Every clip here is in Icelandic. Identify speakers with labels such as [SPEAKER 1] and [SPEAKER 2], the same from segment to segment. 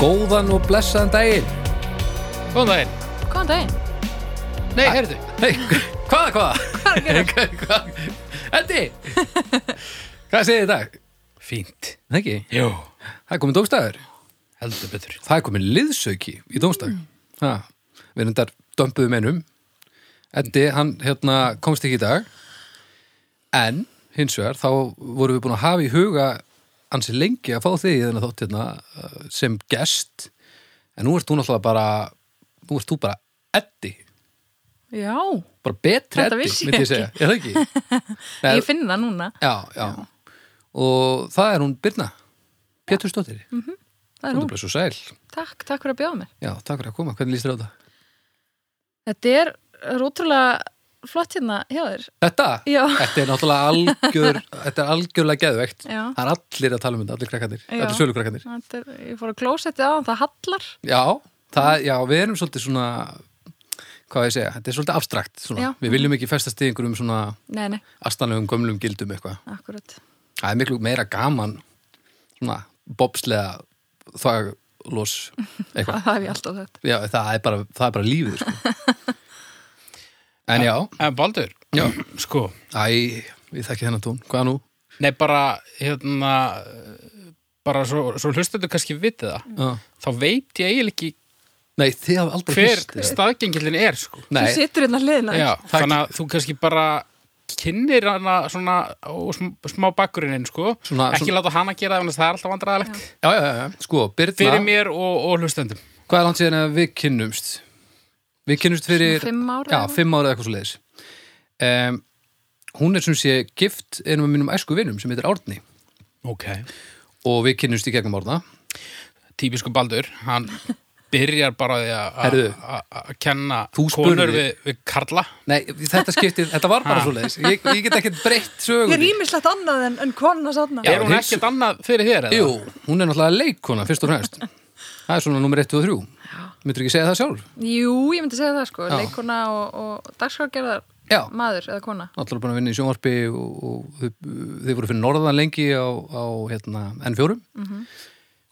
[SPEAKER 1] góðan og blessaðan daginn.
[SPEAKER 2] Góðan daginn.
[SPEAKER 3] Góðan daginn.
[SPEAKER 2] Nei, heyrðu.
[SPEAKER 1] Nei, hvaða, hvaða?
[SPEAKER 3] Hvað er að gera?
[SPEAKER 1] Hvað- Endi! Hvað segir þið í dag? Fínt. Það ekki?
[SPEAKER 2] Jú.
[SPEAKER 1] Það er komin dómstæður.
[SPEAKER 2] Heldur betur.
[SPEAKER 1] Það er komin liðsauki í dómstæð.
[SPEAKER 3] Mm.
[SPEAKER 1] Ha, við erum þar dömpuðum einum. Endi, hann hérna komst ekki í dag. En, hins vegar, þá vorum við búin að hafa í huga ansi lengi að fá þig í þennan þótt hérna uh, sem gest. En nú ert þú náttúrulega bara, nú ert þú bara Eddi.
[SPEAKER 3] Já,
[SPEAKER 1] Bara betri
[SPEAKER 3] Þetta
[SPEAKER 1] Eddi,
[SPEAKER 3] vissi ég
[SPEAKER 1] myndi ég segja. Er það ekki? Nei,
[SPEAKER 3] ég finn það núna.
[SPEAKER 1] Já, já, Og það er hún Birna Pétursdóttir. Mm -hmm.
[SPEAKER 3] Það er
[SPEAKER 1] Þú
[SPEAKER 3] hún.
[SPEAKER 1] er bara svo sæl.
[SPEAKER 3] Takk, takk fyrir að bjóða mér.
[SPEAKER 1] Já, takk fyrir að koma. Hvernig líst þér á það?
[SPEAKER 3] Þetta er, er útrúlega flott hérna hjá þér.
[SPEAKER 1] Þetta?
[SPEAKER 3] Já.
[SPEAKER 1] Þetta er náttúrulega algjör, þetta er algjörlega geðveikt.
[SPEAKER 3] Já.
[SPEAKER 1] Það er allir að tala um þetta, allir krakkandir.
[SPEAKER 3] Já.
[SPEAKER 1] Þetta er sölu krakkandir.
[SPEAKER 3] Þetta er, ég fór að klósetti á hann, það hallar.
[SPEAKER 1] Já, það, já, við erum svolítið svona, hvað á ég að segja, þetta er svolítið abstrakt. Svona.
[SPEAKER 3] Já.
[SPEAKER 1] Við viljum ekki festast í einhverjum svona
[SPEAKER 3] Nei, nei,
[SPEAKER 1] astanlegum gömlum gildum eitthvað.
[SPEAKER 3] akkurat.
[SPEAKER 1] Það er miklu meira gaman, svona bobslega þaglos eitthvað.
[SPEAKER 3] Það hef ég alltaf þetta.
[SPEAKER 1] Já, það er bara, það er bara lífið, sko. En já,
[SPEAKER 2] En Eh, Baldur,
[SPEAKER 1] já,
[SPEAKER 2] sko,
[SPEAKER 1] æ, við þekki þennan tón, hvað nú?
[SPEAKER 2] nei bara, hérna, eh, bara svo, svo hlustendur kannski vitið það.
[SPEAKER 1] Já.
[SPEAKER 2] Þá veit ég eiginlega ekki
[SPEAKER 1] Nei, þið hafa aldrei
[SPEAKER 2] hver
[SPEAKER 1] hist þér.
[SPEAKER 2] staðgengillin er, sko.
[SPEAKER 3] Þú
[SPEAKER 1] Nei,
[SPEAKER 3] situr hérna hliðina.
[SPEAKER 2] Já,
[SPEAKER 1] það-
[SPEAKER 2] þannig að þú kannski bara kynir hana svona á sm- smá bakgrunnin, sko.
[SPEAKER 1] Svona-
[SPEAKER 2] ekki
[SPEAKER 1] svona-
[SPEAKER 2] láta hana gera það, annars það er alltaf vandræðalegt.
[SPEAKER 1] já, já, já, já, sko, Birna,
[SPEAKER 2] Fyrir mér og, og hlustendum.
[SPEAKER 1] hvað er langt síðan að við kynnumst? Við kynnumst fyrir,
[SPEAKER 3] Fimm ára.
[SPEAKER 1] já, fimm ára eða eitthvað svo leiðis. Um, hún er sem sé gift einum af mínum æsku vinum sem heitir Árni
[SPEAKER 2] Ok.
[SPEAKER 1] og við kynnumst í gegnum Árna.
[SPEAKER 2] Típisku Baldur, hann byrjar bara á því að- að
[SPEAKER 1] Heyrðu.
[SPEAKER 2] að- að kenna
[SPEAKER 1] Þú
[SPEAKER 2] konur
[SPEAKER 1] spurðir.
[SPEAKER 2] við, við karla.
[SPEAKER 1] Nei, þetta skiptið, þetta var bara
[SPEAKER 2] Ha.
[SPEAKER 1] svo leiðis. Ég, ég get ekkert breytt sögur.
[SPEAKER 3] Ég er ímislegt annað en, en konna sána.
[SPEAKER 1] Já.
[SPEAKER 2] er hún
[SPEAKER 1] hins-
[SPEAKER 2] ekkert annað fyrir þér? eða?
[SPEAKER 1] Jú, hún er náttúrulega leikona fyrst og fremst Það er svona nummer 1 og 3 Myndur ekki segja það sjálf?
[SPEAKER 3] Jú, ég myndi segja það sko,
[SPEAKER 1] Já.
[SPEAKER 3] leikona og, og dagskrárgerðar
[SPEAKER 1] Já,
[SPEAKER 3] maður eða kona.
[SPEAKER 1] náttúrulega búin að vinna í sjónvarpi og, og þau, þau voru fyrir norðan lengi á, á hérna, N4
[SPEAKER 3] Mhm.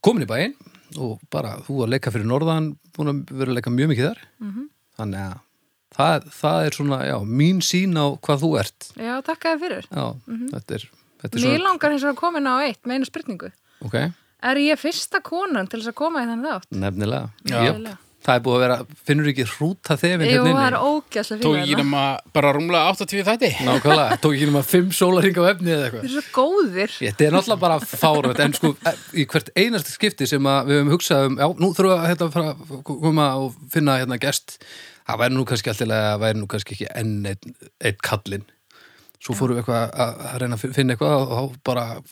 [SPEAKER 1] komin í bæinn og bara þú að leika fyrir norðan búin að vera að leika mjög mikið þar
[SPEAKER 3] Mhm.
[SPEAKER 1] þannig að það, það er svona já, mín sín á hvað þú ert
[SPEAKER 3] Já, takk að þið fyrir.
[SPEAKER 1] Já,
[SPEAKER 3] Mhm.
[SPEAKER 1] þetta er, þetta er
[SPEAKER 3] Mér
[SPEAKER 1] svona
[SPEAKER 3] langar hins vegar að koma inn á eitt með einu spurningu.
[SPEAKER 1] Ok,
[SPEAKER 3] Er ég fyrsta konan til þess að koma í þannig þátt?
[SPEAKER 1] nefnilega
[SPEAKER 2] Já.
[SPEAKER 1] Jöp. Það er búið að vera, finnur ekki hrúta þefin
[SPEAKER 3] Jú,
[SPEAKER 1] hérna inni?
[SPEAKER 3] það er hérna. ógæslega
[SPEAKER 2] Tók
[SPEAKER 3] fyrir
[SPEAKER 2] ég
[SPEAKER 3] það.
[SPEAKER 2] nema um bara rúmlega 80 þætti?
[SPEAKER 1] Nákvæmlega, tók ekki nema fimm sólaring á efni eða
[SPEAKER 3] Þeir
[SPEAKER 1] eitthvað.
[SPEAKER 3] eru svo góðir.
[SPEAKER 1] Þetta er náttúrulega bara fárönd, en sko, í hvert einasta skipti sem að við höfum hugsað um, já, nú þurfum við að hérna, fara að koma og finna hérna gest, það væri nú kannski alltilega, það væri nú kannski ekki enn einn ein kallinn. Svo fórum við eitthvað að, að reyna að fin- finna eitthvað og þá bara,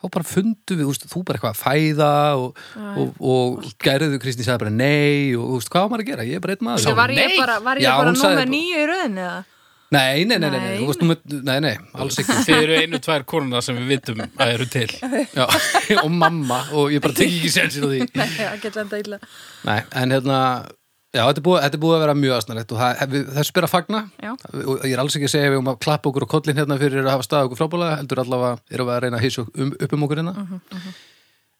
[SPEAKER 1] þá bara fundu við, úst, þú bara eitthvað að fæða og, og, og, gerðu Kristín sagði bara nei og úst, hvað á maður að gera, ég er bara einn maður.
[SPEAKER 3] Svo var ég
[SPEAKER 2] nei.
[SPEAKER 3] bara, var ég
[SPEAKER 1] Já,
[SPEAKER 3] bara
[SPEAKER 1] hún sagði
[SPEAKER 3] númer
[SPEAKER 1] bara-
[SPEAKER 3] nýju í rauninni eða?
[SPEAKER 1] Nei, nei, nei, nei, nei,
[SPEAKER 3] Nei.
[SPEAKER 1] þú varst númer- nei, nei, alls ekki.
[SPEAKER 2] Þið eru einu, tvær konuna sem við vitum að eru til.
[SPEAKER 1] Já, og mamma og ég bara tek ekki sensin á því
[SPEAKER 3] Nei, það geta enda illa.
[SPEAKER 1] Nei, en hérna Já, þetta er búið, þetta er búið að vera mjög aðsnarlegt og það, við, þessu ber að fagna
[SPEAKER 3] Já.
[SPEAKER 1] og ég er alls ekki að segja að við um að klappa okkur á kollin hérna fyrir að hafa stað okkur frábúlega heldur allavega erum við að reyna að hýsa um, upp um okkur hérna
[SPEAKER 3] Mhm,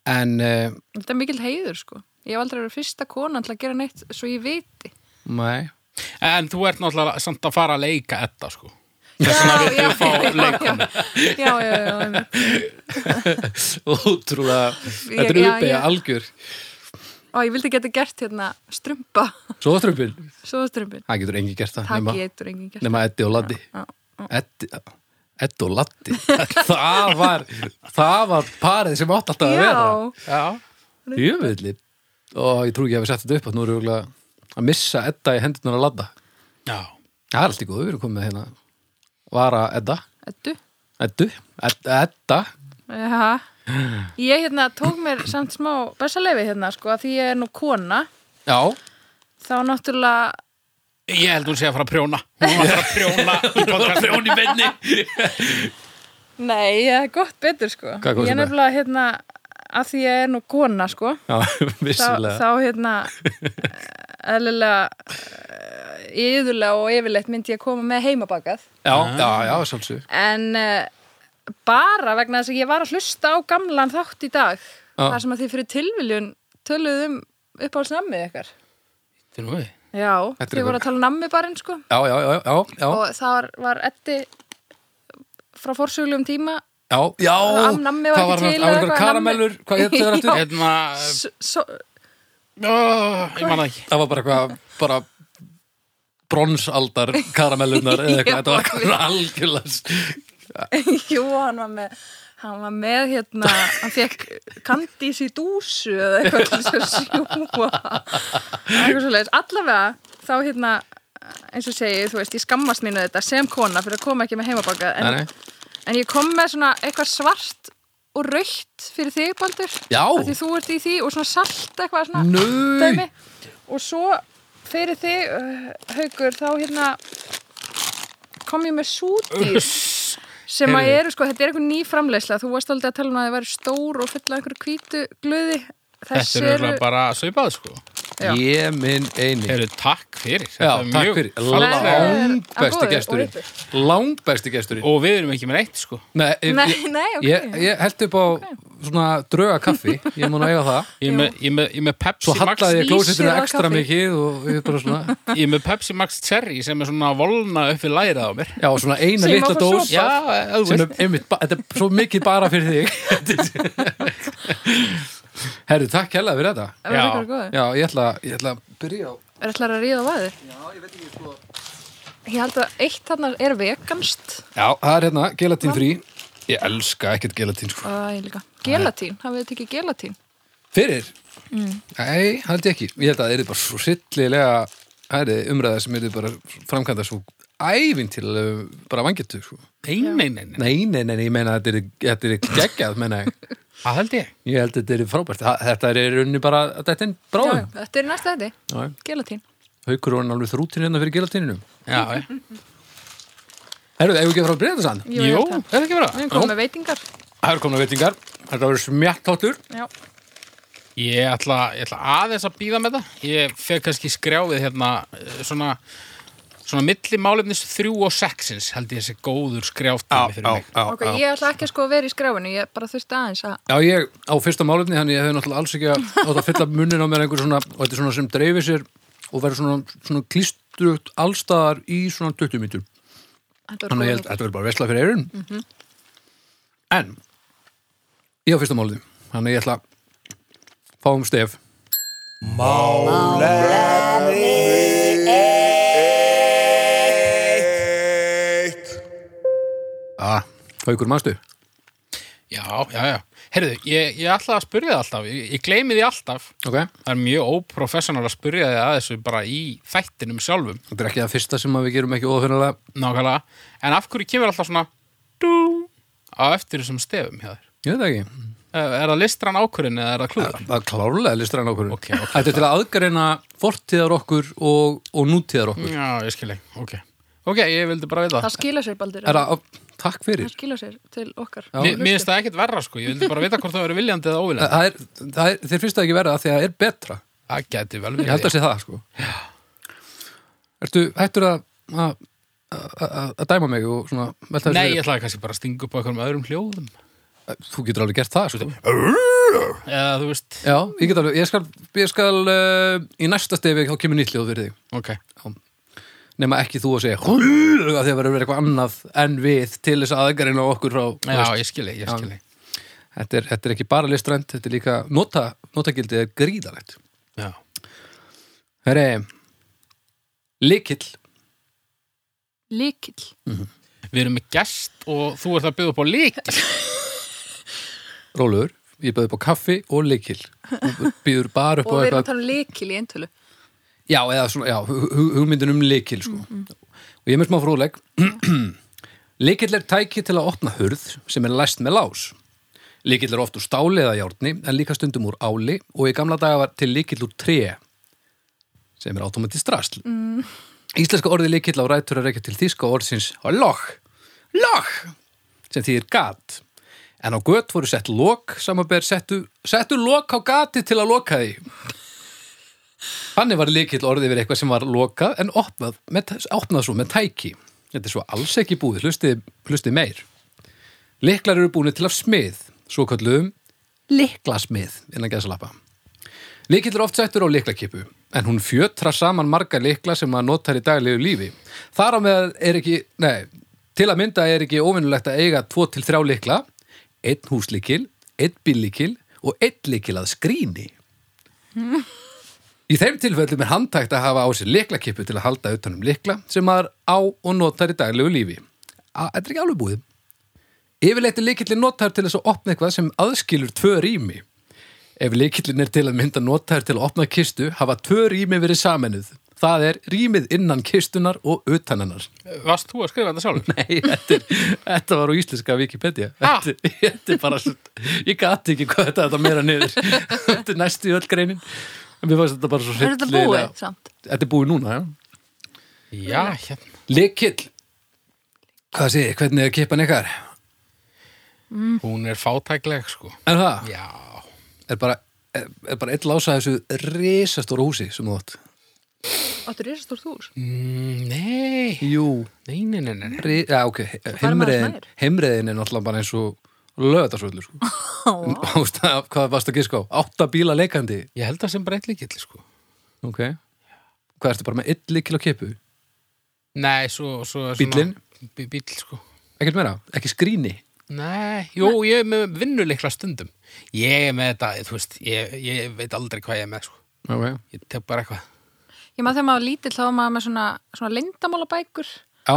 [SPEAKER 1] en uh,
[SPEAKER 3] Þetta er mikill heiður, sko. Ég hef aldrei verið fyrsta konan til að gera neitt svo ég viti.
[SPEAKER 1] nei,
[SPEAKER 2] En þú ert náttúrulega samt að fara að leika þetta, sko.
[SPEAKER 3] Já, já, já,
[SPEAKER 2] fá leikonu.
[SPEAKER 3] já, já, já, já, einmitt.
[SPEAKER 1] ótrúlega
[SPEAKER 3] Ég-
[SPEAKER 1] þetta er
[SPEAKER 3] já,
[SPEAKER 1] uppið
[SPEAKER 3] ég-
[SPEAKER 1] algjör
[SPEAKER 3] og ég vildi geta gert hérna strumpa,
[SPEAKER 1] Svo strömpil,
[SPEAKER 3] sóðastrumpin.
[SPEAKER 1] það getur engi gert það
[SPEAKER 3] Það
[SPEAKER 1] nema,
[SPEAKER 3] getur enginn gert.
[SPEAKER 1] nema Eddi og Laddi
[SPEAKER 3] Já,
[SPEAKER 1] Eddi, Eddi og Laddi það var það var parið sem átt alltaf að vera
[SPEAKER 3] Já,
[SPEAKER 2] Já.
[SPEAKER 1] Jöfnvillir Og ég trú ekki að við setja þetta upp að nú erum við örugglega að missa Edda í hendunar að ladda
[SPEAKER 2] Já.
[SPEAKER 1] Það er allt í góð, við erum komið með hérna Vara Edda,
[SPEAKER 3] ettu.
[SPEAKER 1] Eddu, Ed- Edda
[SPEAKER 3] Já, ég hérna tók mér samt smá bestaleifi hérna, sko, að því ég er nú kona,
[SPEAKER 1] Já,
[SPEAKER 3] þá náttúrulega
[SPEAKER 2] Ég held hún sé að fara að prjóna. Hún var að fara að prjóna í podcast. Prjón í benni.
[SPEAKER 3] Nei, það er gott betur sko
[SPEAKER 1] Hvað komstu
[SPEAKER 3] Ég er
[SPEAKER 1] með?
[SPEAKER 3] nefnilega hérna að því ég er nú kona sko
[SPEAKER 1] já,
[SPEAKER 3] þá,
[SPEAKER 1] vissulega
[SPEAKER 3] þá hérna eðlilega eh, yðurlega og yfirleitt myndi ég að koma með heimabakað
[SPEAKER 1] Já, já, já, sjálfsög
[SPEAKER 3] en eh, bara vegna þess að ég var að hlusta á gamlan þátt í dag
[SPEAKER 1] Já.
[SPEAKER 3] þar sem að þið fyrir tilviljun töluðum upp á snammið um ykkar?
[SPEAKER 2] Finnum við.
[SPEAKER 3] Já,
[SPEAKER 1] Þetta er
[SPEAKER 3] þið voru að tala um nammi barinn sko
[SPEAKER 1] Já, já, já, já, já,
[SPEAKER 3] og þar var Eddi frá forsögulegum tíma
[SPEAKER 1] já, já.
[SPEAKER 3] Am- nammi var
[SPEAKER 1] Hvað
[SPEAKER 3] ekki
[SPEAKER 1] hann- Það var
[SPEAKER 3] til eða
[SPEAKER 1] einhver
[SPEAKER 3] eitthvað,
[SPEAKER 1] karamellur,
[SPEAKER 3] nammi-
[SPEAKER 1] hvað hétt þau
[SPEAKER 3] Já.
[SPEAKER 1] aftur?
[SPEAKER 2] Hérna,
[SPEAKER 3] s- so,
[SPEAKER 2] ó, ég man það ekki.
[SPEAKER 1] Það var bara eitthvað, bara bronsaldar karamellunar eða eitthvað,
[SPEAKER 3] Já,
[SPEAKER 1] þetta var eitthvað algjörlega
[SPEAKER 3] Jú, hann var með hann var með hérna hann fekk kandís í dúsu eða eitthvað til þess að sjúa eitthvað svo leiðis, allavega þá hérna, eins og segi þú veist, ég skammast mínu þetta sem kona fyrir að koma ekki með heimabakað
[SPEAKER 1] Nei, nei.
[SPEAKER 3] en, en ég kom með svona eitthvað svart og rautt fyrir þig, Baldur
[SPEAKER 1] Já.
[SPEAKER 3] Af því þú ert í því og svona salt eitthvað svona
[SPEAKER 1] Nú,
[SPEAKER 3] dæmi og svo fyrir þig uh, haugur þá hérna kom ég með sútís sem að
[SPEAKER 2] Heyrðu.
[SPEAKER 3] eru sko, þetta er eitthvað ný framleysla þú varst aldrei að tala um að það væri stór og fulla einhverju hvítu glöði
[SPEAKER 2] Þetta
[SPEAKER 3] þessi
[SPEAKER 2] er
[SPEAKER 3] eru
[SPEAKER 2] örugglega bara svipað, sko.
[SPEAKER 3] Já.
[SPEAKER 1] ég minn eini
[SPEAKER 2] Heyrðu, takk fyrir.
[SPEAKER 1] Já,
[SPEAKER 2] Þetta er
[SPEAKER 1] takk
[SPEAKER 2] mjög
[SPEAKER 1] fyrir,
[SPEAKER 2] fallega.
[SPEAKER 3] Nei, nei, nei, að
[SPEAKER 1] langbesti
[SPEAKER 3] góðu,
[SPEAKER 1] gesturinn
[SPEAKER 3] og
[SPEAKER 1] Langbesti gesturinn
[SPEAKER 2] Og við erum ekki með neitt, sko.
[SPEAKER 1] Nei, ég-
[SPEAKER 3] Nei,
[SPEAKER 1] ég-
[SPEAKER 3] nei, ok.
[SPEAKER 1] Ég, ég held upp á svona drauga kaffi, ég mun að eiga það
[SPEAKER 2] Ég er með, ég er með, ég er með Pepsi
[SPEAKER 1] Svo hallaði ég
[SPEAKER 2] Max,
[SPEAKER 1] klósitinu
[SPEAKER 3] Ísir af
[SPEAKER 1] ekstra
[SPEAKER 3] kaffi.
[SPEAKER 1] mikið og ég bara svona,
[SPEAKER 2] ég er með Pepsi Max Cherry sem er svona volna uppi lærað á mér.
[SPEAKER 1] já, svona eina
[SPEAKER 3] Sem
[SPEAKER 1] litla
[SPEAKER 3] að fá
[SPEAKER 1] dós
[SPEAKER 3] sopa.
[SPEAKER 2] Já, eða þú
[SPEAKER 1] sem
[SPEAKER 2] veist.
[SPEAKER 1] er einmitt, ba- þetta er svo mikið bara fyrir þig Herru, takk hella fyrir þetta
[SPEAKER 3] það var
[SPEAKER 2] Já.
[SPEAKER 3] eitthvað góði
[SPEAKER 1] Já, ég ætla, ég ætla að byrja á
[SPEAKER 3] er ætlar að ríða á vaðið? Já, ég veit ekki sko Ég held að eitt þarna er veganst
[SPEAKER 1] Já, það er hérna, gelatín frí Ég elska ekkert gelatín sko
[SPEAKER 3] og ég líka Gelatín, hafið þetta ekki gelatín?
[SPEAKER 1] Fyrir? Nei, held ég ekki Ég held að það er bara svo sillilega Hæri umræða sem eru bara framkvæmda svo ævintilega bara vangetur sko.
[SPEAKER 2] Nei, nei, nei, nei.
[SPEAKER 1] Nei, nei, nei, nei, ég meina að þetta er, þetta er geggjað, meina ég
[SPEAKER 2] Það held ég.
[SPEAKER 1] Ég held að þetta er frábært, Þa- þetta er runni bara, þetta er
[SPEAKER 3] Já,
[SPEAKER 1] bráðum
[SPEAKER 3] já, þetta er í næsta þetta,
[SPEAKER 1] Já, já.
[SPEAKER 3] gelatín
[SPEAKER 1] Haukur er orðinn alveg þrútin hérna fyrir gelatínunum
[SPEAKER 2] Já, já.
[SPEAKER 1] Herru, eigum við ekki að fara að byrja þetta sann?
[SPEAKER 3] Jú, ég
[SPEAKER 2] Jú,
[SPEAKER 3] held
[SPEAKER 2] er
[SPEAKER 3] það.
[SPEAKER 2] það ekki
[SPEAKER 3] Við erum
[SPEAKER 2] verið?
[SPEAKER 3] komið með veitingar
[SPEAKER 1] Það eru komna veitingar, þetta verður smjattháttur
[SPEAKER 3] Já,
[SPEAKER 2] Ég ætla, ég ætla aðeins að býða með það. Ég feg kannski skrjáfið hérna eh, svona, svona milli málefnis þrjú og sexins held ég þessi góður skrjáftími fyrir mig.
[SPEAKER 3] ok, ég ætla ekki sko að vera í skráinu Ég bara þurfti aðeins að
[SPEAKER 1] Já, ég á fyrsta málefni, þannig ég hef náttúrulega alls ekki að, átt að fylla munnin á mér einhver svona, og þetta er svona sem dreifir sér og verður svona, svona klístrugt allstaðar í svona 20 mítur.
[SPEAKER 3] Þetta var
[SPEAKER 1] Þannig að ég
[SPEAKER 3] góð
[SPEAKER 1] held að þetta verður bara vesla fyrir eirun. En, ég á fyrsta málefni, þannig að ég ætla að fá um stef. Ah, haukur mannstu?
[SPEAKER 2] Já, já, já. Heyrðu, ég, ég ætla að spyrja það alltaf. Ég, ég gleymi því alltaf.
[SPEAKER 1] Ok.
[SPEAKER 2] Það er mjög óprofessional að spyrja því að þessu bara í þættinum sjálfum.
[SPEAKER 1] Þetta er ekki það fyrsta sem að við gerum ekki óðfinnilega.
[SPEAKER 2] Nákvæmlega. En af hverju kemur alltaf svona dú á eftir þessum stefum hjá þér?
[SPEAKER 1] Ég veit það ekki.
[SPEAKER 2] Er er það listrann ákvörðin eða er það klúður?
[SPEAKER 1] Það er klárlega listræn ákvörðun.
[SPEAKER 2] Ok, ok.
[SPEAKER 1] Þetta er til að aðgreina fortíðar okkur og, og nútíðar okkur.
[SPEAKER 2] Já, ég skil ekki. Ok. Ok, ég vildi bara vita.
[SPEAKER 3] Það skila sér baldur
[SPEAKER 1] Er það, takk
[SPEAKER 3] Það
[SPEAKER 1] fyrir.
[SPEAKER 3] skila sér til okkar
[SPEAKER 2] Mér mér finnst
[SPEAKER 3] Hlustu.
[SPEAKER 2] það ekkert verra sko, ég vildi bara vita hvort það verið viljandi eða óviljandi.
[SPEAKER 1] Það er, það er, þér finnst það ekki verða því að það er betra.
[SPEAKER 2] Það geti vel
[SPEAKER 1] Ég held
[SPEAKER 2] verið.
[SPEAKER 1] að sé það, sko. Ertu hættur að, að, að, að dæma mig og svona velta þessu
[SPEAKER 2] Nei, ég
[SPEAKER 1] fyrir?
[SPEAKER 2] ætlaði kannski bara að stinga upp á einhverjum öðrum hljóðum.
[SPEAKER 1] Þú getur alveg gert það, sko.
[SPEAKER 2] Eða þú veist,
[SPEAKER 1] Já, ég get alveg, ég skal, ég skal uh, í næsta stefi þá kemur nýtt hljóð fyrir þig.
[SPEAKER 2] ok.
[SPEAKER 1] nema ekki þú að segja að því að vera eitthvað annað en við til þess aðgarinn á okkur frá þú
[SPEAKER 2] Já,
[SPEAKER 1] veist,
[SPEAKER 2] ég skil ég, ég skil ég.
[SPEAKER 1] þetta, er, þetta er ekki bara listrænt, þetta er líka nota, notagildið er gríðalegt
[SPEAKER 2] Já.
[SPEAKER 1] Herre, Likill
[SPEAKER 3] Líkill
[SPEAKER 2] Við erum með gest og þú ert að byggja upp á lík.
[SPEAKER 1] Rólur, ég bauði upp á kaffi og likill Þú býður bara upp á
[SPEAKER 3] Og við erum að
[SPEAKER 1] eitthvað
[SPEAKER 3] tala um líkill í eintölu
[SPEAKER 1] Já, eða svona, já, hu- hu- hugmyndin um likill sko. og ég er með smá fróleg Likill er tæki til að opna hurð sem er læst með lás Likill er oft úr stáli eða járni en líka stundum úr áli og í gamla daga var til likill úr tré sem er automatist drasl mm. Íslenska orðið likill á rætur er ekki til þíska orðsins log, log sem þýðir gat en á gött voru sett lok samanber settu, settu lok á gati til að loka því Þannig var likill orðið yfir eitthvað sem var lokað en opnað, með, opnað svo með tæki. Þetta er svo alls ekki búið, hlustið, hlustið meir. Liklar eru búinu til af smið, svo kalluðum liklasmið innan gæðsalappa. Lykill er oft settur á lyklakipu, en hún fjötrar saman marga lykla sem maður notar í daglegu lífi. Þar á meðan er ekki, nei, til að mynda er ekki óvinnulegt að eiga tvo til þrjá lykla, einn húslykil, einn bíllykil og einn lykil að skrýni. Í þeim tilfellum er handtækt að hafa á sér lyklakipu til að halda utanum lykla sem maður á og notar í daglegu lífi. A- Þetta er ekki alveg búið. Yfirleitt er lykillin notaður til þess að opna eitthvað sem aðskilur tvö rými. Ef lykillin er til að mynda notaður til að opna kistu, hafa tvö rými verið samennuð. Það er rýmið innan kistunar og utan hennar.
[SPEAKER 2] Varst þú að skrifa þetta sjálfur?
[SPEAKER 1] Nei, þetta, er, þetta var á íslenska Wikipedia.
[SPEAKER 2] Ha?
[SPEAKER 1] Þetta, þetta er bara, svo- ég gati ekki hvað þetta þetta meira niður. þetta er næstu í öll greinin. En mér fannst þetta bara svo
[SPEAKER 3] Er þetta
[SPEAKER 1] hryllilega-
[SPEAKER 3] búið samt?
[SPEAKER 1] Þetta er búið núna, já.
[SPEAKER 2] Já, hérna.
[SPEAKER 1] Lykill. Hvað sé, hvernig er kipan ykkar?
[SPEAKER 2] Hún er fátækleg, sko.
[SPEAKER 1] Er það?
[SPEAKER 2] Já.
[SPEAKER 1] Er bara, er, er bara eitt lása þessu risastóra húsi sem þú átt?
[SPEAKER 3] Áttu risastórt hús?
[SPEAKER 2] Mm, nei.
[SPEAKER 1] Jú.
[SPEAKER 2] Nei, nei, nei, nei.
[SPEAKER 1] Rí, já, ok,
[SPEAKER 3] er maður
[SPEAKER 1] heimriðin,
[SPEAKER 3] smær?
[SPEAKER 1] heimriðin er náttúrulega bara eins og lögðarsvöldur, sko. En þú veist að- Hvað varst að giska á? Átta bíla leikandi.
[SPEAKER 2] Ég held það sem bara eitt líkill, sko.
[SPEAKER 1] Ok. Hvað ertu bara með eitt líkil á kipu?
[SPEAKER 2] Nei, svo, svo er
[SPEAKER 1] Bíllinn?
[SPEAKER 2] Bí- Bíll, sko.
[SPEAKER 1] Ekkert meira? Ekki skrýni?
[SPEAKER 2] Nei, jú, ég er með vinnuleikla stundum. Ég er með þetta, þú veist, ég, ég veit aldrei hvað ég er með, sko.
[SPEAKER 1] Ok.
[SPEAKER 2] Ég tek bara eitthvað.
[SPEAKER 3] Ég maður þegar maður var lítill þá var maður með svona, svona lindamálabækur
[SPEAKER 1] Já.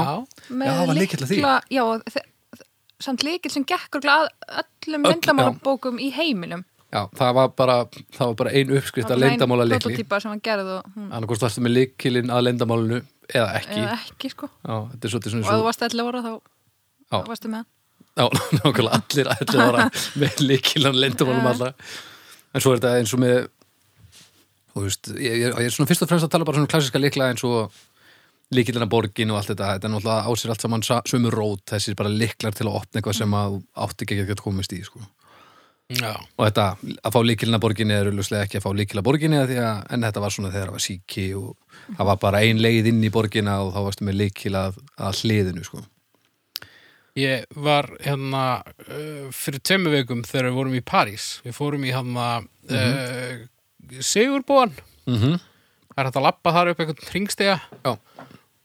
[SPEAKER 3] með
[SPEAKER 1] Já, var lykill að því?
[SPEAKER 3] lykla- Já, og þe- samt líkil sem gekk örugglega að öllum
[SPEAKER 1] Öll,
[SPEAKER 3] lindamálabókum í heiminum
[SPEAKER 1] Já, það var bara, það var bara ein uppskrift að
[SPEAKER 3] Það var ein
[SPEAKER 1] leindamála leikli.
[SPEAKER 3] Prototýpa sem hann gerði og hún
[SPEAKER 1] Annarkost varstu með líkilinn að leindamálinu eða ekki.
[SPEAKER 3] eða ekki sko
[SPEAKER 1] Já, þetta er svolítið svona
[SPEAKER 3] og ef þú varst 11 ára þá
[SPEAKER 1] Já.
[SPEAKER 3] þá varstu með hann
[SPEAKER 1] Já, nákvæmlega allir allir ára með líkilan lendumálum alla en svo er þetta eins og með þú veist, ég, ég, ég er svona fyrst og fremst að tala bara svona klassiska líkla eins og líkilina borgin og allt þetta þetta er náttúrulega á sér allt saman sa- sömu rót þessir bara líklar til að opna eitthvað sem að þú átti ekki að geta komist í sko.
[SPEAKER 2] Já.
[SPEAKER 1] og þetta að fá líkilina borgin er auðvitað ekki að fá líkila borgin eða því að, en þetta var svona þegar það var síki og það var bara ein leið inn í borgina og þá varstu með líkila að, að hliðinu sko.
[SPEAKER 2] Ég var hérna uh, fyrir tveimu veikum þegar við vorum í París. Við fórum í hérna, hann að Sigurbúan.
[SPEAKER 1] mm -hmm.
[SPEAKER 2] Það er hægt að labba þar upp einhvern hringstega
[SPEAKER 1] Já,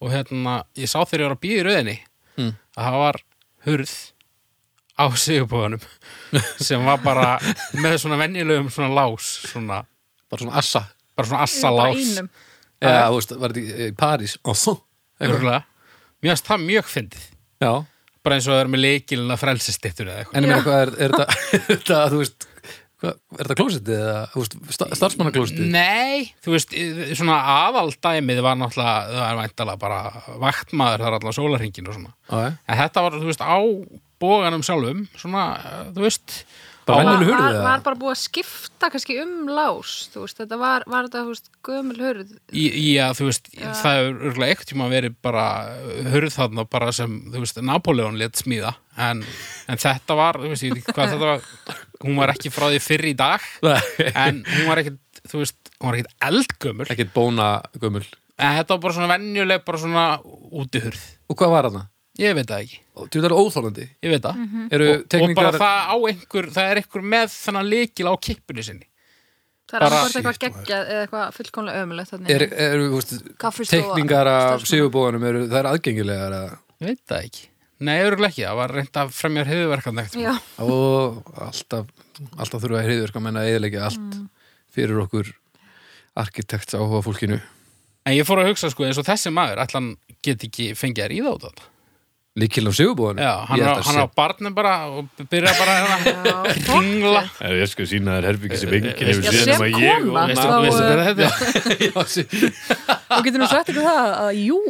[SPEAKER 2] og hérna, ég sá þegar ég var að býða í rauðinni
[SPEAKER 1] Mm.
[SPEAKER 2] að það var hurð á Sigurbúanum sem var bara með svona venjulegum svona lás, svona,
[SPEAKER 1] bara svona assa
[SPEAKER 2] bara svona
[SPEAKER 3] Ég var bara í
[SPEAKER 2] assalás.
[SPEAKER 3] einum.
[SPEAKER 1] Já, þú veist, var þetta í- í París Eitthvað.
[SPEAKER 2] Örgulega. Mér finnst það mjög fyndið.
[SPEAKER 1] Já,
[SPEAKER 2] Bara eins og það er með leikilina frelsistittur eða eitthvað.
[SPEAKER 1] en ég meina
[SPEAKER 3] Já.
[SPEAKER 1] hvað er, er þetta, þetta, þú veist hvað, er þetta klósitið eða, þú veist, sta- starfsmannaklósitið?
[SPEAKER 2] Nei, þú veist, í- svona aðaldæmið var náttúrulega, það er væntalega bara vaktmaður þar allan sólarhingin og svona.
[SPEAKER 1] Já,
[SPEAKER 2] En þetta var, þú veist, á bóganum sjálfum, svona, eh, þú veist,
[SPEAKER 1] Bara
[SPEAKER 2] á,
[SPEAKER 1] venjuleg-
[SPEAKER 3] var,
[SPEAKER 1] Gömul hurð,
[SPEAKER 3] var,
[SPEAKER 1] eða?
[SPEAKER 3] var bara búið að skipta kannski um lás þú veist, þetta var, var þetta þú veist, gömul hurð
[SPEAKER 2] í, í að, þú veist, það er örgulega ekkert tíma verið bara hurð þarna bara sem, þú veist, Napoleon let smíða. En, en þetta var, þú veist, ég veit ekki hvað þetta var, hún var ekki frá því fyrr í dag,
[SPEAKER 1] Nei,
[SPEAKER 2] en hún var ekkert, þú veist, hún var ekkert eldgömul.
[SPEAKER 1] ekkert bóna gömul
[SPEAKER 2] En þetta var bara svona venjuleg, bara svona útihurð.
[SPEAKER 1] Og hvað var hana?
[SPEAKER 2] Ég veit það ekki.
[SPEAKER 1] Þú veist, það eru óþólandi
[SPEAKER 2] Ég veit það.
[SPEAKER 3] Mhm.
[SPEAKER 1] Eru
[SPEAKER 2] og, og bara
[SPEAKER 1] tekningar
[SPEAKER 2] það á einhver, það er einhver með þennan leikil á kippinu sinni.
[SPEAKER 3] það er
[SPEAKER 2] Bara-
[SPEAKER 3] annars eitthvað geggjað eða eitthvað fullkomlega ömulegt þarna
[SPEAKER 1] er,
[SPEAKER 3] inni.
[SPEAKER 1] er, þú veist,
[SPEAKER 3] Kaffistofa,
[SPEAKER 1] tekningar af
[SPEAKER 3] starfsmanna.
[SPEAKER 1] sigubóðanum eru, það er aðgengilegar að,
[SPEAKER 2] Ég veit það ekki. Nei, örgulega ekki. Það var reynd að fremja höfuverkandi eftir.
[SPEAKER 3] já,
[SPEAKER 1] og alltaf alltaf þurfa að hriðverka menna eðilegja allt fyrir okkur arkitekts áhuga fólkinu
[SPEAKER 2] En ég fór að hugsa, sko, eins og þessi maður, ætlan get ekki fengið að ríða út á þetta.
[SPEAKER 1] Líkil á sigubóðanum
[SPEAKER 2] Já, hann, á, hann á barnum bara og byrja bara að ringla.
[SPEAKER 4] Ef Eh, ég skal sína þér herbyggi sem enginn hefur
[SPEAKER 3] Eh, Já,
[SPEAKER 4] séð
[SPEAKER 3] sem
[SPEAKER 4] nema ég
[SPEAKER 3] kona
[SPEAKER 4] og-
[SPEAKER 2] Veistu- veistu
[SPEAKER 3] þá,
[SPEAKER 2] hvað þetta er?
[SPEAKER 1] Já, sí-
[SPEAKER 3] og getur nú sagt ykkur það að jú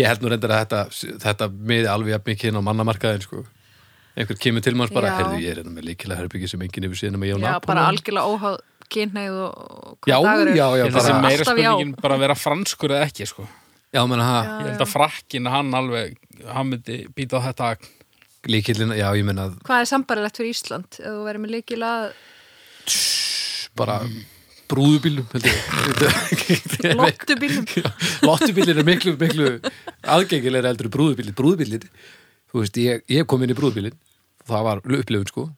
[SPEAKER 1] Ég held nú reyndar að þetta, þetta miði alveg jafn mikið inn á mannamarkaðin sko. einhver kemur til manns bara
[SPEAKER 3] Já.
[SPEAKER 1] herðu ég er hérna með líkilega herbyggi sem enginn hefur síðan með Jón
[SPEAKER 3] já, bara algjörlega óháð kynneið og og
[SPEAKER 1] Já,
[SPEAKER 3] hvað dagur er
[SPEAKER 1] já, já,
[SPEAKER 2] Ég held að
[SPEAKER 1] bara,
[SPEAKER 2] þessi
[SPEAKER 3] sem-
[SPEAKER 2] meira
[SPEAKER 3] Alltaf já.
[SPEAKER 2] spurningin bara að vera franskur eða ekki, sko.
[SPEAKER 1] já, menna,
[SPEAKER 3] Já,
[SPEAKER 1] ha,
[SPEAKER 2] Ég held að frakkin, hann alveg, hann myndi býta á þetta agn.
[SPEAKER 1] líkilin, já, ég menna
[SPEAKER 3] hvað er sambarilegt fyrir Ísland ef þú verður með líkil að
[SPEAKER 1] bara brúðubílum heldur ég.
[SPEAKER 3] lottubílum
[SPEAKER 1] lottubílir er miklu, miklu aðgengilega heldur en brúðubílir brúðubílir, þú veist, ég, ég kom inn í brúðubílin það var upplifun sko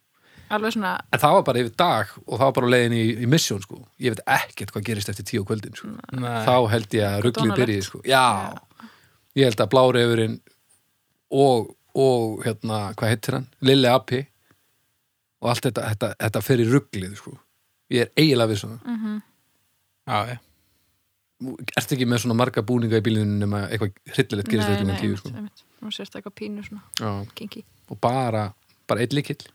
[SPEAKER 3] alveg svona
[SPEAKER 1] En það var bara yfir dag og það var bara á leiðin í, í misjón sko. Ég veit ekkert hvað gerist eftir tíu á kvöldin sko.
[SPEAKER 2] Nei.
[SPEAKER 1] Þá held ég að rugglið
[SPEAKER 3] Dónalegt.
[SPEAKER 1] byrjið sko. Já, ég held að Blárefurinn og, og hérna, hvað heitir hann? Lilli Api og allt þetta, þetta, þetta fer í rugglið sko. Ég er eiginlega við svona mm.
[SPEAKER 2] já, já.
[SPEAKER 3] Mm.
[SPEAKER 1] Ertu ekki með svona marga búninga í bílinu nema eitthvað hryllilegt gerist
[SPEAKER 3] Nei,
[SPEAKER 1] eftir
[SPEAKER 3] nei,
[SPEAKER 1] með tíu
[SPEAKER 3] einmitt,
[SPEAKER 1] sko.
[SPEAKER 3] einmitt. Nú sérst eitthvað pínu svona
[SPEAKER 1] Já.
[SPEAKER 3] kinky
[SPEAKER 1] Og bara, bara einn líkill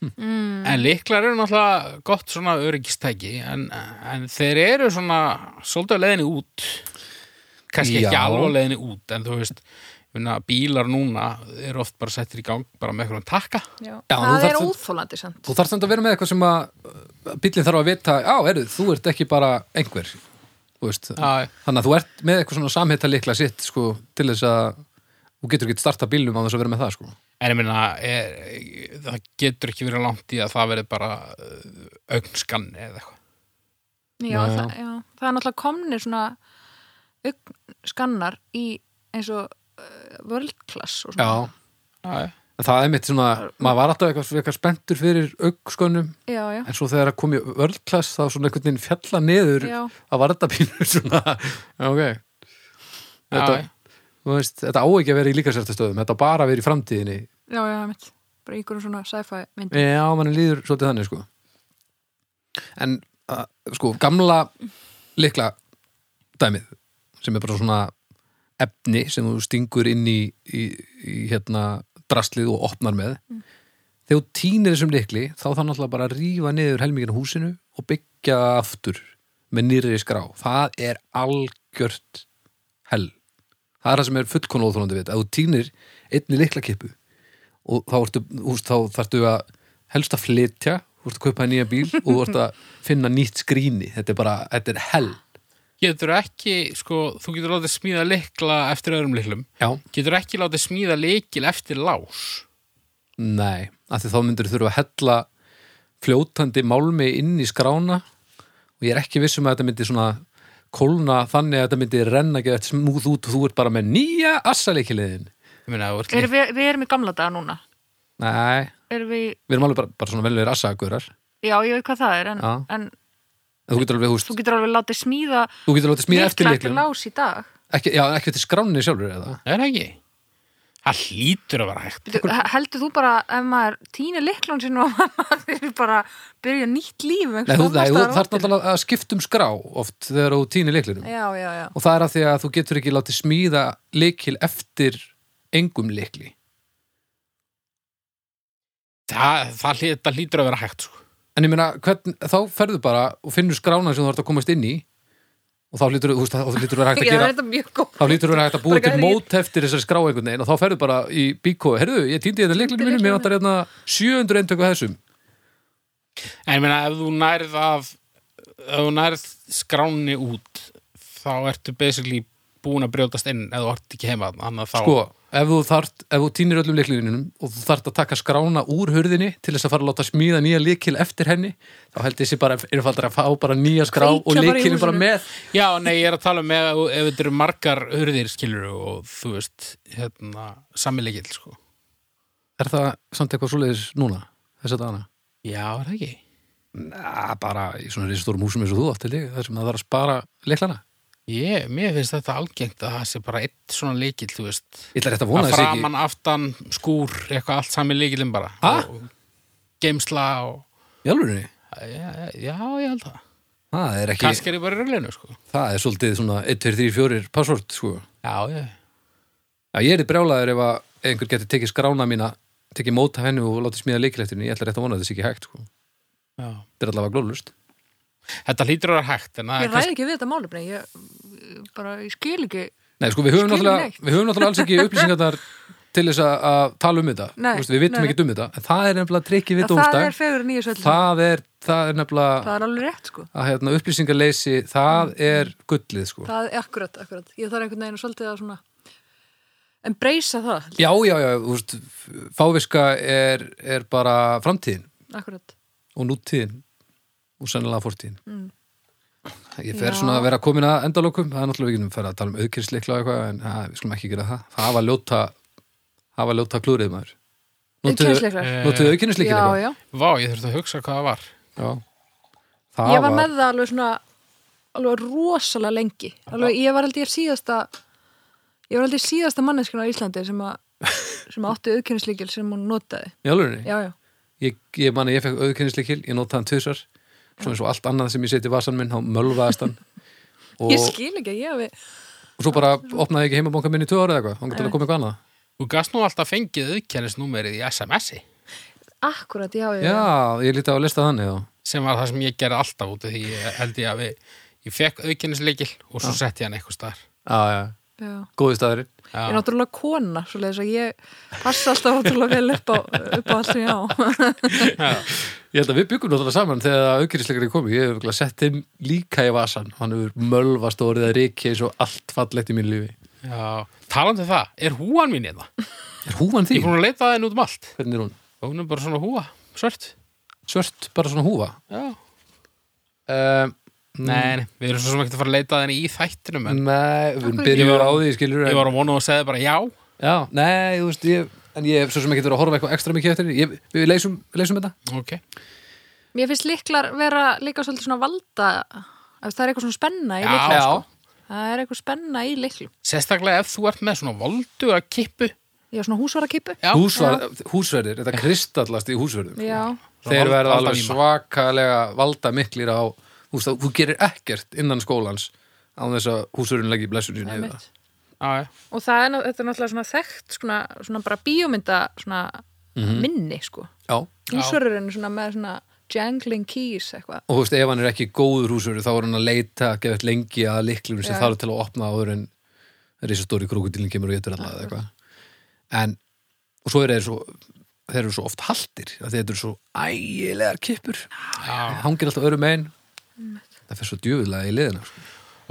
[SPEAKER 3] Mm.
[SPEAKER 2] En líklar eru náttúrulega gott svona öryggistæki en, en þeir eru svona svolítið á leiðinni út kannski ekki
[SPEAKER 1] Já.
[SPEAKER 2] alveg á leiðinni út en þú veist, finna, bílar núna eru oft bara settir í gang bara með eitthvað takka
[SPEAKER 3] Já,
[SPEAKER 1] Já, nú
[SPEAKER 3] það er
[SPEAKER 1] þarftu-
[SPEAKER 3] óþólandi samt
[SPEAKER 1] Þú þarfst samt að vera með eitthvað sem að bíllinn þarf að vita, á, heyrðu, þú ert ekki bara einhver, þú veist
[SPEAKER 2] Já, já.
[SPEAKER 1] þannig að þú ert með eitthvað svona samhita likla sitt, sko, til þess að þú getur ekki starta bílnum á þess að vera með það, sko
[SPEAKER 2] en ég minna, er, það getur ekki verið langt í að það verið bara augnskanni eða eitthvað
[SPEAKER 3] já,
[SPEAKER 1] Já, já.
[SPEAKER 3] það, já, það er náttúrulega komnir svona skannar í eins og uh, world class og svona
[SPEAKER 1] Já,
[SPEAKER 2] Já, já.
[SPEAKER 1] en það er mitt svona maður var alltaf eitthvað, eitthvað spenntur fyrir augskönum,
[SPEAKER 3] já, já.
[SPEAKER 1] en svo þegar að kom í vörlklass þá svona einhvern veginn fjalla niður
[SPEAKER 3] Já.
[SPEAKER 1] að var þetta pínur svona Já, ok þetta,
[SPEAKER 2] já.
[SPEAKER 1] þú veist, þetta á ekki að vera í líkasærtastöðum þetta á bara að vera í framtíðinni
[SPEAKER 3] já, já, mitt bara í einhverjum svona sci-fi mynd
[SPEAKER 1] Já, mann líður svolítið þannig sko En uh, sko, gamla likla dæmið sem er bara svona efni sem þú stingur inn í, í, í hérna draslið og opnar með þegar þú týnir þessum likli þá þarf náttúrulega bara að rífa niður helmingin á húsinu og byggja það aftur með nýrri skrá það er algjört hell það er það sem er fullkona óþólandi við þetta. ef þú týnir einni liklakippu og þá, ertu, úst, þá þarftu að helst að flytja, þú ert að kaupa þér nýja bíl og þú ert að finna nýtt skrýni þetta er bara, þetta er hell
[SPEAKER 2] getur ekki, sko, þú getur látið smíða lykla eftir öðrum lyklum
[SPEAKER 1] Já.
[SPEAKER 2] getur ekki látið smíða lykil eftir lás
[SPEAKER 1] Nei, af því þá myndir þurfa að hella fljótandi málmi inn í skrána og ég er ekki viss um að þetta myndi svona kólna þannig að þetta myndi renna ekki eftir smúð út og þú ert bara með nýja assaleikiliðin.
[SPEAKER 2] ég meina, þú ert
[SPEAKER 3] Erum við, við erum í gamla daga núna
[SPEAKER 1] Nei,
[SPEAKER 3] erum við,
[SPEAKER 1] við erum alveg bara, bara svona velvegur assagurar.
[SPEAKER 3] já, ég veit hvað það er en,
[SPEAKER 1] Já.
[SPEAKER 3] en
[SPEAKER 1] En Þú getur alveg, húst,
[SPEAKER 3] þú getur alveg látið smíða
[SPEAKER 1] þú getur látið smíða eftir
[SPEAKER 3] lykla eftir
[SPEAKER 1] leiklunum.
[SPEAKER 3] lás í dag
[SPEAKER 1] Ekki, já, ekki eftir skránni sjálfur eða.
[SPEAKER 2] Er það ekki? Það hlýtur að vera hægt.
[SPEAKER 3] Bíddu, he- heldur þú bara ef maður týnir liklun sinu og maður er bara að byrja nýtt líf
[SPEAKER 1] Nei, þú, nei, þú þarf náttúrulega að skipta um skrá oft þegar þú týnir leiklinum.
[SPEAKER 3] já, já, já,
[SPEAKER 1] og það er að því að þú getur ekki látið smíða leikil eftir engum leikli
[SPEAKER 2] Það, það, hlý- það hlýtur að vera hægt, sko.
[SPEAKER 1] en ég meina, hvern, þá ferðu bara og finnur skrána sem þú ert að komast inn í og þá lítur þú veist, þá lítur vera hægt að
[SPEAKER 3] ég er
[SPEAKER 1] gera
[SPEAKER 3] þetta mjög góð
[SPEAKER 1] þá lítur vera hægt að búa
[SPEAKER 3] Bara
[SPEAKER 1] til
[SPEAKER 3] gæði-
[SPEAKER 1] mót eftir þessari skrá einhvern veginn og þá ferðu bara í bíkói herðu, ég týndi þetta leiklinu mínu, mér vantar hérna 700 eintöku af þessum
[SPEAKER 2] En ég meina, ef þú nærð af, ef þú nærð skráni út, þá ertu basically búin að brjótast inn ef þú ert ekki heima þarna, þannig að þá...
[SPEAKER 1] sko, ef þú, þart, ef þú týnir öllum leiklinunum og þú þart að taka skrána úr hurðinni til þess að fara að láta smíða nýja leikil eftir henni þá held ég sé bara einfaldar að fá bara nýja skrá og
[SPEAKER 3] Kveikja bara í
[SPEAKER 1] leikilin bara
[SPEAKER 3] húsinu.
[SPEAKER 1] með
[SPEAKER 2] Já, nei, ég er að tala um ef, ef þetta eru margar hurðir skilur og þú veist, hérna, samilegil, sko.
[SPEAKER 1] Er það samt eitthvað svoleiðis núna, þess að dana?
[SPEAKER 2] Já, er það ekki?
[SPEAKER 1] Næ, bara í svona reisastórum húsum eins og þú átti líka, þar sem það þarf að spara leiklana.
[SPEAKER 2] Ég, mér finnst þetta algengt að það sé bara eitt svona leikil, þú veist,
[SPEAKER 1] Ég ætla rétt að vona
[SPEAKER 2] að
[SPEAKER 1] þess ekki.
[SPEAKER 2] framan, aftan, skúr, eitthvað allt sami leikilin bara.
[SPEAKER 1] Ha?
[SPEAKER 2] Og Geimsla og...
[SPEAKER 1] Í alvörunni?
[SPEAKER 2] Já, já, ég held það.
[SPEAKER 1] Það er ekki,
[SPEAKER 2] Kannski er ég bara í rögleinu, sko.
[SPEAKER 1] það er svolítið svona 1, 2, 3, 4 password, sko.
[SPEAKER 2] Já, já.
[SPEAKER 1] Já, ég er brjálaður ef að einhver getur tekið skrána mína, tekið móta hennu og látið smíða leikilegtinu. Ég ætla rétt að vona þess ekki hægt, sko.
[SPEAKER 2] já.
[SPEAKER 1] Þetta er allavega glólust.
[SPEAKER 2] Þetta hlýtur að vera hægt, en það
[SPEAKER 3] ég
[SPEAKER 2] er kannski...
[SPEAKER 3] ræði ekki við þetta málefni ég, ég bara, ég skil ekki
[SPEAKER 1] Nei, sko, við höfum,
[SPEAKER 3] Skilum
[SPEAKER 1] náttúrulega,
[SPEAKER 3] neitt.
[SPEAKER 1] við höfum náttúrulega alls ekki upplýsingarnar til þess að, að tala um þetta.
[SPEAKER 3] Nei,
[SPEAKER 1] Þú veist, við vitum
[SPEAKER 3] nei, nei.
[SPEAKER 1] ekki um þetta. En það er nefnilega trikki við
[SPEAKER 3] að það er
[SPEAKER 1] dómstag.
[SPEAKER 3] fegur nýja svolítið það,
[SPEAKER 1] Það er, það er nefnilega...
[SPEAKER 3] er alveg rétt sko
[SPEAKER 1] að hérna, upplýsingarleysi, það er gullið sko.
[SPEAKER 3] það er akkurat, akkurat ég þarf einhvern veginn að svolítið að svona embracea það,
[SPEAKER 1] Já, já, já, þú veist, fáviska er, er bara framtíðin
[SPEAKER 3] akkurat
[SPEAKER 1] og nútíðin og sennilega fórtíðin. Ég fer
[SPEAKER 3] Mm. Já.
[SPEAKER 1] svona að vera komin að endalokum, það er náttúrulega við getum fyrir að tala um auðkýrsleikla og eitthvað, en að, við skulum ekki gera það. Það var ljóta, það var ljóta klúrið maður.
[SPEAKER 3] Auðkennislyklar.
[SPEAKER 1] Notuðu aukennislíkir
[SPEAKER 3] Já, já.
[SPEAKER 2] Vá, ég þurfti að hugsa hvað það var
[SPEAKER 1] já.
[SPEAKER 3] Ég var með það alveg svona alveg rosalega lengi alveg, ég var held ég síðasta ég var held ég síðasta manneskina á Íslandi sem, að sem átti auðkynnsleikil sem hún notaði
[SPEAKER 1] Í alvegni?
[SPEAKER 3] já, já.
[SPEAKER 1] Ég, ég manni, ég fekk auðkennislíkil, ég notaði hann tvisar Svo eins og allt annað sem ég seti í vasan minn, þá mölvaðast hann og,
[SPEAKER 3] ég skil ekki að ég hafi
[SPEAKER 1] og svo bara opnaði ég ekki heimabanka minn í tvö ára eða eitthvað Hann gæti að koma eitthvað annað
[SPEAKER 2] Þú gast nú alltaf fengið auðkennisnúmerið í SMS-i
[SPEAKER 3] akkurat, já, já, já.
[SPEAKER 1] Já, ég líti á að lista þannig þá
[SPEAKER 2] sem var það sem ég gerði alltaf út af því ég held ég að við, ég fekk auðkennisleikil og svo setti ég hann eitthvað staðar
[SPEAKER 1] Já, já,
[SPEAKER 3] Já.
[SPEAKER 1] góði staðurinn
[SPEAKER 3] ég er náttúrulega kona svo leiðis að ég passa alltaf ótrúlega vel upp á, upp á allt sem ég á
[SPEAKER 1] Ég held að við byggum náttúrulega saman þegar auðkennisleikari komi Ég hef örugglega sett þeim líka í vasan Hann hefur mölvast og orðið að reiki eins og allt fallegt í mínu lífi
[SPEAKER 2] Já, talandi um það, er húan mín hérna?
[SPEAKER 1] Er húfan
[SPEAKER 2] Ég
[SPEAKER 1] þín?
[SPEAKER 2] er búin að leita að henni út um allt
[SPEAKER 1] Hvernig er hún?
[SPEAKER 2] og hún er bara svona húa, svört
[SPEAKER 1] Svört, bara svona húfa
[SPEAKER 2] Já,
[SPEAKER 1] um,
[SPEAKER 2] nei, nei, við erum svo sem ekki að fara að leita að henni í þættinum en
[SPEAKER 1] Nei,
[SPEAKER 3] Af
[SPEAKER 1] við
[SPEAKER 3] hverju?
[SPEAKER 1] byrjum
[SPEAKER 2] Ég var-
[SPEAKER 1] á því, skilur
[SPEAKER 2] ég var að vona og segði bara já
[SPEAKER 1] Já, nei, þú veist, ég En ég hef svo sem ekki verið að horfa eitthvað ekstra mikið eftir henni. ég, Við leysum, leysum þetta
[SPEAKER 2] Ok,
[SPEAKER 3] mér finnst liklar vera líka svolítið svona valda ef það er eitthvað svona spenna í
[SPEAKER 2] Já.
[SPEAKER 3] liklum
[SPEAKER 2] Já.
[SPEAKER 3] sko. það er eitthvað spenna í liklum
[SPEAKER 2] sérstaklega ef þú ert með svona voldu að kippu
[SPEAKER 3] ég á svona húsvarakipu
[SPEAKER 2] Já.
[SPEAKER 1] Húsvar, Húsverðir, þetta kristallast í húsverðum
[SPEAKER 3] já,
[SPEAKER 1] Þeir
[SPEAKER 2] Vald-
[SPEAKER 1] verða alveg
[SPEAKER 2] valdavíma.
[SPEAKER 1] svakalega valda miklir á Þú veist, þú gerir ekkert innan skólans á þess að húsverðin leggi blessunni
[SPEAKER 3] það er
[SPEAKER 1] niður það
[SPEAKER 3] mitt
[SPEAKER 2] Já, já,
[SPEAKER 3] og það er, ná- þetta er náttúrulega svona þekkt svona, svona bara bíómynda svona
[SPEAKER 2] Mhm.
[SPEAKER 3] minni sko
[SPEAKER 1] Já, og
[SPEAKER 3] húsverðurinn svona með svona jangling keys eitthvað
[SPEAKER 1] þú veist, ef hann er ekki góður húsverður þá er hann að leita, gefið lengi að liklum sem
[SPEAKER 3] Já.
[SPEAKER 1] þarf til að opna áður en risastóri krókutílinn kemur og getur alltaf eða eitthvað en, og svo eru þeir svo þeir eru svo oft haltir af því þetta eru svo ægilegar kippur
[SPEAKER 2] já.
[SPEAKER 1] hangir alltaf öðrum einn það fer svo djöfulega í liðina sko.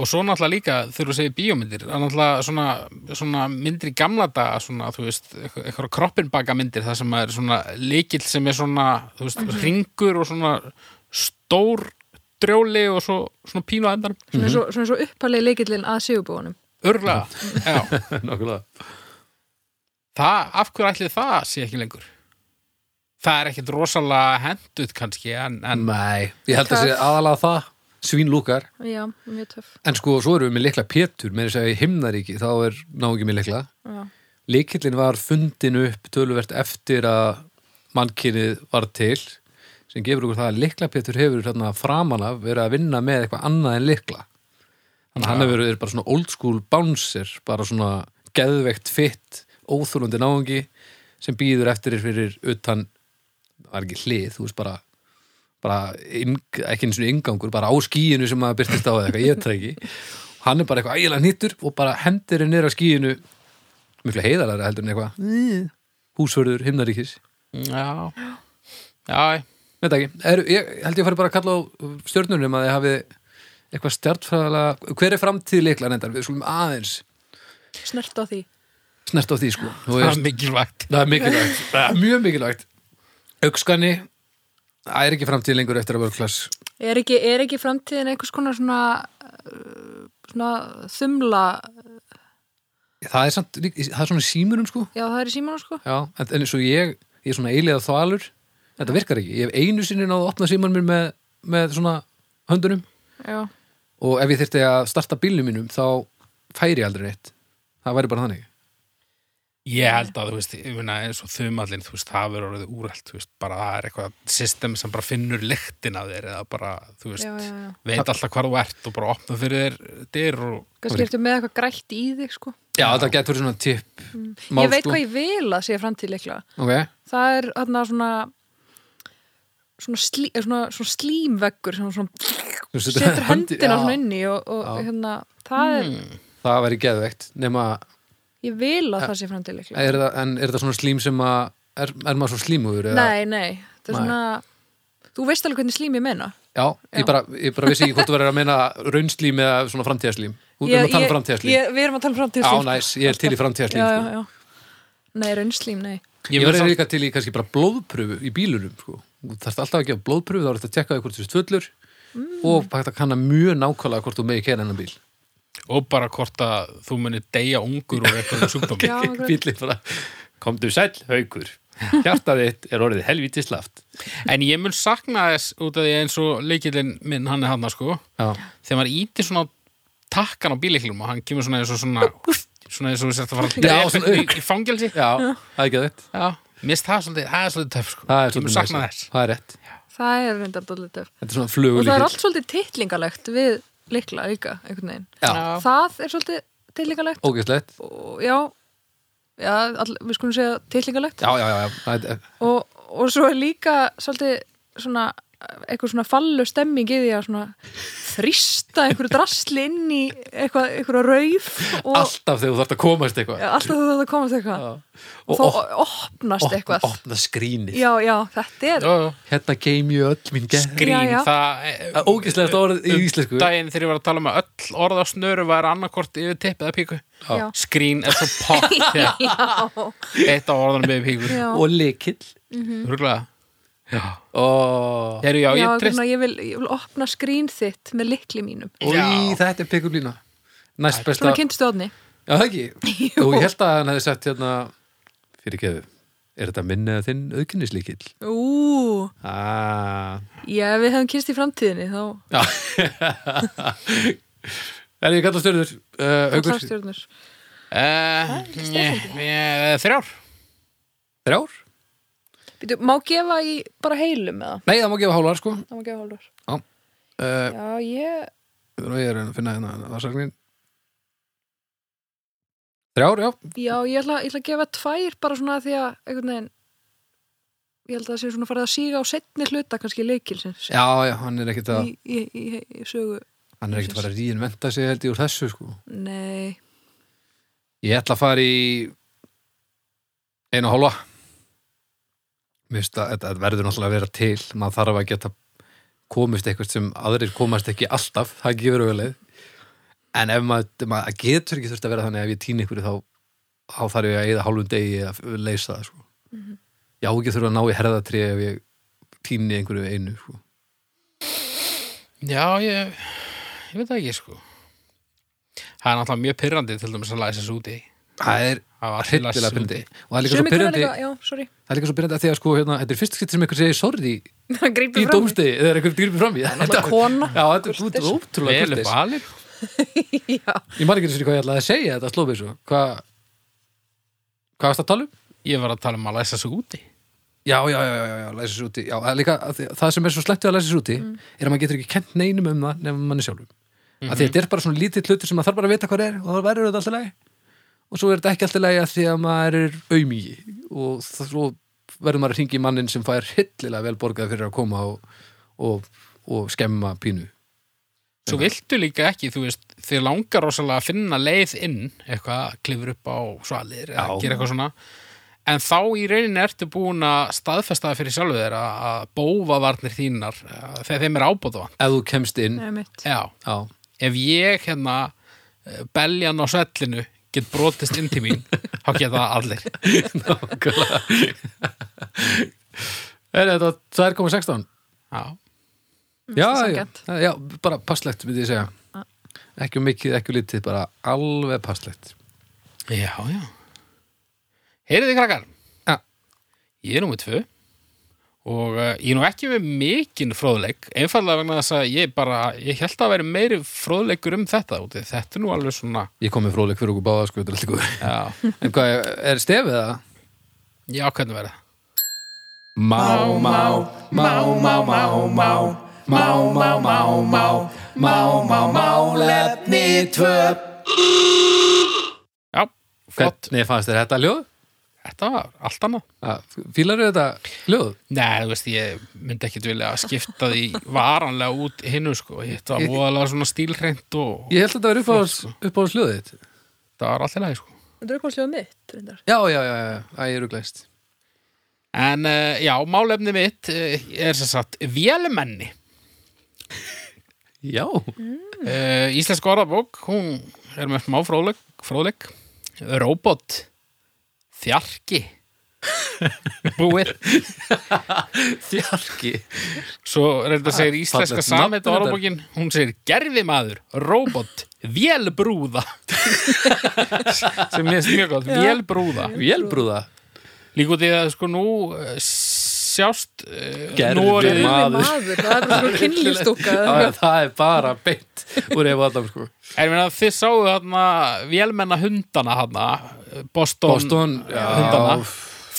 [SPEAKER 2] Og svo náttúrulega líka þurfa að segja bíómyndir að náttúrulega svona, svona myndir í gamla daga svona, þú veist, eitthvað eitthvað kroppinbaka myndir það sem er svona líkill sem er svona, þú veist, ringur og svona stór drjóli og svo, svona pínu að endan
[SPEAKER 3] svona mm -hmm. svo uppalegi leikillin að sigubónum
[SPEAKER 2] Örgulega, já
[SPEAKER 1] Nákvæmlega
[SPEAKER 2] það, af hverju ætli það sé ekki lengur það er ekkit rosalega hendut kannski en, en
[SPEAKER 1] Nei, ég held að sé
[SPEAKER 3] Töff.
[SPEAKER 1] aðalega það svínlúkar,
[SPEAKER 3] já, mjög töff
[SPEAKER 1] en sko svo erum við með likla pétur, með þess að í himnaríki þá er ná ekki með likla
[SPEAKER 3] já.
[SPEAKER 1] Likillin var fundin upp töluvert eftir að mannkynið var til sem gefur okkur það að likla pétur hefur hérna framan af verið að vinna með eitthvað annað en likla þannig að hann hefur verið bara svona old school bouncer bara svona geðveikt fitt óþúlundi náungi sem býður eftir þér fyrir utan það er ekki hlið, þú veist bara bara inn, ekki eins og ingangur bara á skíinu sem maður byrtist á eða eitthvað, ég veit það ekki hann er bara eitthvað ægilega nýttur og bara hendir henni nýra skíinu miklu heiðalara heldur en eitthvað húsvörður himnaríkis
[SPEAKER 2] já, já
[SPEAKER 1] Veit það ekki, er, ég held ég fari bara að kalla á stjörnunum um að þið hafið eitthvað stjartfræðalega, hver er framtíð leikla nefndar, við skulum aðeins
[SPEAKER 3] snert á því
[SPEAKER 1] snert á því sko Þú
[SPEAKER 2] það er
[SPEAKER 1] veist,
[SPEAKER 2] mikilvægt
[SPEAKER 1] það er mikilvægt, það er mjög mikilvægt augskani það er ekki framtíð lengur eftir að vera klass
[SPEAKER 3] er ekki, er ekki framtíðin einhvers konar svona uh, svona þumla
[SPEAKER 1] það er, samt, lík- það er svona í símurum sko
[SPEAKER 3] já, það er í símanum sko
[SPEAKER 1] Já, en, en eins og ég, ég er svona eiliða þvalur, þetta virkar ekki. Ég hef einu sinni náðu að opna síman mér með, með svona höndunum
[SPEAKER 3] já,
[SPEAKER 1] og ef ég þyrfti að starta bílnum mínum þá færi ég aldrei neitt. Það væri bara þannig.
[SPEAKER 2] ég held að, þú veist, ég meina eins og þumallin þú veist, það verður orðið úrælt, þú veist bara það er eitthvað system sem bara finnur lyktin að þér eða bara, þú veist
[SPEAKER 3] já, já, já.
[SPEAKER 2] veit alltaf hvar þú ert og bara opna fyrir þér dyr og
[SPEAKER 3] kannski ertu með eitthvað grætt í þig sko
[SPEAKER 1] Já, þetta getur verið svona tipp. Mm.
[SPEAKER 3] ég veit hvað ég vil að sé framtíð leikla
[SPEAKER 1] Ok,
[SPEAKER 3] það er þarna svona svona, slí, svona, svona slímveggur sem svona
[SPEAKER 1] þú setur
[SPEAKER 3] setur
[SPEAKER 1] höndi-
[SPEAKER 3] höndina
[SPEAKER 1] Já, Hmm.
[SPEAKER 3] svona inn í og, og hérna, það er
[SPEAKER 1] Það væri geðveikt, nema,
[SPEAKER 3] ég vil að það sé framtíðleiklega
[SPEAKER 1] er það, en er það svona slím sem að, er, er maður svo slímuður? eða-
[SPEAKER 3] nei, nei, það er
[SPEAKER 1] Nei.
[SPEAKER 3] svona þú veist alveg hvernig slím ég menna
[SPEAKER 1] Já, Ég, bara, ég bara vissi ekki hvort þú verður að meina raunslím eða svona framtíðarslím. Þú erum að tala um framtíðarslím.
[SPEAKER 3] ég, við erum að tala um
[SPEAKER 1] Já,
[SPEAKER 3] framtíðarslím
[SPEAKER 1] næs, ég er til í framtíðarslím.
[SPEAKER 3] já,
[SPEAKER 1] sko.
[SPEAKER 3] já, já. nei, raunslím, nei
[SPEAKER 1] Ég
[SPEAKER 2] vil
[SPEAKER 1] verður
[SPEAKER 2] samt-
[SPEAKER 1] líka til í kannski bara blóðpröfu í bílunum sko. Þú þarft alltaf að gefa blóðpröfu þá er þetta að tjekka því hvort þú ert fullur
[SPEAKER 3] Mm.
[SPEAKER 1] og bara hægt að kanna mjög nákvæmlega hvort þú megi kæra hennan bíl
[SPEAKER 2] og bara hvort að þú munir deyja ungur og eitthvað sjúkdómi
[SPEAKER 3] já, akkurat.
[SPEAKER 1] Bílið bara
[SPEAKER 4] Komdu sæll, haukur Hjartað þitt er orðið helvítið slaft.
[SPEAKER 2] En ég mun sakna þess út af því eins og leikillin minn, hann er hann sko
[SPEAKER 1] Já.
[SPEAKER 2] þegar maður ítir svona á takkan á bíliklum og hann kemur svona eins og svona svona eins og þess að fara að
[SPEAKER 1] Já,
[SPEAKER 2] drepa
[SPEAKER 1] svona
[SPEAKER 2] einhvern í, í fangelsi
[SPEAKER 1] Já, það er ekki þetta.
[SPEAKER 2] Já, mist það svolítið, það er svolítið töf sko.
[SPEAKER 1] Það er
[SPEAKER 2] Ég mun
[SPEAKER 1] svolítið
[SPEAKER 2] sakna
[SPEAKER 1] næs.
[SPEAKER 2] þess
[SPEAKER 1] Það er rétt.
[SPEAKER 3] það er reyndar dálítið töff.
[SPEAKER 1] Þetta er svona
[SPEAKER 3] og það er
[SPEAKER 1] flugulíkill.
[SPEAKER 3] allt svolítið titlingalegt við likla auka einhvern veginn
[SPEAKER 1] Já,
[SPEAKER 3] það er svolítið titlingalegt
[SPEAKER 1] ógæslegt.
[SPEAKER 3] og já, já all, við skulum segja titlingalegt
[SPEAKER 1] Já, já, já, já. Það er-
[SPEAKER 3] og, og svo er líka svolítið svona eitthvað svona fallu stemming í því að svona þrista einhverju drasli inn í eitthvað, einhverju rauf og
[SPEAKER 1] Alltaf þegar þú þarft að komast eitthvað.
[SPEAKER 3] Já, alltaf þú þetta komast eitthvað
[SPEAKER 1] Já.
[SPEAKER 3] og
[SPEAKER 1] Og
[SPEAKER 3] þá
[SPEAKER 1] op-
[SPEAKER 3] opnast eitthvað
[SPEAKER 1] opna, opna skrínið.
[SPEAKER 3] já, já, þetta er
[SPEAKER 2] Jó, jó.
[SPEAKER 1] Hérna geim ég öll mín gerð.
[SPEAKER 2] Grín,
[SPEAKER 3] Já, já.
[SPEAKER 2] það
[SPEAKER 1] Það er ógæslegt orð í
[SPEAKER 2] um
[SPEAKER 1] íslensku.
[SPEAKER 2] Daginn þegar ég var að tala um að öll orð á snöru var annarkort yfir tippið að píku
[SPEAKER 3] já,
[SPEAKER 2] Skrín er svo pott þegar eitt á orðanum yfir píku
[SPEAKER 3] já,
[SPEAKER 1] Og likill.
[SPEAKER 2] Rúglega Já,
[SPEAKER 1] Ó,
[SPEAKER 2] Heru, já,
[SPEAKER 3] já,
[SPEAKER 2] ég trist
[SPEAKER 3] svona, ég, vil, ég vil opna skrín þitt með likli mínum
[SPEAKER 1] Í, þetta er pekkulína. Næst besta.
[SPEAKER 3] svona kynntist þú odni
[SPEAKER 1] Já, það ekki.
[SPEAKER 3] Jú.
[SPEAKER 1] Og ég held að hann hefði sett hérna, fyrir keðu, er þetta minn eða þinn auðkynnislíkil?
[SPEAKER 3] ú,
[SPEAKER 1] Ah.
[SPEAKER 3] já, ef við hefum kynst í framtíðinni þá
[SPEAKER 1] Já. En ég kalla stjörnur.
[SPEAKER 2] Eh,
[SPEAKER 1] Uh,
[SPEAKER 3] þá
[SPEAKER 1] aukur,
[SPEAKER 3] þarf stjórnur
[SPEAKER 2] Uh, eh, þrjár
[SPEAKER 1] þrjár?
[SPEAKER 3] Býtu, má gefa í bara heilum eða?
[SPEAKER 1] Nei, það má gefa hálfar, sko.
[SPEAKER 3] Það má gefa hálfur
[SPEAKER 1] Uh,
[SPEAKER 3] Já, ég,
[SPEAKER 1] og ég er að finna hérna aðsaknin. Þrjár, já.
[SPEAKER 3] já, ég ætla, ég ætla að gefa tvær bara svona því að einhvern veginn ég held að það sé svona farið að síga á setni hluta kannski leikilsins
[SPEAKER 1] Já, já, hann er ekkit að,
[SPEAKER 3] í, í, í, í, í sögu
[SPEAKER 1] hann er ekkit að fara að rýinventa sig held ég úr þessu, sko.
[SPEAKER 3] Nei,
[SPEAKER 1] Ég ætla að fara í einu og hálfa Mér finnst að þetta þetta verður náttúrulega að vera til maður þarf að geta komist eitthvað sem aðrir komast ekki alltaf það gefur auðvitað en ef maður, maður getur ekki þurft að vera þannig ef ég týni ykkur þá, þá þarf ég að eða hálfum degi að leysa það sko.
[SPEAKER 3] Mhm.
[SPEAKER 1] Já, ekki þurfa að ná í herðatri ef ég týni einhverju einu sko.
[SPEAKER 2] Já, ég, ég veit það ekki sko Það er náttúrulega mjög pyrrandi til dæmis að læsa þessu úti
[SPEAKER 1] Það er
[SPEAKER 2] Það var til að
[SPEAKER 1] hryllilega pyrrandi og það
[SPEAKER 2] læsa þessu úti
[SPEAKER 1] er líka svo
[SPEAKER 3] sömu hvernig
[SPEAKER 1] pyrrandi
[SPEAKER 3] líka, já, sorry
[SPEAKER 1] það er líka svo pyrrandi að því að sko, hérna, þetta er fyrst skitt sem einhver segir sorry
[SPEAKER 3] Það
[SPEAKER 1] í
[SPEAKER 3] grípur fram í.
[SPEAKER 1] dómstegi, eða er einhver grýpið fram í
[SPEAKER 3] Náttúrulega kona
[SPEAKER 1] Já, þetta er þú- þú- ótrúlega
[SPEAKER 2] Vel upp
[SPEAKER 1] kurteis
[SPEAKER 2] alveg
[SPEAKER 3] Já,
[SPEAKER 1] Ég man ekki einu sinni hvað ég ætlaði að segja þetta slófið svo Hvað Hvað varst að tala um?
[SPEAKER 2] Ég var að tala um að læsa þessu úti
[SPEAKER 1] Já, já, já, já, já, já læsa sér úti já, það er líka, að því- Það sem er svo sleppt við að læsa sér úti er að maður getur ekki kent neinum um það nefnum manni sjálfum mm -hmm. Þetta er bara svona lítið hlutur sem maður þarf bara að vita hvað er og það verður þetta alltaf lægi og svo er þetta ekki alltaf lægi að því að maður er auðmígi og það- svo verður maður að hringi mannin sem fær hillilega vel borgað fyrir að koma og, og, og skemma pínu
[SPEAKER 2] Svo viltu líka ekki, þú veist Þið langar rosalega að finna leið inn eitthvað, klifur upp á svalir eða
[SPEAKER 1] Já.
[SPEAKER 2] gera eitthvað svona En þá í rauninni ertu búin að staðfesta það fyrir sjálfu þeir að bófavarnir þínar að þegar þeim er ábóðvan
[SPEAKER 1] Ef þú kemst inn,
[SPEAKER 3] nefnir mitt
[SPEAKER 2] Já,
[SPEAKER 1] já
[SPEAKER 2] ef ég hérna eh, beljan á svellinu get brotist inn til mín þá geta allir
[SPEAKER 1] Nákvæmlega Er þetta 2,16?
[SPEAKER 2] Já,
[SPEAKER 1] Já, já,
[SPEAKER 3] sanngjarnt.
[SPEAKER 1] já, bara passlegt myndi ég segja Ekki um mikið, ekki um lítið, bara alveg passlegt
[SPEAKER 2] já, já. Heyriði krakkar
[SPEAKER 1] Já.
[SPEAKER 2] Ég er númer tvö og uh, ég er nú ekki með mikinn fróðleik einfallega vegna þess að ég bara ég held að vera meiri fróðleikur um þetta úti. þetta er nú alveg svona
[SPEAKER 1] Ég kom með fróðleik fyrir okkur báða, sko, þetta er alltaf góð
[SPEAKER 2] já,
[SPEAKER 1] En hvað, er stefið það?
[SPEAKER 2] já hvernig verða
[SPEAKER 1] Má, má, má, má, má, má Má, má, má, má Má, má, má, lefni tvö
[SPEAKER 2] Já, flott,
[SPEAKER 1] Hvernig fannst þér þetta ljóð?
[SPEAKER 2] þetta var allt annað
[SPEAKER 1] Fýlar þetta ljóð?
[SPEAKER 2] Nei, þú veist, ég myndi ekkit vilja að skipta því varanlega út hinnu, sko. Þetta var
[SPEAKER 1] Ég-
[SPEAKER 2] voðalega svona stílreint og
[SPEAKER 1] Ég held að þetta var uppáðs, uppáðs ljóðið þitt
[SPEAKER 2] þetta var alltaf lagi, sko.
[SPEAKER 3] Þetta er komast ljóða mitt, reyndar
[SPEAKER 1] Já, já, já, já, Æ, ég eru glæst
[SPEAKER 2] En uh, já, málefni mitt uh, er sem sagt vélmenni.
[SPEAKER 1] Já,
[SPEAKER 2] Uh, íslensk orðabók, hún er með smá fróðleik, fróðleik. Robot, þjarki, búið.
[SPEAKER 1] þjarki
[SPEAKER 2] Svo reynda segir íslenska
[SPEAKER 1] fallegt
[SPEAKER 2] samhætt
[SPEAKER 1] nafn, reyndar.
[SPEAKER 2] orðabókin, hún segir gerfimaður, robot, vélbrúða. sem ég veist mjög gott, vélbrúða.
[SPEAKER 1] Vélbrúða
[SPEAKER 2] Líka út í að sko nú eh, sjást eh,
[SPEAKER 1] Gerður
[SPEAKER 2] nú orðið-
[SPEAKER 1] maður.
[SPEAKER 3] Maður, það er bara svona kynlýstúka
[SPEAKER 1] það, er- það er bara beint úr ef allan sko
[SPEAKER 2] En ég meina að þið sáu þarna vélmenna hundana hana, Boston,
[SPEAKER 1] Boston, já.
[SPEAKER 2] hundana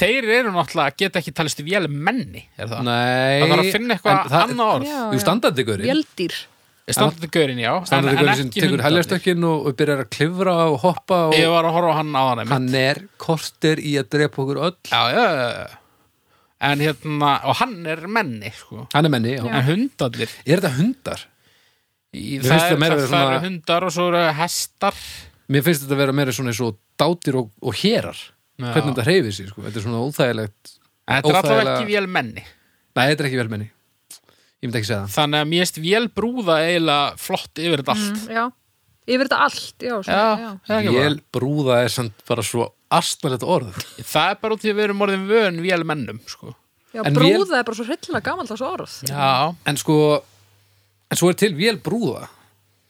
[SPEAKER 2] Þeir eru náttúrulega, geta ekki talist vélmenni, er það?
[SPEAKER 1] Nei
[SPEAKER 2] Það þarf að finna eitthvað
[SPEAKER 1] en það-
[SPEAKER 2] annað orð.
[SPEAKER 3] Já.
[SPEAKER 1] Jú, standandi gaurin
[SPEAKER 3] Vjeldýr
[SPEAKER 2] Standandi gaurin, já,
[SPEAKER 1] Standandi
[SPEAKER 2] en,
[SPEAKER 1] gaurin
[SPEAKER 2] en
[SPEAKER 1] sem
[SPEAKER 2] ekki
[SPEAKER 1] tekur
[SPEAKER 2] hundarnir
[SPEAKER 1] helgastökkin og, og byrjar að klifra og hoppa og
[SPEAKER 2] Ég var að horfa á hann á hann
[SPEAKER 1] hann er korter í að drepa okkur öll
[SPEAKER 2] Já, já, já, já En hérna, og hann er menni, sko
[SPEAKER 1] Hann er menni, já.
[SPEAKER 2] En hundarnir
[SPEAKER 1] Er þetta hundar?
[SPEAKER 2] í-
[SPEAKER 1] Mér finnst
[SPEAKER 2] Það
[SPEAKER 1] það meira
[SPEAKER 2] eru
[SPEAKER 1] svona-
[SPEAKER 2] svona... hundar og svo eru hestar
[SPEAKER 1] Mér finnst þetta að vera meira svona eins og dátir og, og hérar
[SPEAKER 2] Já.
[SPEAKER 1] Hvernig þetta hreyfir sér, sko Þetta er svona óþægilegt
[SPEAKER 2] En þetta er allavega
[SPEAKER 1] Óþægilega-
[SPEAKER 2] ekki vélmenni
[SPEAKER 1] Nei, þetta er ekki velmenni Ég myndi ekki segja það
[SPEAKER 2] Þannig að mér erst vélbrúða eiginlega flott yfir þetta allt
[SPEAKER 3] Já, yfir þetta allt Já, svona, Mm. já.
[SPEAKER 2] Já, það er ekki bara
[SPEAKER 1] Vél brúða er samt bara svo astnalegt orð
[SPEAKER 2] Það er bara út í að við erum orðin vön vélmennum, sko.
[SPEAKER 3] já
[SPEAKER 1] En
[SPEAKER 3] brúða
[SPEAKER 1] vél-
[SPEAKER 3] er bara svo hryllilega gamalt þessu orð
[SPEAKER 2] Já.
[SPEAKER 1] En sko, en svo er til vél brúða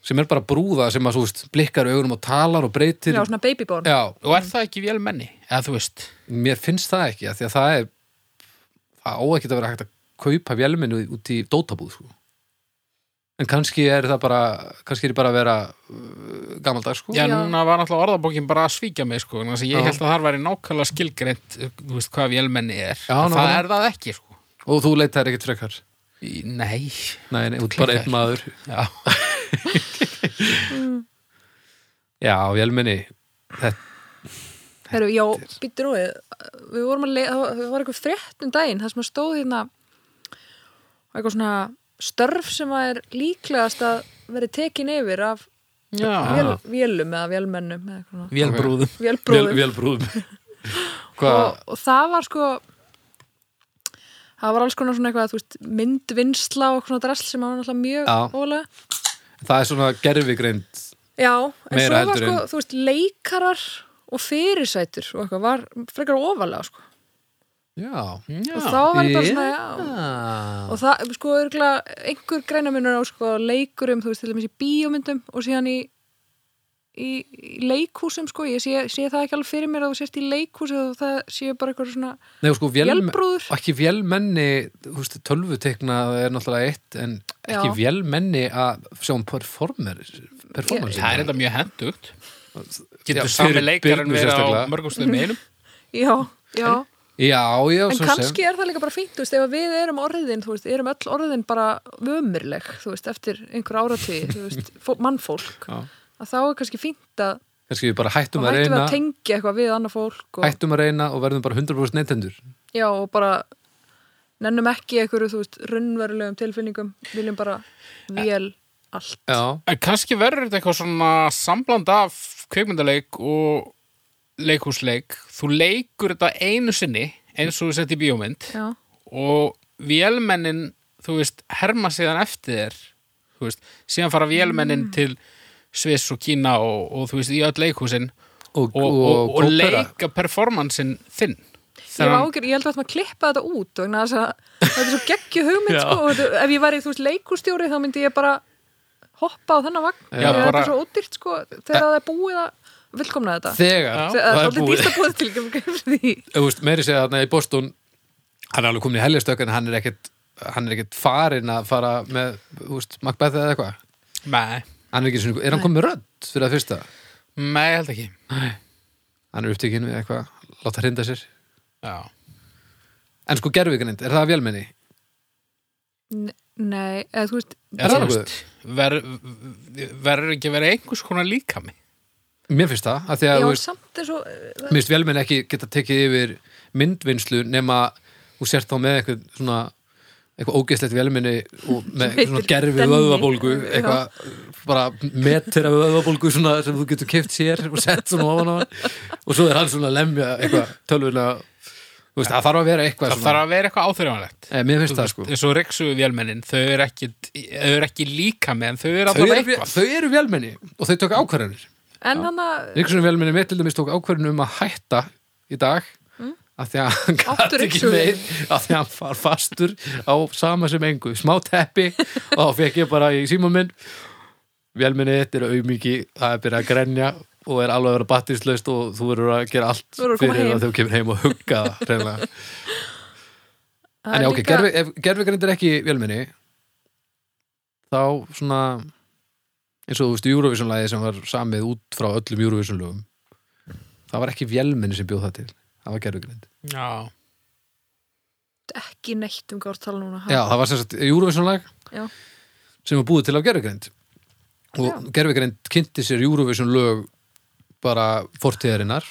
[SPEAKER 1] sem er bara brúða sem að, svo veist, blikkar augunum og talar og breytir
[SPEAKER 3] Já, svona babyborn
[SPEAKER 1] Já,
[SPEAKER 2] Og er það ekki vélmenni? Eða þú veist.
[SPEAKER 1] mér finnst það ekki af því að það er það á ekki að vera hægt að kaupa vélmenni út í dótabúð sko. en kannski er það bara kannski er ég bara að vera uh, gamaldags sko.
[SPEAKER 2] Já,
[SPEAKER 3] Já.
[SPEAKER 2] núna var náttúrulega orðabókin bara að svíkja mig, sko. Þannig að ég
[SPEAKER 1] Já.
[SPEAKER 2] held að það væri nákvæmlega skilgreint, þú veist, hvað vélmenni er.
[SPEAKER 1] Já,
[SPEAKER 2] En það
[SPEAKER 1] nákvæmlega.
[SPEAKER 2] er það ekki, sko.
[SPEAKER 1] og þú leitar ekkert frekar
[SPEAKER 2] Í- Nei.
[SPEAKER 1] nei, nei, út bara einn maður
[SPEAKER 2] Já.
[SPEAKER 1] já, vélmenni þetta,
[SPEAKER 3] Heru, já, býttu róið Við vorum að leiða, það var eitthvað frétt um daginn það sem að stóð hérna eitthvað svona störf sem að er líklegast að veri tekin yfir af
[SPEAKER 2] Já.
[SPEAKER 3] vél, vélum eða vélmennum eða eitthvað svona.
[SPEAKER 2] Vélbrúðum.
[SPEAKER 1] vél,
[SPEAKER 3] vélbrúðum
[SPEAKER 1] vélbrúðum hvað,
[SPEAKER 3] og, og það var sko það var alls konar svona eitthvað þú veist, myndvinnsla og svona drasl sem var náttúrulega
[SPEAKER 1] Já.
[SPEAKER 3] mjög ólega
[SPEAKER 1] það er svona gerfigreind
[SPEAKER 3] Já, en
[SPEAKER 1] Meira
[SPEAKER 3] svo var
[SPEAKER 1] heldur
[SPEAKER 3] sko,
[SPEAKER 1] en-
[SPEAKER 3] þú veist, leikarar og fyrirsætur og eitthvað var frekar ofalega sko.
[SPEAKER 1] já,
[SPEAKER 3] og þá var ég bara svona, já
[SPEAKER 1] já
[SPEAKER 3] og það, sko, örgulega einhver greinamunur á sko, leikurum, þú veist, til dæmis í bíómyndum og síðan í, í, í leikhúsum, sko, ég sé, sé það ekki alveg fyrir mér að þú sést í leikhúsi og það séu bara eitthvað svona
[SPEAKER 1] Nei, og sko, vélm,
[SPEAKER 3] Vélbrúður.
[SPEAKER 1] og ekki vélmenni húst, tölvutekna er náttúrulega eitt en ekki
[SPEAKER 3] Já.
[SPEAKER 1] vélmenni að sjá um performer performance
[SPEAKER 2] Það er þetta mjög hendugt.
[SPEAKER 1] Já,
[SPEAKER 2] Getur sami
[SPEAKER 1] fyrir
[SPEAKER 2] leikarinn
[SPEAKER 1] Birnu
[SPEAKER 2] verið á
[SPEAKER 1] sérstaklega.
[SPEAKER 2] mörgum stöðum í einum.
[SPEAKER 3] já, já,
[SPEAKER 1] Já, já,
[SPEAKER 3] en
[SPEAKER 1] svo
[SPEAKER 3] kannski er það líka bara fínt, þú veist, ef að við erum orðin þú veist, erum öll orðin bara vömyrleg þú veist, eftir einhver áratví þú veist, fó- mannfólk
[SPEAKER 1] Já.
[SPEAKER 3] að þá er kannski fínt að
[SPEAKER 1] sem kannski við bara hættum
[SPEAKER 3] þá
[SPEAKER 1] að
[SPEAKER 3] hættum við
[SPEAKER 1] reyna
[SPEAKER 3] að tengja eitthvað við annað fólk og,
[SPEAKER 1] hættum að reyna og verðum bara 100% neytendur
[SPEAKER 3] já, og bara nennum ekki einhverju, þú veist, runnverulegum tilfinningum, viljum bara vél allt.
[SPEAKER 1] Já,
[SPEAKER 2] En kannski verður þetta eitthvað svona sambland af kveikmyndaleik og leikhúsleik. Þú leikur þetta einu sinni eins og þú sett í bíómynd
[SPEAKER 3] Já,
[SPEAKER 2] og vélmennin, þú veist, herma síðan eftir þér. Þú veist, síðan fara vélmennin til Sviss og Kína og, og þú veist, í öll leikhúsin
[SPEAKER 1] og,
[SPEAKER 2] og, og, og,
[SPEAKER 1] kópera.
[SPEAKER 2] leika performansin þinn.
[SPEAKER 3] ég,
[SPEAKER 2] Þannig-
[SPEAKER 3] ágjör, ég held að maður klippa þetta út vegna þess að þetta er svo geggju hugmynd sko, og þetta- ef ég væri, þú veist, leikustjóri þá myndi ég bara hoppa á þennan vagn
[SPEAKER 2] Já,
[SPEAKER 3] þegar þetta
[SPEAKER 2] bara-
[SPEAKER 3] er svo ódýrt sko, þegar það er búið að vilkomna þetta
[SPEAKER 1] Þegar,
[SPEAKER 2] Já.
[SPEAKER 3] það er
[SPEAKER 1] það er
[SPEAKER 3] alltaf
[SPEAKER 1] búið
[SPEAKER 3] dýrt að búið til fyrir því
[SPEAKER 1] Þú veist, meiri segja þarna í Boston hann er alveg komin í heljastökk en hann er ekkit hann er ekkit farinn að fara með þú veist, Macbeth eða eitthvað
[SPEAKER 2] Nei,
[SPEAKER 1] hann er, ekki, sinni- er hann komið rödd fyrir að fyrsta
[SPEAKER 2] nei, ég held ekki.
[SPEAKER 1] hann er upptekinn við eitthvað, láta hrinda sér
[SPEAKER 2] Já.
[SPEAKER 1] En sko gerfugrind, er það vélmenni?
[SPEAKER 3] N- Nei, eða þú veist
[SPEAKER 1] Er það
[SPEAKER 2] Þú
[SPEAKER 1] nokkuð?
[SPEAKER 2] veist, verður verður ekki að vera einhvers konar líkami?
[SPEAKER 1] Mér finnst það, að því að
[SPEAKER 3] já,
[SPEAKER 1] þú
[SPEAKER 3] en
[SPEAKER 1] veist,
[SPEAKER 3] samt eh, er svo það-
[SPEAKER 1] mér finnst vélmenni ekki geta tekið yfir myndvinnslu nema þú sért þá með eitthvað svona eitthvað ógeðslegt vélmenni og með
[SPEAKER 3] heitir
[SPEAKER 1] svona gerfi
[SPEAKER 3] Denni.
[SPEAKER 1] vöðvabólgu eitthvað bara metir af vöðvabólgu svona sem þú getur keft sér og sett svona ofan á hann og svo er hann svona að lemja eitthvað tölvuna þú veist, það þarf að vera eitthvað
[SPEAKER 2] Það
[SPEAKER 1] svona
[SPEAKER 2] þarf að vera eitthvað áþreifanlegt.
[SPEAKER 1] Eh, Mér finnst það sko
[SPEAKER 2] eins og reyksuðu vélmennin þau eru ekki, þau eru ekki líka með en þau eru
[SPEAKER 1] Þau
[SPEAKER 2] alltaf
[SPEAKER 1] eru,
[SPEAKER 2] eitthvað
[SPEAKER 1] þau eru vélmenni og þau tökja ákvarðanir
[SPEAKER 3] en hann að
[SPEAKER 1] Ríksunum vélminni mitt til dæmis tók ákverðinu um að hætta í dag mm? að því að hann gæti
[SPEAKER 3] Aftur
[SPEAKER 1] ekki
[SPEAKER 3] ryksugur.
[SPEAKER 1] meir að því að hann far fastur á sama sem engu, smá teppi og þá fekk ég bara í síma minn vélminni þetta er auðmiki það er byrjað að grenja
[SPEAKER 4] og er alveg að vera batterislaust og þú verður að gera allt
[SPEAKER 3] Þú verður að koma
[SPEAKER 4] fyrir
[SPEAKER 3] heim.
[SPEAKER 4] að þú kemur heim og hugga það hreinlega.
[SPEAKER 3] Það
[SPEAKER 1] En
[SPEAKER 3] er
[SPEAKER 1] já, ok,
[SPEAKER 3] líka-
[SPEAKER 1] gerfi, ef gerfigreind er ekki vélminni þá svona eins og þú veist Eurovision-lagi sem var samið út frá öllum Eurovision-lögum það var ekki vélminni sem bjóð það til það var gerfigreind
[SPEAKER 2] Já,
[SPEAKER 3] ekki neitt um hvað að tala núna ha?
[SPEAKER 1] Já, það var sem sagt Eurovision-lag
[SPEAKER 3] Já.
[SPEAKER 1] sem var búið til af gerfigreind og gerfigreind kynnti sér Eurovision-lög bara fortíðarinnar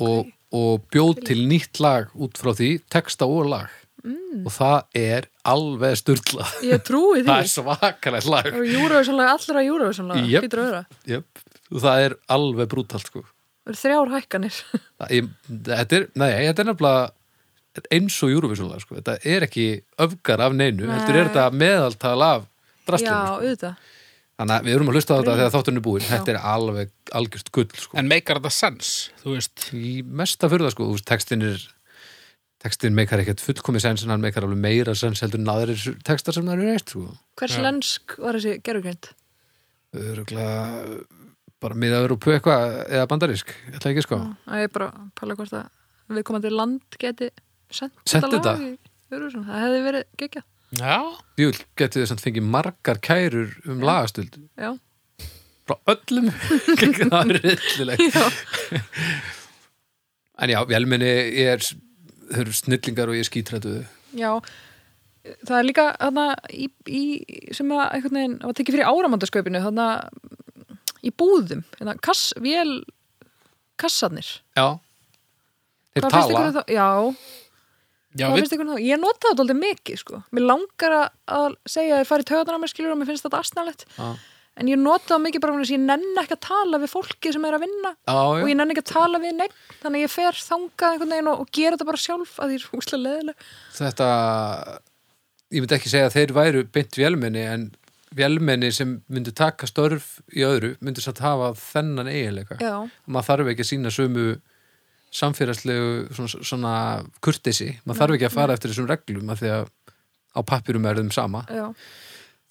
[SPEAKER 1] og, og bjóð til nýtt lag út frá því, texta og lag mm. og það er alveg styrla
[SPEAKER 3] ég trúi
[SPEAKER 1] það er
[SPEAKER 3] því
[SPEAKER 1] svakalegt lag
[SPEAKER 3] og júruvísanlega allra júruvísanlega
[SPEAKER 1] Jöp.
[SPEAKER 3] yep. það
[SPEAKER 1] Jöp, það er alveg brútalt sko.
[SPEAKER 3] eru þrjár hækkanir
[SPEAKER 1] Það- ég- Þetta er, nei, þetta er nefnilega eins og Eurovisionlega, sko. þetta er ekki öfgar af neinu,
[SPEAKER 3] Nei.
[SPEAKER 1] heldur er þetta meðaltal af
[SPEAKER 3] já,
[SPEAKER 1] drastlunum.
[SPEAKER 3] auðvitað
[SPEAKER 1] Þannig að við erum að hlusta á þetta
[SPEAKER 3] Grunni.
[SPEAKER 1] þegar þátturinn er búinn,
[SPEAKER 3] Já.
[SPEAKER 1] þetta er alveg algjörst gull sko.
[SPEAKER 2] en meikar þetta sens, þú veist
[SPEAKER 1] Í mesta fyrir það sko, þú veist, textin er textin meikar ekkert fullkomið sens en hann meikar alveg meira sens heldur náður textar sem það eru eitt sko.
[SPEAKER 3] hvers
[SPEAKER 2] Já.
[SPEAKER 3] lensk var þessi gerugrind
[SPEAKER 1] Öruglega bara miða-európu eitthvað eða bandarísk, ég ætla ekki sko
[SPEAKER 3] að ég bara að pæla hvort að viðkomandi land geti sendt
[SPEAKER 1] Sent
[SPEAKER 3] þetta
[SPEAKER 1] þetta?
[SPEAKER 3] lag í Eurovision. það hefði verið gegja
[SPEAKER 2] Já,
[SPEAKER 1] Júl, getur þið samt fengið margar kærur um lagastöld
[SPEAKER 3] já,
[SPEAKER 1] frá öllum gegn það er reyðilegt
[SPEAKER 3] já.
[SPEAKER 1] En já, velminni, ég er þau eru snillingar og ég er skítrættu
[SPEAKER 3] já. það er líka hana, í, í, sem að einhvern veginn var tekið fyrir áramandaskaupinu hana, í búðum hana, kass, vél kassarnir
[SPEAKER 1] Já Þeir
[SPEAKER 3] Hvað finnst
[SPEAKER 1] tala,
[SPEAKER 3] ykkur um þá? Já,
[SPEAKER 2] já,
[SPEAKER 3] hvað
[SPEAKER 2] við,
[SPEAKER 3] finnst ykkur um þá? Ég nota þetta aldrei mikið, sko. Mér langar að- að segja að ég fari í taugarnar á mér, skilur, og mér finnst þetta astnalett.
[SPEAKER 1] Já.
[SPEAKER 3] En ég nota það mikið bara vegna þess að ég nenn ekki að tala við fólki sem er að vinna og
[SPEAKER 1] já,
[SPEAKER 3] ég nenn ekki að tala við negn, þannig að ég fer þangað einhvern veginn og, og gera þetta bara sjálf að því er húslega leðileg.
[SPEAKER 1] já, þetta Ég myndi ekki segja að þeir væru beint velminni en velminni sem myndu taka störf í öðru myndu satt hafa þennan eiginleika
[SPEAKER 3] Já,
[SPEAKER 1] maður þarf ekki að sína sömu samfélagslegu svona, svona kurtesi, maður þarf ekki að fara eftir þessum reglum að því að á pappirum er þeim sama
[SPEAKER 3] já,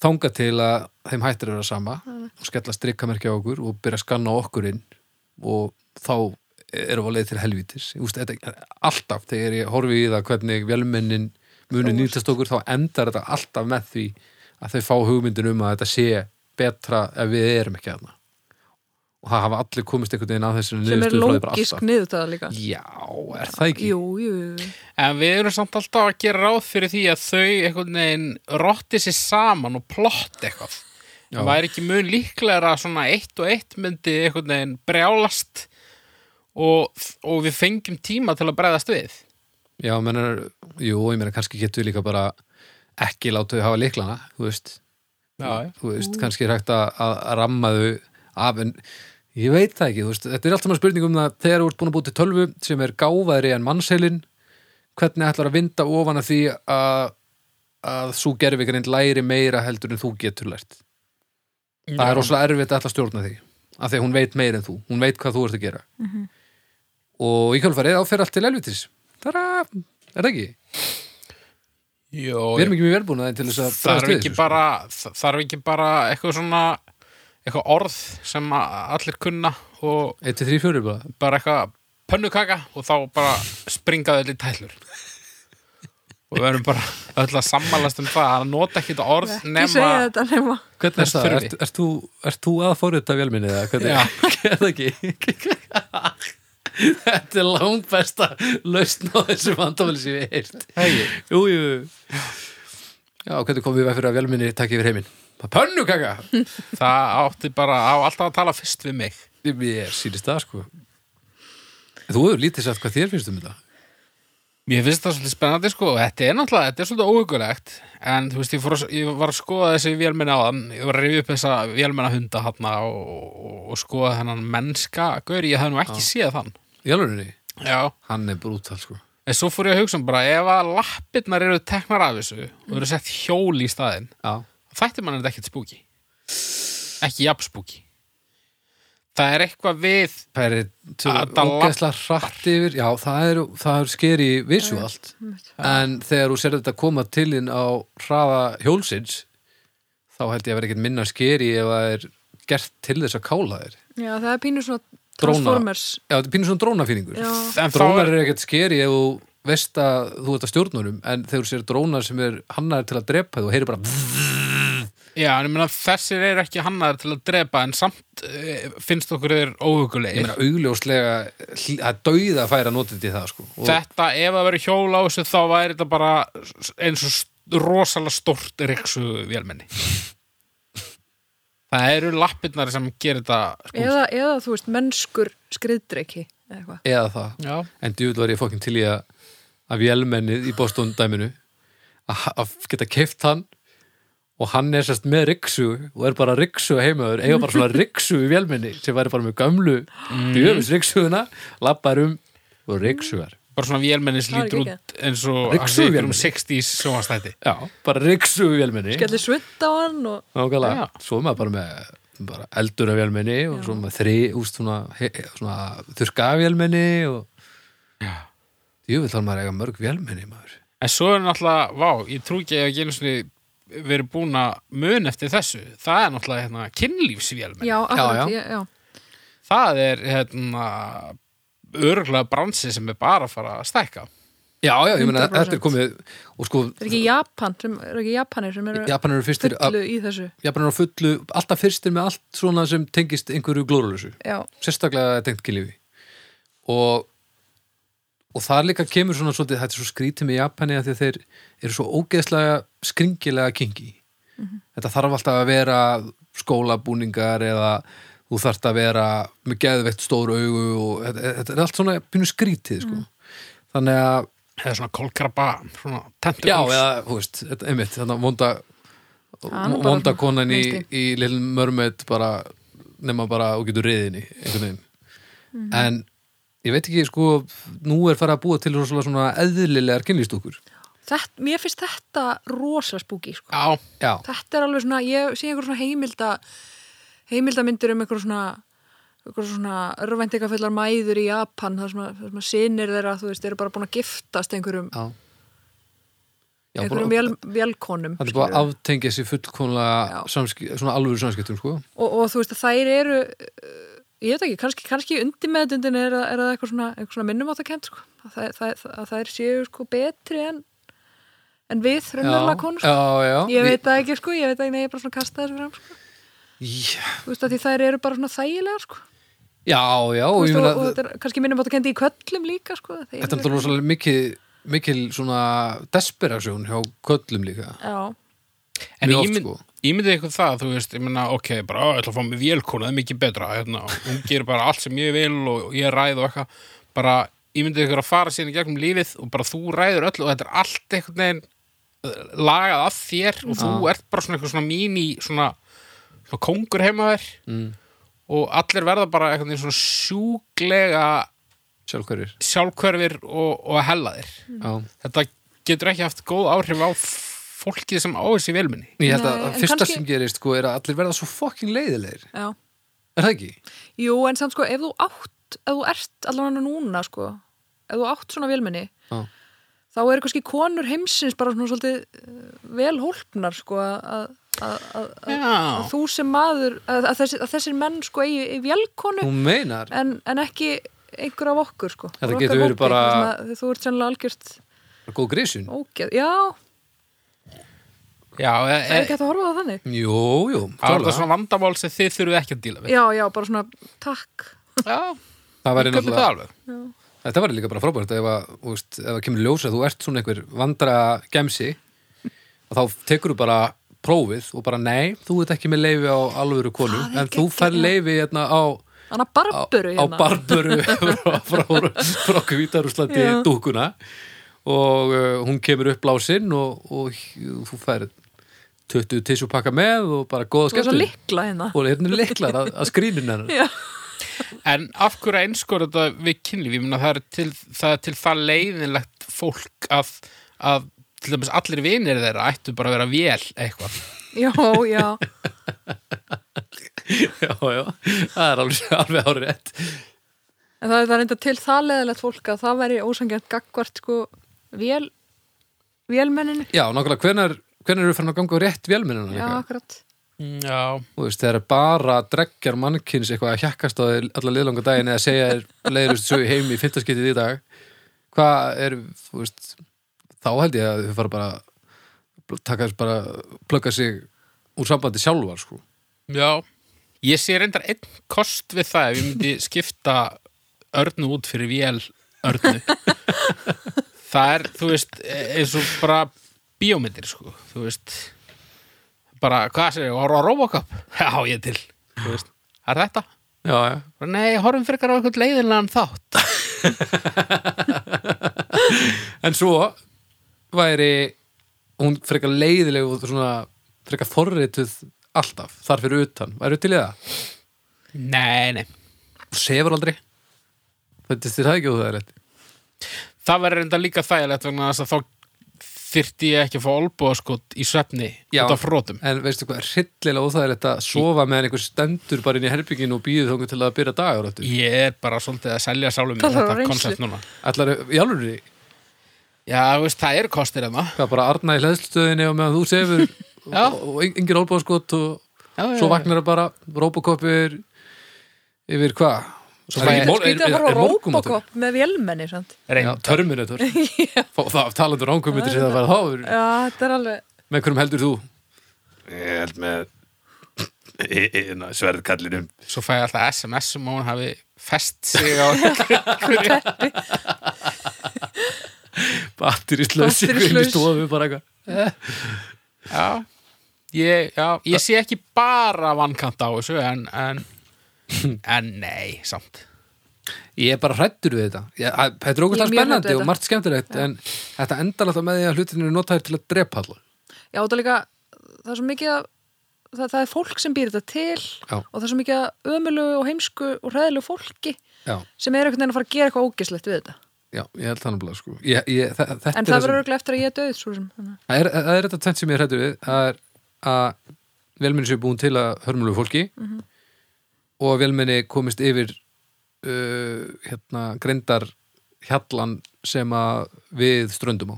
[SPEAKER 1] þanga til að þeim hættir að vera sama og skella strikkamerkja á okkur og byrja að skanna okkur inn og þá erum við að leið til helvítis Úst, þetta, alltaf þegar ég horfi í það hvernig velmennin muni nýtast okkur þá endar þetta alltaf með því að þau fá hugmyndin um að þetta sé betra ef við erum ekki aðna og það hafa allir komist einhvern veginn að þessu
[SPEAKER 3] sem er
[SPEAKER 1] niðurstöðu frá því bara
[SPEAKER 3] lógisk
[SPEAKER 1] alltaf.
[SPEAKER 3] niðurtaða líka.
[SPEAKER 1] Já, er það ekki?
[SPEAKER 3] Jú, jú, jú.
[SPEAKER 2] en við erum samt alltaf að gera ráð fyrir því að þau einhvern veginn rotti sér saman og plott eitthvað
[SPEAKER 1] Já.
[SPEAKER 2] það væri ekki mun líklegra að svona eitt og eitt myndi einhvern veginn brjálast og, og við fengjum tíma til að bregðast við
[SPEAKER 1] Já, mennar, jú, ég meina kannski getur líka bara ekki láta þau hafa líklana, þú veist
[SPEAKER 2] Já,
[SPEAKER 1] þú veist, kannski er hægt að, að að ramma þau af en ég veit það ekki, þú veist, þetta er allt saman spurning um það þegar þú ert búin að búið til tölvu sem er gáfaðri en mannsheilin hvernig ætlar að vinda ofan af því að, að svo gerfi greint læri meira heldur en þú getur lært það er rosalega erfitt að ætla að stjórna því af því að hún veit meira en þú, hún veit hvað þú ert að gera og í kjálfarið áfer allt til elvitis Tara, er það ekki?
[SPEAKER 2] Jó,
[SPEAKER 1] Við erum ekki mjög velbúnaði til þess að
[SPEAKER 2] þarf
[SPEAKER 1] bregðast við
[SPEAKER 2] ekki
[SPEAKER 1] þessu, sko.
[SPEAKER 2] bara þa- þarf ekki bara eitthvað svona eitthvað orð sem að allir kunna og
[SPEAKER 1] Einn, tveir, þrír, fjórir bara
[SPEAKER 2] bara eitthvað pönnukaka og þá bara springaði allir tællur og við verðum bara öll að sammálast um það að nota ekki þetta orð
[SPEAKER 3] Ekki
[SPEAKER 2] nema
[SPEAKER 3] segja þetta nema.
[SPEAKER 1] Hvernig er
[SPEAKER 2] Þess
[SPEAKER 1] það?
[SPEAKER 2] þurfi.
[SPEAKER 1] Ert, ert, þú, ert þú að forrita vélminni eða? Hvernig er það ekki? Þetta er langt besta lausn á þessu vandamáli sem ég heirt.
[SPEAKER 2] Hei,
[SPEAKER 1] Jú, jú. Já, hvernig komum við veg fyrir að vélminni takk yfir heiminn? Pönnukaka!
[SPEAKER 2] það átti bara á alltaf að tala fyrst við mig
[SPEAKER 1] Ég sýnist það, sko. Þú hefur lítið sagt hvað þér finnst um þetta.
[SPEAKER 2] Mér finnst það svolítið spennandi sko, þetta er náttúrulega, þetta er svolítið óhugulegt en þú veist, ég, fór, að- ég var að skoða þessi vélmenna á þann, ég var að rifja upp þessa vélmenna hunda hann og, og, og skoða hennan mennska, gaur, ég hafði nú ekki séð þann
[SPEAKER 1] Í alvegurinn,
[SPEAKER 2] Já,
[SPEAKER 1] hann er brútal, sko.
[SPEAKER 2] en svo fór ég að hugsa um bara ef að lappirnar eru teknar af þessu og eru sett hjól í staðinn
[SPEAKER 1] Já.
[SPEAKER 2] þætti mann er þetta ekkert spúki ekki jafn spúki það er eitthvað við
[SPEAKER 1] Það er
[SPEAKER 2] Þetta
[SPEAKER 1] ógeðslega hratt yfir Já, það er, það er skeri visuált En þegar þú sér þetta koma til þín á hraða hjólsins þá held ég að vera ekkert minna skeri ef það er gert til þess að kála þér
[SPEAKER 3] Já, það er pínu svona
[SPEAKER 1] dróna
[SPEAKER 3] Transformers
[SPEAKER 1] Já, þetta er pínur svona drónafýringur
[SPEAKER 3] Já.
[SPEAKER 2] En þá
[SPEAKER 1] Drónar
[SPEAKER 2] er-
[SPEAKER 1] eru ekkert skeri ef þú veist að þú ert að stjórnurum en þegar þú sér drónar sem er hannar til að drepa þú og heyri bara
[SPEAKER 2] Já, en ég meina þessir eru ekki hannaðar til að drepa en samt e, finnst okkur þeir
[SPEAKER 1] ég
[SPEAKER 2] óhugulegir
[SPEAKER 1] meina augljóslega hl- að dauða færa notið til það sko og
[SPEAKER 2] Þetta, ef það verið hjól á þessu þá væri þetta bara eins og st- rosalega stort riksu vélmenni Það eru lappirnar sem gerir þetta sko. skúmst.
[SPEAKER 3] eða, eða þú veist, mennskur skriðdreiki eða eitthvað
[SPEAKER 1] eða það
[SPEAKER 2] Já,
[SPEAKER 1] en djúvel var ég fókin til í að að vélmennið í Boston dæminu að að geta keift hann og hann er sérst með riksu og er bara riksu heimaður eiga bara svona riksu í vélmenni sem væri bara með gömlu djöfis riksuðuna lappar um og riksuðar
[SPEAKER 2] bara svona vélmenni sem
[SPEAKER 3] Það er
[SPEAKER 2] lítur
[SPEAKER 3] geggjað.
[SPEAKER 2] út eins og
[SPEAKER 1] Ryksugu
[SPEAKER 2] hann sé í einhverjum
[SPEAKER 1] vélmenni.
[SPEAKER 2] 60s sjónastætti
[SPEAKER 1] já, bara riksu í vélmenni
[SPEAKER 3] Skellir svutt á hann og
[SPEAKER 1] Nákvæmlega,
[SPEAKER 2] Já.
[SPEAKER 1] svo er maður bara með bara eldur af vélmenni og svo með þri, úst, svona, he, svona þurrka af vélmenni og jú, þá er maður að eiga mörg vélmenni maður.
[SPEAKER 2] En svo er náttúrulega, vá, ég trú ekki að ég ekki einu sinni verið búin að mun eftir þessu Það er náttúrulega hérna, kynlífsvélmenni
[SPEAKER 3] já,
[SPEAKER 1] já.
[SPEAKER 3] akkurat, já. Ég, já.
[SPEAKER 2] Það er hérna, örgulega bransi sem er bara að fara að stækka
[SPEAKER 1] Já, já, ég meina,
[SPEAKER 3] 100%.
[SPEAKER 1] þetta er komið og sko,
[SPEAKER 3] Það er ekki Japan, sem, er ekki Japanir sem eru
[SPEAKER 1] Japan eru fyrstir
[SPEAKER 3] fullu í þessu
[SPEAKER 1] Japan eru á fullu, alltaf fyrstir með allt svona sem tengist einhverju glórulösu
[SPEAKER 3] Já,
[SPEAKER 1] sérstaklega tengt kynlífi og og það líka kemur svona svolítið, þetta er svo skrítið með Japani að því að þeir eru svo ógeðslega skringilega kingi
[SPEAKER 3] Mhm.
[SPEAKER 1] þetta þarf alltaf að vera skólabúningar eða þú þarft að vera með geðveitt stór augu og þetta, þetta er allt svona pínu skrítið
[SPEAKER 3] Mhm.
[SPEAKER 1] sko. þannig að
[SPEAKER 2] eða svona kólkrabba svona
[SPEAKER 1] já,
[SPEAKER 2] tentacles.
[SPEAKER 1] eða, þú veist, þetta- einmitt þannig að vonda,
[SPEAKER 3] Hann er bara
[SPEAKER 1] vonda
[SPEAKER 3] svona
[SPEAKER 1] konan í,
[SPEAKER 3] minnsti.
[SPEAKER 1] í Lil Mörmöð bara, nema bara og getur reyðinni, einhvern veginn
[SPEAKER 3] Mhm.
[SPEAKER 1] en ég veit ekki, sko nú er farið að búa til rosalega svona eðlilegar kynlýstúkur
[SPEAKER 3] þetta, mér finnst þetta rosa spúki sko.
[SPEAKER 2] já,
[SPEAKER 1] já,
[SPEAKER 3] Þetta er alveg svona, ég sé einhver svona heimilda heimildamindir um einhver svona einhver svona örvæntingafullar mæður í Japan það sem að, það sem að sinir þeirra, þú veist, eru bara búin að giftast einhverjum,
[SPEAKER 1] já Já, bara,
[SPEAKER 3] einhverjum
[SPEAKER 1] það
[SPEAKER 3] vél, vélkonum
[SPEAKER 1] er bara
[SPEAKER 3] skilurðu.
[SPEAKER 1] að aftengja sér fullkomlega
[SPEAKER 3] Já.
[SPEAKER 1] samski, svona alvöru samskiptum, sko
[SPEAKER 3] og, og þú veist að þær eru uh, ég veit ekki, kannski, kannski undir meðdundin er, það- er það eitthvað svona, eitthvað svona minnum sko. að, þær, þær, að þær séu sko betri en, en við raunverulega konur sko.
[SPEAKER 1] já, já
[SPEAKER 3] ég veit það ekki sko, ég veit ekki, nei, ég bara svona kasta þessu fram sko.
[SPEAKER 1] Já,
[SPEAKER 3] þú veist að því þær eru bara svona þægilega sko.
[SPEAKER 1] já, já
[SPEAKER 3] Þú
[SPEAKER 1] og ég
[SPEAKER 3] veist, og,
[SPEAKER 1] meina
[SPEAKER 3] og þetta er kannski minnum í köllum líka sko. Þeir
[SPEAKER 1] Þetta er
[SPEAKER 3] eru-
[SPEAKER 1] náttúrulega rosalega mikil, mikil svona desperasjón hjá köllum líka
[SPEAKER 3] Já,
[SPEAKER 2] en
[SPEAKER 1] Mjög oft,
[SPEAKER 2] ímynd,
[SPEAKER 1] sko.
[SPEAKER 2] ímyndið ykkur það þú veist, ég meina, ok, bara, ó, ég ætla að fá mig vélkona það er mikið betra, hérna, og hún gerir bara allt sem ég vil og ég ræð og eitthvað bara, ímyndið ykkur að fara síðan í gegnum lífið og bara þú ræður öllu og þetta er allt einhvern veginn eh, lagað að þér og þú ert bara svona eitthvað svona mín í svona, svona kongur heima þér mm. og allir verða bara einhvern veginn svona sjúklega
[SPEAKER 1] sjálfhverjir
[SPEAKER 2] sjálfhverfir og, og hellaðir
[SPEAKER 3] Mm.
[SPEAKER 1] Já.
[SPEAKER 2] þetta getur ekki haft góð áhrif á fólkið sem á þessi vélminni
[SPEAKER 1] Ég held
[SPEAKER 3] Nei,
[SPEAKER 1] að
[SPEAKER 3] en
[SPEAKER 1] fyrsta
[SPEAKER 3] kannski-
[SPEAKER 1] sem gerist sko, er að allir verða svo fucking leiðilegir
[SPEAKER 3] já
[SPEAKER 1] Er það ekki?
[SPEAKER 3] Jú, en samt sko, ef þú átt ef þú ert allan núna sko ef þú átt svona vélmenni
[SPEAKER 1] Já.
[SPEAKER 3] þá eru kannski konur heimsins bara svona svolítið eh, vel hólpnar sko að, að, að, að
[SPEAKER 2] Já,
[SPEAKER 3] þú sem maður að, að, þessi, að þessir menn sko eigi í vélkonu
[SPEAKER 1] Hún meinar
[SPEAKER 3] en, en ekki einhver af okkur sko
[SPEAKER 1] Þetta
[SPEAKER 3] Úr okkar
[SPEAKER 1] getur verið
[SPEAKER 3] hópi,
[SPEAKER 1] bara-
[SPEAKER 3] svona, þú ert sennilega algjört
[SPEAKER 1] Góð grísun
[SPEAKER 3] ógeð já,
[SPEAKER 2] já e,
[SPEAKER 3] það er
[SPEAKER 1] Eh.
[SPEAKER 2] e,
[SPEAKER 3] ekki hægt að horfa á það þannig
[SPEAKER 1] Jú, jú,
[SPEAKER 2] það er
[SPEAKER 1] klálega.
[SPEAKER 2] þetta svona vandamál sem þið þurfið ekki að díla við
[SPEAKER 3] já, já, bara svona takk
[SPEAKER 2] Já,
[SPEAKER 1] Það væri
[SPEAKER 2] við köpum það
[SPEAKER 1] náttúrulega
[SPEAKER 2] alveg
[SPEAKER 1] Þetta væri líka bara frábært ef að, þú veist, ef að kemur ljósa þú ert svona einhver vandra gemsi og þá tekur þú bara prófið og bara nei, þú ert ekki með leifi á alvöru konu
[SPEAKER 3] Það er
[SPEAKER 1] en þú fær
[SPEAKER 3] geggjað.
[SPEAKER 1] leifi hérna á,
[SPEAKER 3] hann
[SPEAKER 1] á,
[SPEAKER 3] að hérna. barburu
[SPEAKER 1] á barböru frá, frá, frá kvítarúslandi
[SPEAKER 3] Já.
[SPEAKER 1] dúkuna og uh, hún kemur upp blásinn og, og þú fær 20 tissupakka með og bara góða
[SPEAKER 3] og svo
[SPEAKER 1] skemmtun
[SPEAKER 3] likla hérna
[SPEAKER 1] og hérna er liklar að, að skrínun hennar
[SPEAKER 3] já
[SPEAKER 2] En af hverju einskor þetta við kynlíf ég meina það er til það, er til það leiðinlegt fólk að, að til dæmis allir vinir þeirra ættu bara að vera vél eitthvað
[SPEAKER 3] Já, já,
[SPEAKER 1] Já, já, það er alveg, alveg árið rétt
[SPEAKER 3] en það er það reynda til það leðilegt fólk að það væri ósangjant gagvart sko vél, vélmenninu
[SPEAKER 1] Já, nákvæmlega, hvenær, hvenær eru farin að ganga á rétt vélmennina
[SPEAKER 3] Já,
[SPEAKER 1] líka?
[SPEAKER 3] akkurat
[SPEAKER 2] Já,
[SPEAKER 1] Þú veist, þegar bara dreggjar mannkins eitthvað að hjakkast á þeir alla liðlanga daginn eða segja þeir leiðurist sögu í heimi í fyrtaskiptið í dag hvað er, þú veist þá held ég að þau fara bara bl- taka þess bara, plugga sig úr sambandi sjálfar, sko
[SPEAKER 2] já. Ég sé reyndar einn kost við það ef ég myndi skipta örnu út fyrir vél örnu. það er, þú veist, e, eins og bara bíómyndir, sko. Þú veist, bara, hvað sér, horfa á Robocop? Já, ég er til. Þú veist, það er þetta.
[SPEAKER 1] Já, já
[SPEAKER 2] Bara, Nei, horfum frekar á eitthvað leiðinlegan þátt.
[SPEAKER 1] En svo væri hún frekar leiðileg og svona frekar forrituð alltaf, þar fyrir utan, væri til í það
[SPEAKER 2] Nei, nei.
[SPEAKER 1] og sefur aldrei þetta er þér það ekki og það er rétt
[SPEAKER 2] Það verður reynda líka þægilegt vegna þess að þá þyrfti ég ekki að fá olbúaskot í svefni
[SPEAKER 1] Já.
[SPEAKER 2] út af frótum.
[SPEAKER 1] En veistu hvað, hryllilega óþægilegt að sofa meðan einhver stendur bara inn í herbygginu og býður þóngu til að byrja dagur áttu.
[SPEAKER 2] Ég er bara svolítið að selja sálum mér
[SPEAKER 3] Það þarf
[SPEAKER 2] þetta
[SPEAKER 3] reynslu.
[SPEAKER 2] koncept núna.
[SPEAKER 1] Ætlar, í alvöru,
[SPEAKER 2] Já, þú veist, það eru kostir hérna. enná.
[SPEAKER 1] hvað bara Arna í hleðslutöðinni og meðan þú sefur
[SPEAKER 2] Já.
[SPEAKER 1] og, og engin olbáðskot og
[SPEAKER 2] Já, já,
[SPEAKER 1] svo
[SPEAKER 2] já.
[SPEAKER 1] vaknar það bara Robocopir yfir hvað?
[SPEAKER 2] Svo fæ ég-
[SPEAKER 1] mor-
[SPEAKER 3] Skrítið að fara á
[SPEAKER 1] morgunmatur?
[SPEAKER 3] Robocop með vélmenni, sant?
[SPEAKER 1] Já,
[SPEAKER 2] Reynd.
[SPEAKER 1] Terminator Fá- Það talandur ánkomitur sem það var þá
[SPEAKER 3] Já, þetta er alveg...
[SPEAKER 1] Með hverjum heldur þú?
[SPEAKER 4] Ég held með sverðkallinum
[SPEAKER 2] Svo fæ ég alltaf SMS um að hún hafi fest sig á einhverju.
[SPEAKER 1] Batterislaus ykkur inn í
[SPEAKER 3] Batterislaus.
[SPEAKER 1] stofu bara eitthvað
[SPEAKER 2] Já, ég, já, ég sé ekki bara vankant á þessu, en, en, en nei, samt.
[SPEAKER 1] Ég er bara hrættur við þetta ég, að, Þetta er ógæslega
[SPEAKER 3] Ég er mjög hrædd
[SPEAKER 1] spennandi
[SPEAKER 3] við
[SPEAKER 1] og
[SPEAKER 3] þetta.
[SPEAKER 1] margt skemmtilegt en þetta endar alltaf með því að hlutinir notaðir til að drepa allar
[SPEAKER 3] Já, það er líka, það er svo mikið að það, það er fólk sem býr þetta til
[SPEAKER 1] Já.
[SPEAKER 3] og það er svo mikið að ömulugu og heimsku og hræðilegu fólki
[SPEAKER 1] Já,
[SPEAKER 3] sem er einhvern veginn að fara að gera eitthvað ógislegt við þetta
[SPEAKER 1] já, ég held þannig að sko ég, ég, þa- Þetta er
[SPEAKER 3] en það
[SPEAKER 1] það,
[SPEAKER 3] verður
[SPEAKER 1] sem,
[SPEAKER 3] örgulega eftir að ég er döð svo sem, þannig að-
[SPEAKER 1] það er, það er þetta tvennt sem ég er hrættur við það er að velmenni séu búin til að hörmulegu fólki
[SPEAKER 3] Mhm.
[SPEAKER 1] og að velmenni komist yfir uh, hérna, greindar hjallan sem að við ströndum á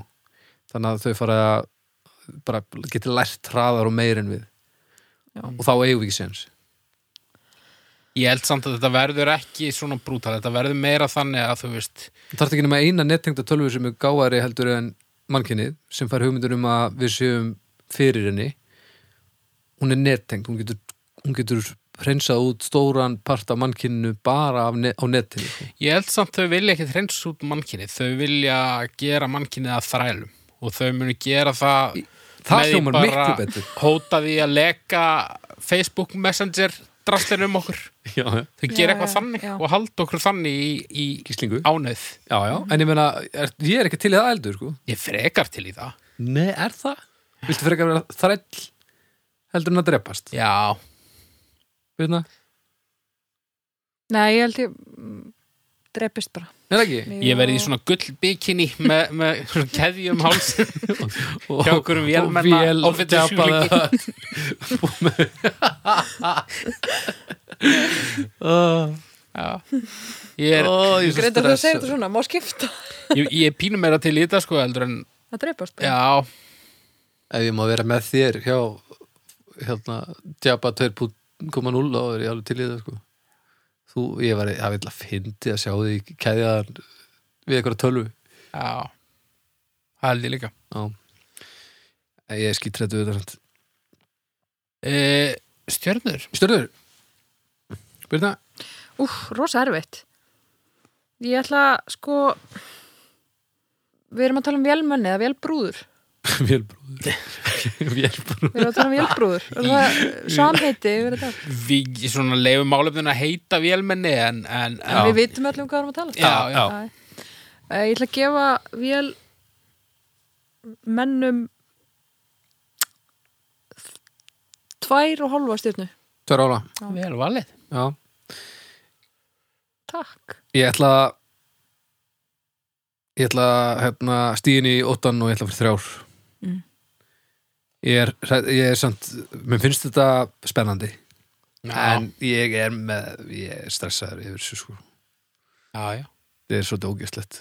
[SPEAKER 1] þannig að þau fara að bara geti lært hraðar og meir en við
[SPEAKER 3] Já.
[SPEAKER 1] og þá eigum við ekki sens
[SPEAKER 2] Ég held samt að þetta verður ekki svona brútal, þetta verður meira þannig að þú veist,
[SPEAKER 1] Það þarf ekki nema eina nettengda tölvu sem er gáðari heldur en mannkynið sem fær hugmyndur um að við séum fyrir henni hún er nettengd, hún getur, hún getur hreinsað út stóran part af mannkyninu bara af ne á netinu sko.
[SPEAKER 2] Ég held samt þau vilja ekkert reyns út mannkinni þau vilja gera mannkinni að þrælum og þau munu gera það
[SPEAKER 1] það
[SPEAKER 2] með því
[SPEAKER 1] hljómar
[SPEAKER 2] bara
[SPEAKER 1] miklu betur.
[SPEAKER 2] hóta því að leka Facebook Messenger drastlinn um okkur
[SPEAKER 1] Já, já.
[SPEAKER 2] þau
[SPEAKER 3] Já,
[SPEAKER 2] gera eitthvað
[SPEAKER 3] já,
[SPEAKER 2] þannig
[SPEAKER 3] já.
[SPEAKER 2] og halda okkur þannig í, í
[SPEAKER 1] Gíslingu
[SPEAKER 2] ánöð
[SPEAKER 1] Já, já, en ég meina, er, ég er ekki til í það heldur sko.
[SPEAKER 2] Ég frekar til í það
[SPEAKER 1] Nei, er það? Viltu frekar vera þræll heldur en að drepast?
[SPEAKER 2] Já,
[SPEAKER 1] Veitna?
[SPEAKER 3] Nei, ég held ég mm, drepist bara
[SPEAKER 1] Nei, ekki
[SPEAKER 2] ég verið í svona gull bikini með, með svona keðjum háls
[SPEAKER 1] og,
[SPEAKER 2] Hjá okkur um vélmenna, offitu sjúklingi. Ég er,
[SPEAKER 3] Greinda þú að segja þetta svona, má skipta
[SPEAKER 2] ég, ég er pínum meira til í þetta sko heldur en
[SPEAKER 3] að drepast bara
[SPEAKER 2] Já,
[SPEAKER 1] ef ég má vera með þér hjá hérna, Djaba 2.0 þá er ég alveg til í það sko. þú, ég var að vilja fyndi að sjá því keðjaðan við eitthvað tölvu
[SPEAKER 2] já Það held ég líka
[SPEAKER 1] Já. En ég er skítrættu við þetta
[SPEAKER 2] e, Stjörnur
[SPEAKER 1] Störður Byrna,
[SPEAKER 3] Úf, rosa erfitt Ég ætla sko við erum að tala um vélmenni eða vélbrúður
[SPEAKER 1] vélbrúður Vélbrúður
[SPEAKER 3] við erum að tala um vélbrúður og það samheiti yfir þetta
[SPEAKER 2] Við svona leifum málefnin að heita vélmenni en, en,
[SPEAKER 3] En
[SPEAKER 2] en
[SPEAKER 3] við vitum öllum hvað við erum að tala um.
[SPEAKER 2] Já, já.
[SPEAKER 3] Æ, Ég ætla að gefa vél mennum tvær og hálfa stjörnu
[SPEAKER 1] Tver ára
[SPEAKER 2] Vel valið
[SPEAKER 1] Já.
[SPEAKER 3] Takk
[SPEAKER 1] Ég ætla að- ég ætla að, hérna, stíðin í óttan og ég ætla að fyrir þrjár
[SPEAKER 3] Mm.
[SPEAKER 1] ég, er, hrædd- ég er samt mér finnst þetta spennandi
[SPEAKER 2] Já,
[SPEAKER 1] en ég er með ég er stressaður yfir þessu sko
[SPEAKER 2] já, já
[SPEAKER 1] þetta er svolítið ógæslegt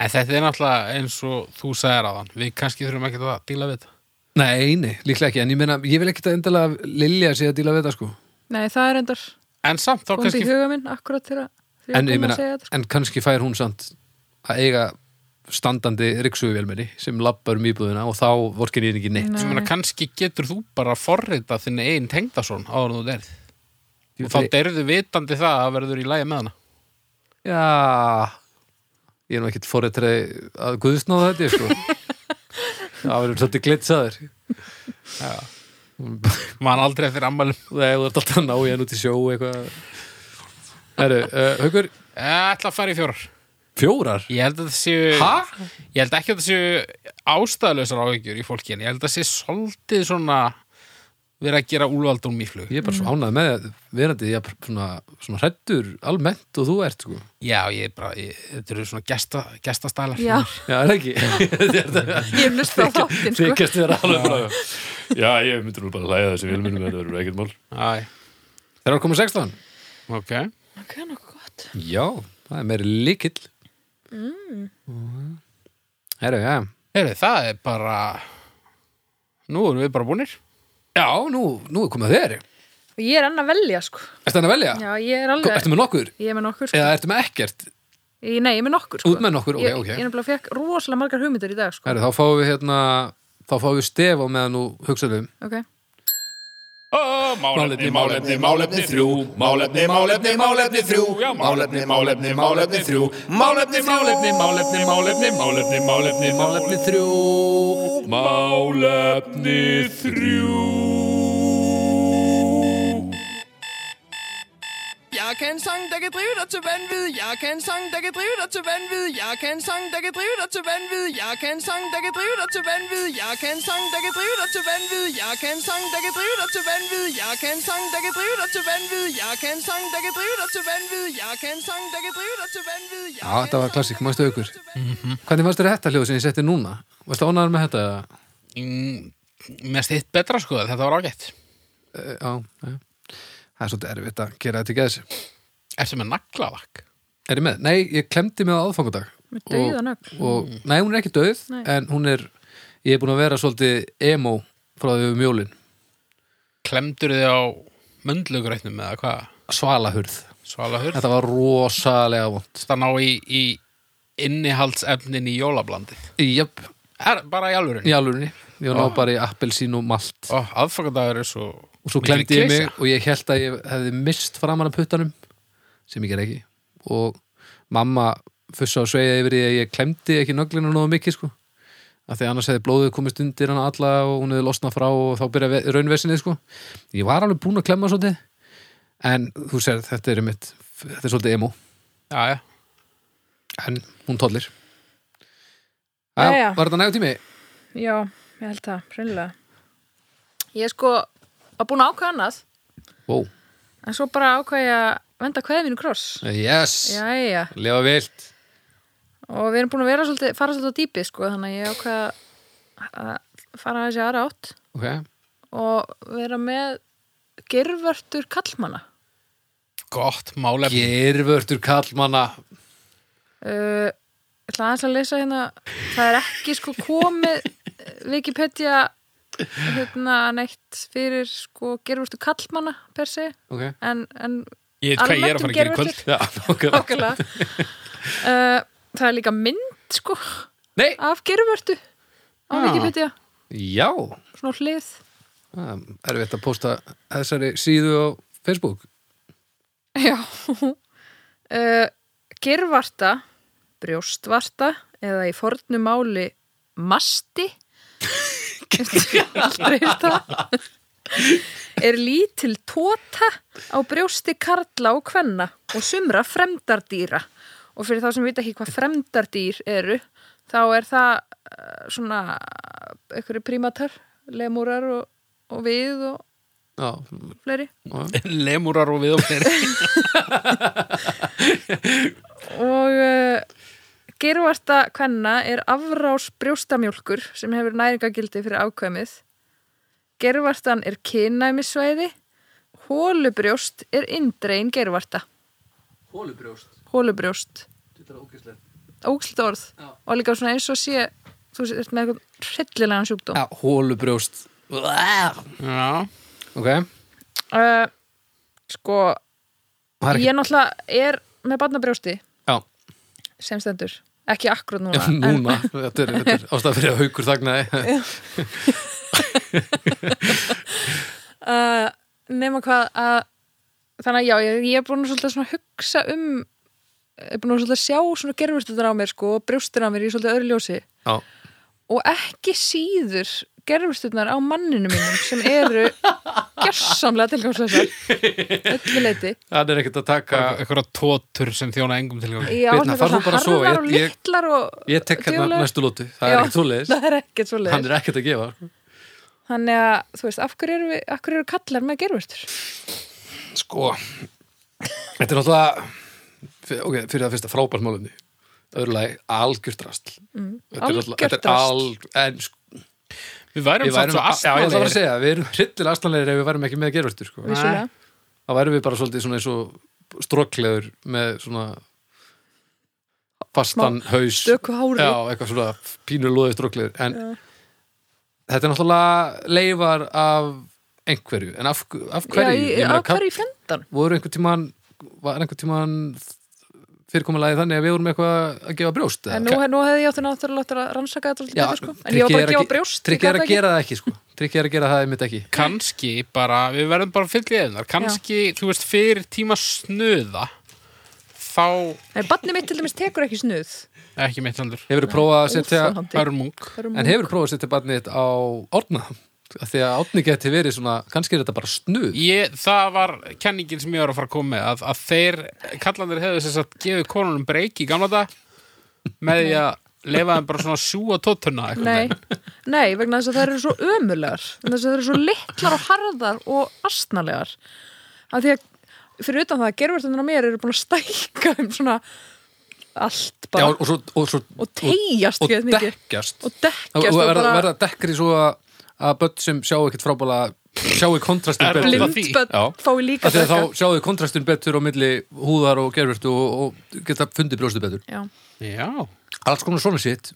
[SPEAKER 2] En þetta er náttúrulega eins og þú sagðir aðan Við kannski þurfum ekki að díla við þetta
[SPEAKER 1] Nei, nei, líklega ekki, en ég meina, ég vil ekkit að endalega Lilja sé að díla við þetta sko
[SPEAKER 3] Nei, það er endar
[SPEAKER 2] En samt, þá
[SPEAKER 3] komið í
[SPEAKER 2] kannski
[SPEAKER 3] huga minn akkurat þegar þegar
[SPEAKER 1] en,
[SPEAKER 3] ég
[SPEAKER 1] ég
[SPEAKER 3] kom
[SPEAKER 1] meina,
[SPEAKER 3] að segja þetta sko.
[SPEAKER 1] en kannski fær hún samt að eiga standandi ryksugjálminni sem lappar um íbúðina og þá vorkin ég ekki neitt
[SPEAKER 3] Nei.
[SPEAKER 2] Ég meina, kannski getur þú bara að forrita þinn einn tengdasón áður en þú derð
[SPEAKER 1] Ég-
[SPEAKER 2] og þá derðu vitandi það að verður í lægi með hana
[SPEAKER 1] Já Ég er nú ekkit fóretrið að guðsnáða þetta sko. Það verður svolítið glitsaður
[SPEAKER 2] mann aldrei eftir ammælum
[SPEAKER 1] Nei, þú ert alltaf að ná ég hann út í sjó eitthvað Heru, uh, Haukur,
[SPEAKER 2] Ég ætla að fara í fjórar
[SPEAKER 1] fjórar
[SPEAKER 2] ég held að það séu
[SPEAKER 1] Hæ?
[SPEAKER 2] ég held ekki að það séu ástæðlausar áhyggjur í fólki en ég held að það séu svolítið svona verið að gera úlvald úr mýflug
[SPEAKER 1] Ég er bara
[SPEAKER 4] Mm.
[SPEAKER 1] svo ánægð með að verandi ég er bara svona, svona hrættur almennt og þú ert sko
[SPEAKER 2] já, ég er bara, ég, þetta eru svona gesta, gestastælar
[SPEAKER 3] Já,
[SPEAKER 1] Já, er það ekki
[SPEAKER 3] ég hlusta á þáttinn sko.
[SPEAKER 1] Þykast þér alveg frá Þeir
[SPEAKER 4] Já, ég myndur nú bara að hlæða þessi vilminum þetta verður ekkert mál.
[SPEAKER 2] Æ,
[SPEAKER 1] eru að koma 16
[SPEAKER 2] ok
[SPEAKER 3] Ok, nokkuð gott
[SPEAKER 1] Já, það er meiri líkill mm.
[SPEAKER 4] Mm.
[SPEAKER 1] Heru, já
[SPEAKER 2] Heyri, það er bara nú erum við bara búnir
[SPEAKER 1] Já, nú, nú er komið að þér
[SPEAKER 3] Og ég er enn að velja sko
[SPEAKER 1] Ertu hann að velja?
[SPEAKER 3] Já, ég er
[SPEAKER 1] Sko,
[SPEAKER 3] alveg
[SPEAKER 1] Ertu með nokkur?
[SPEAKER 3] Ég er með nokkur sko
[SPEAKER 1] Eða ertu með ekkert?
[SPEAKER 3] ég, Nei, ég er með nokkur sko
[SPEAKER 1] Út með nokkur, ok,
[SPEAKER 3] Ég,
[SPEAKER 1] ok.
[SPEAKER 3] ég nefnilega fekk rosalega margar hugmyndir í dag sko
[SPEAKER 1] Heru, þá fáum við hérna þá fáum við stef á meðan nú um. hugsaðum
[SPEAKER 3] Ok
[SPEAKER 4] Ó, Málefni, málefni, málefni þrjú Málefni, málefni, málefni þrjú Já, Málefni, málefni, málefni þrjú Málefni, málefni, málefni, málefni Málefni, málefni, málefni þrjú Málefni þrjú
[SPEAKER 5] Jeg kan en sang, der kan drive dig til vanvid. Jeg kan en sang, der kan drive dig til vanvid. Jeg kan en sang, der kan drive dig til vanvid. Jeg kan en sang, der kan drive dig til vanvid. Jeg kan en sang, der kan drive dig til vanvid. Jeg kan en sang, der kan drive dig til vanvid. Jeg kan en sang, der kan drive dig til vanvid. Jeg kan en sang, der kan drive dig til vanvid. Jeg kan en sang, der kan drive dig til vanvid. Jeg
[SPEAKER 1] Já,
[SPEAKER 5] kan en
[SPEAKER 1] þetta var
[SPEAKER 5] sang,
[SPEAKER 1] klassik,
[SPEAKER 5] der
[SPEAKER 1] mástu
[SPEAKER 5] kan drive
[SPEAKER 1] aukur
[SPEAKER 5] dig til vanvid.
[SPEAKER 1] Hvernig fannst þér þetta hljóð sem ég setti núna? Varstu ánæður með þetta?
[SPEAKER 2] Mm, mér stitt betra sko þetta var ágætt
[SPEAKER 1] Eh, Já, já Það er svolítið erfitt að gera þetta í geðs
[SPEAKER 2] ertu með naglavakk
[SPEAKER 1] Er ég með? Nei, ég klemdi mig á aðfangadag
[SPEAKER 3] Með dauðan ögn.
[SPEAKER 1] og, Nei, hún er ekki döð
[SPEAKER 3] Nei.
[SPEAKER 1] En hún er, ég er búin að vera svolítið emo frá því við mjólin
[SPEAKER 2] klemdur þið á möndlugreitnum eða hvað
[SPEAKER 1] Svalahurð
[SPEAKER 2] svala hurð
[SPEAKER 1] Þetta var rosalega vond
[SPEAKER 2] það ná í, í innihaldsefnin í jólablandi
[SPEAKER 1] Jöp,
[SPEAKER 2] er, bara í alvörun
[SPEAKER 1] í alvörunni Ég var ná bara í appelsín og malt
[SPEAKER 2] Ó, aðfokkandagur er svo
[SPEAKER 1] og svo
[SPEAKER 2] mikil
[SPEAKER 1] glemdi ég mig
[SPEAKER 2] klisja.
[SPEAKER 1] og ég held að ég hefði mist framan að puttanum sem ég ger ekki og mamma fussa og sveigja yfir því að ég klemdi ekki nöglinu nógu mikið sko af því að annars hefði blóðið komist undir hana alla og hún hefði losnað frá og þá byrja raunversinni sko ég var alveg búin að klemma svolítið en þú sér þetta er mitt þetta er svolítið emo
[SPEAKER 2] Já, já.
[SPEAKER 1] en hún tollir
[SPEAKER 3] Jæja.
[SPEAKER 1] Var þetta nægum tími?
[SPEAKER 3] Já, ég held það, hreinlega Ég er sko að búin að ákveða annað
[SPEAKER 1] Wow.
[SPEAKER 3] En svo bara ákveða ég að venda kveði mínu kross
[SPEAKER 1] Yes,
[SPEAKER 3] Jæja
[SPEAKER 1] lifa vilt
[SPEAKER 3] Og við erum búin að vera svolítið, fara svolítið á dýpi sko Þannig að ég ákveða að fara þessi aðra átt
[SPEAKER 1] okay.
[SPEAKER 3] Og vera með gervörtur kallmanna
[SPEAKER 2] gott málefni
[SPEAKER 1] Gervörtur kallmanna
[SPEAKER 3] Uh, ég ætla aðeins að lesa hérna það er ekki sko komið eh, Wikipedia hérna neitt fyrir sko gerfurstu kallmanna per se
[SPEAKER 1] okay.
[SPEAKER 3] en, en
[SPEAKER 2] Ég veit hvað ég er að fara að gera í
[SPEAKER 3] Almennt um
[SPEAKER 2] kvöld
[SPEAKER 1] Já, okay.
[SPEAKER 3] ákveðlega uh, það er líka mynd sko
[SPEAKER 1] Nei,
[SPEAKER 3] af gerfurtu á
[SPEAKER 2] Ah.
[SPEAKER 3] Wikipedia
[SPEAKER 1] já
[SPEAKER 3] svona á hlið
[SPEAKER 1] Það er veit að posta þessari síðu á Facebook
[SPEAKER 3] Já uh, Gervarta Brjóstvarta eða í fornu máli Masti Aldrei heyrt það er lítil tóta á brjósti karla og kvenna og sumra fremdardýra og fyrir þá sem vita ekki hvað fremdardýr eru þá er það eh, svona einhverju prímatar, lemúrar og, og við og
[SPEAKER 1] Já,
[SPEAKER 3] fleiri
[SPEAKER 2] Lemúrar og viðofnir
[SPEAKER 3] og uh, gervarta kvenna er afrás brjóstamjólkur sem hefur næringagildi fyrir ákvæmið gervartan er kynæmisvæði hólubrjóst er indrein gervarta hólubrjóst hólubrjóst ógild orð og líka svona eins og sé þú þú ert með eitthvað hryllilegan sjúkdóm
[SPEAKER 1] ja, hólubrjóst
[SPEAKER 2] Já,
[SPEAKER 1] ok, það
[SPEAKER 3] uh, sko,
[SPEAKER 1] er
[SPEAKER 3] ég náttúrulega er með barnabrjósti
[SPEAKER 1] já,
[SPEAKER 3] sem stendur, ekki akkur núna,
[SPEAKER 1] já, núna þetta er, þetta er ástæða fyrir að haukur þagnaði
[SPEAKER 3] uh, nema hvað að þannig að já, ég, ég er búin að svolítið svona hugsa um ég er búin að svolítið að sjá svona gerfurstundar á mér sko og brjóstur á mér í svolítið öðru ljósi
[SPEAKER 1] já,
[SPEAKER 3] og ekki síður gerfurstundar á manninu mínum sem eru gersamlega tilgangslega ölluleiti
[SPEAKER 1] það er ekkert að taka
[SPEAKER 2] eitthvað tótur sem þjóna engum tilgang
[SPEAKER 3] Já,
[SPEAKER 1] Birna,
[SPEAKER 3] svona
[SPEAKER 1] farðu bara að sofa,
[SPEAKER 3] harðar og
[SPEAKER 1] ég- ég-
[SPEAKER 3] litlar og
[SPEAKER 1] ég tek hérna
[SPEAKER 3] djúlegar.
[SPEAKER 1] næstu lótu, það er
[SPEAKER 3] Já,
[SPEAKER 1] ekkert svoleiðis
[SPEAKER 3] Það er ekkert svo
[SPEAKER 1] hann er ekkert að gefa
[SPEAKER 3] Þannig að, þú veist, af hverju eru, við, af hverju eru kallar með gerfurtur?
[SPEAKER 1] sko þetta er náttúrulega fyr- ok, fyrir það fyrsta frábært málumni öðrulega algjört rastl mm,
[SPEAKER 3] algjört
[SPEAKER 1] alg, en sko
[SPEAKER 2] Við værum
[SPEAKER 1] við
[SPEAKER 2] samt
[SPEAKER 1] værum,
[SPEAKER 2] svo
[SPEAKER 1] já ég ætla bara að
[SPEAKER 2] astnalegir
[SPEAKER 1] segja, við erum hryllilega astanlegir ef við værum ekki með gerfurtur sko.
[SPEAKER 3] Vissulega.
[SPEAKER 1] þá værum við bara svolítið svona eins og strokleður með svona fastan haus
[SPEAKER 3] Stöku hári.
[SPEAKER 1] já, eitthvað svona pínur loðið strokleður en þetta er náttúrulega leifar af einhverju en af, af hverju,
[SPEAKER 3] Já,
[SPEAKER 1] Ég
[SPEAKER 3] í-
[SPEAKER 1] meina,
[SPEAKER 3] af hverju í fjandanum?
[SPEAKER 1] voru einhver tíman var einhver tíman fyrirkomulagi þannig að við vorum eitthvað að gefa brjóst eða?
[SPEAKER 3] En nú, nú hefði ég átt náttúrulega átt að rannsaka þetta alltaf betur sko. En
[SPEAKER 1] Tryggi
[SPEAKER 3] ég var bara
[SPEAKER 1] er
[SPEAKER 3] að gefa
[SPEAKER 1] ge-
[SPEAKER 3] brjóst
[SPEAKER 1] Tryggi er að gera það ekki sko Tryggi er að gera það einmitt ekki
[SPEAKER 2] Kanski bara, við verðum bara fyllir í þeirnar Kanski, þú veist, fyrir tíma snuða þá eh,
[SPEAKER 3] En barni mitt til dæmis tekur ekki snuð
[SPEAKER 2] ekki mitt landur
[SPEAKER 1] Hefur þú prófað að setja
[SPEAKER 3] Óþolandi.
[SPEAKER 2] Örmung
[SPEAKER 3] Það eru
[SPEAKER 1] En hefur þú prófað að setja barnið þitt á árna Af Því að árni geti verið svona Kannski er þetta bara snuð
[SPEAKER 2] Ég, það var kenningin sem ég var að fara að koma með að, að þeir, kallandir hefðu þess að gefið konunum breyk í gamla dag með því að leifa þeim bara svona að sjúa tóttuna
[SPEAKER 3] mú- Nei, nei, vegna þess að það eru svo ömulegar vegna þess að það eru svo litlar og harðar og astnalegar af því að fyrir utan það að gerfurtunir á mér eru búin að stækka um svona
[SPEAKER 1] Já,
[SPEAKER 3] allt bara
[SPEAKER 1] og svo, og, svo,
[SPEAKER 3] og teyjast
[SPEAKER 1] og
[SPEAKER 3] geðið mikið
[SPEAKER 1] dekkjast
[SPEAKER 3] og
[SPEAKER 1] Og
[SPEAKER 3] dekkjast
[SPEAKER 1] og
[SPEAKER 3] og,
[SPEAKER 1] verða,
[SPEAKER 3] bara
[SPEAKER 1] verða dekkri svo að- að börn sem sjá ekkert frábæla sjáu kontrastin
[SPEAKER 2] Er
[SPEAKER 1] betur
[SPEAKER 2] blind.
[SPEAKER 3] blindbönd
[SPEAKER 1] Já.
[SPEAKER 3] fái líka
[SPEAKER 1] Af Því að
[SPEAKER 3] dekka
[SPEAKER 1] þá sjáu kontrastin betur á milli húðar og gerfurtu og, og geta fundið brjóstu betur
[SPEAKER 3] Já,
[SPEAKER 2] Já,
[SPEAKER 1] Alls konar svona sitt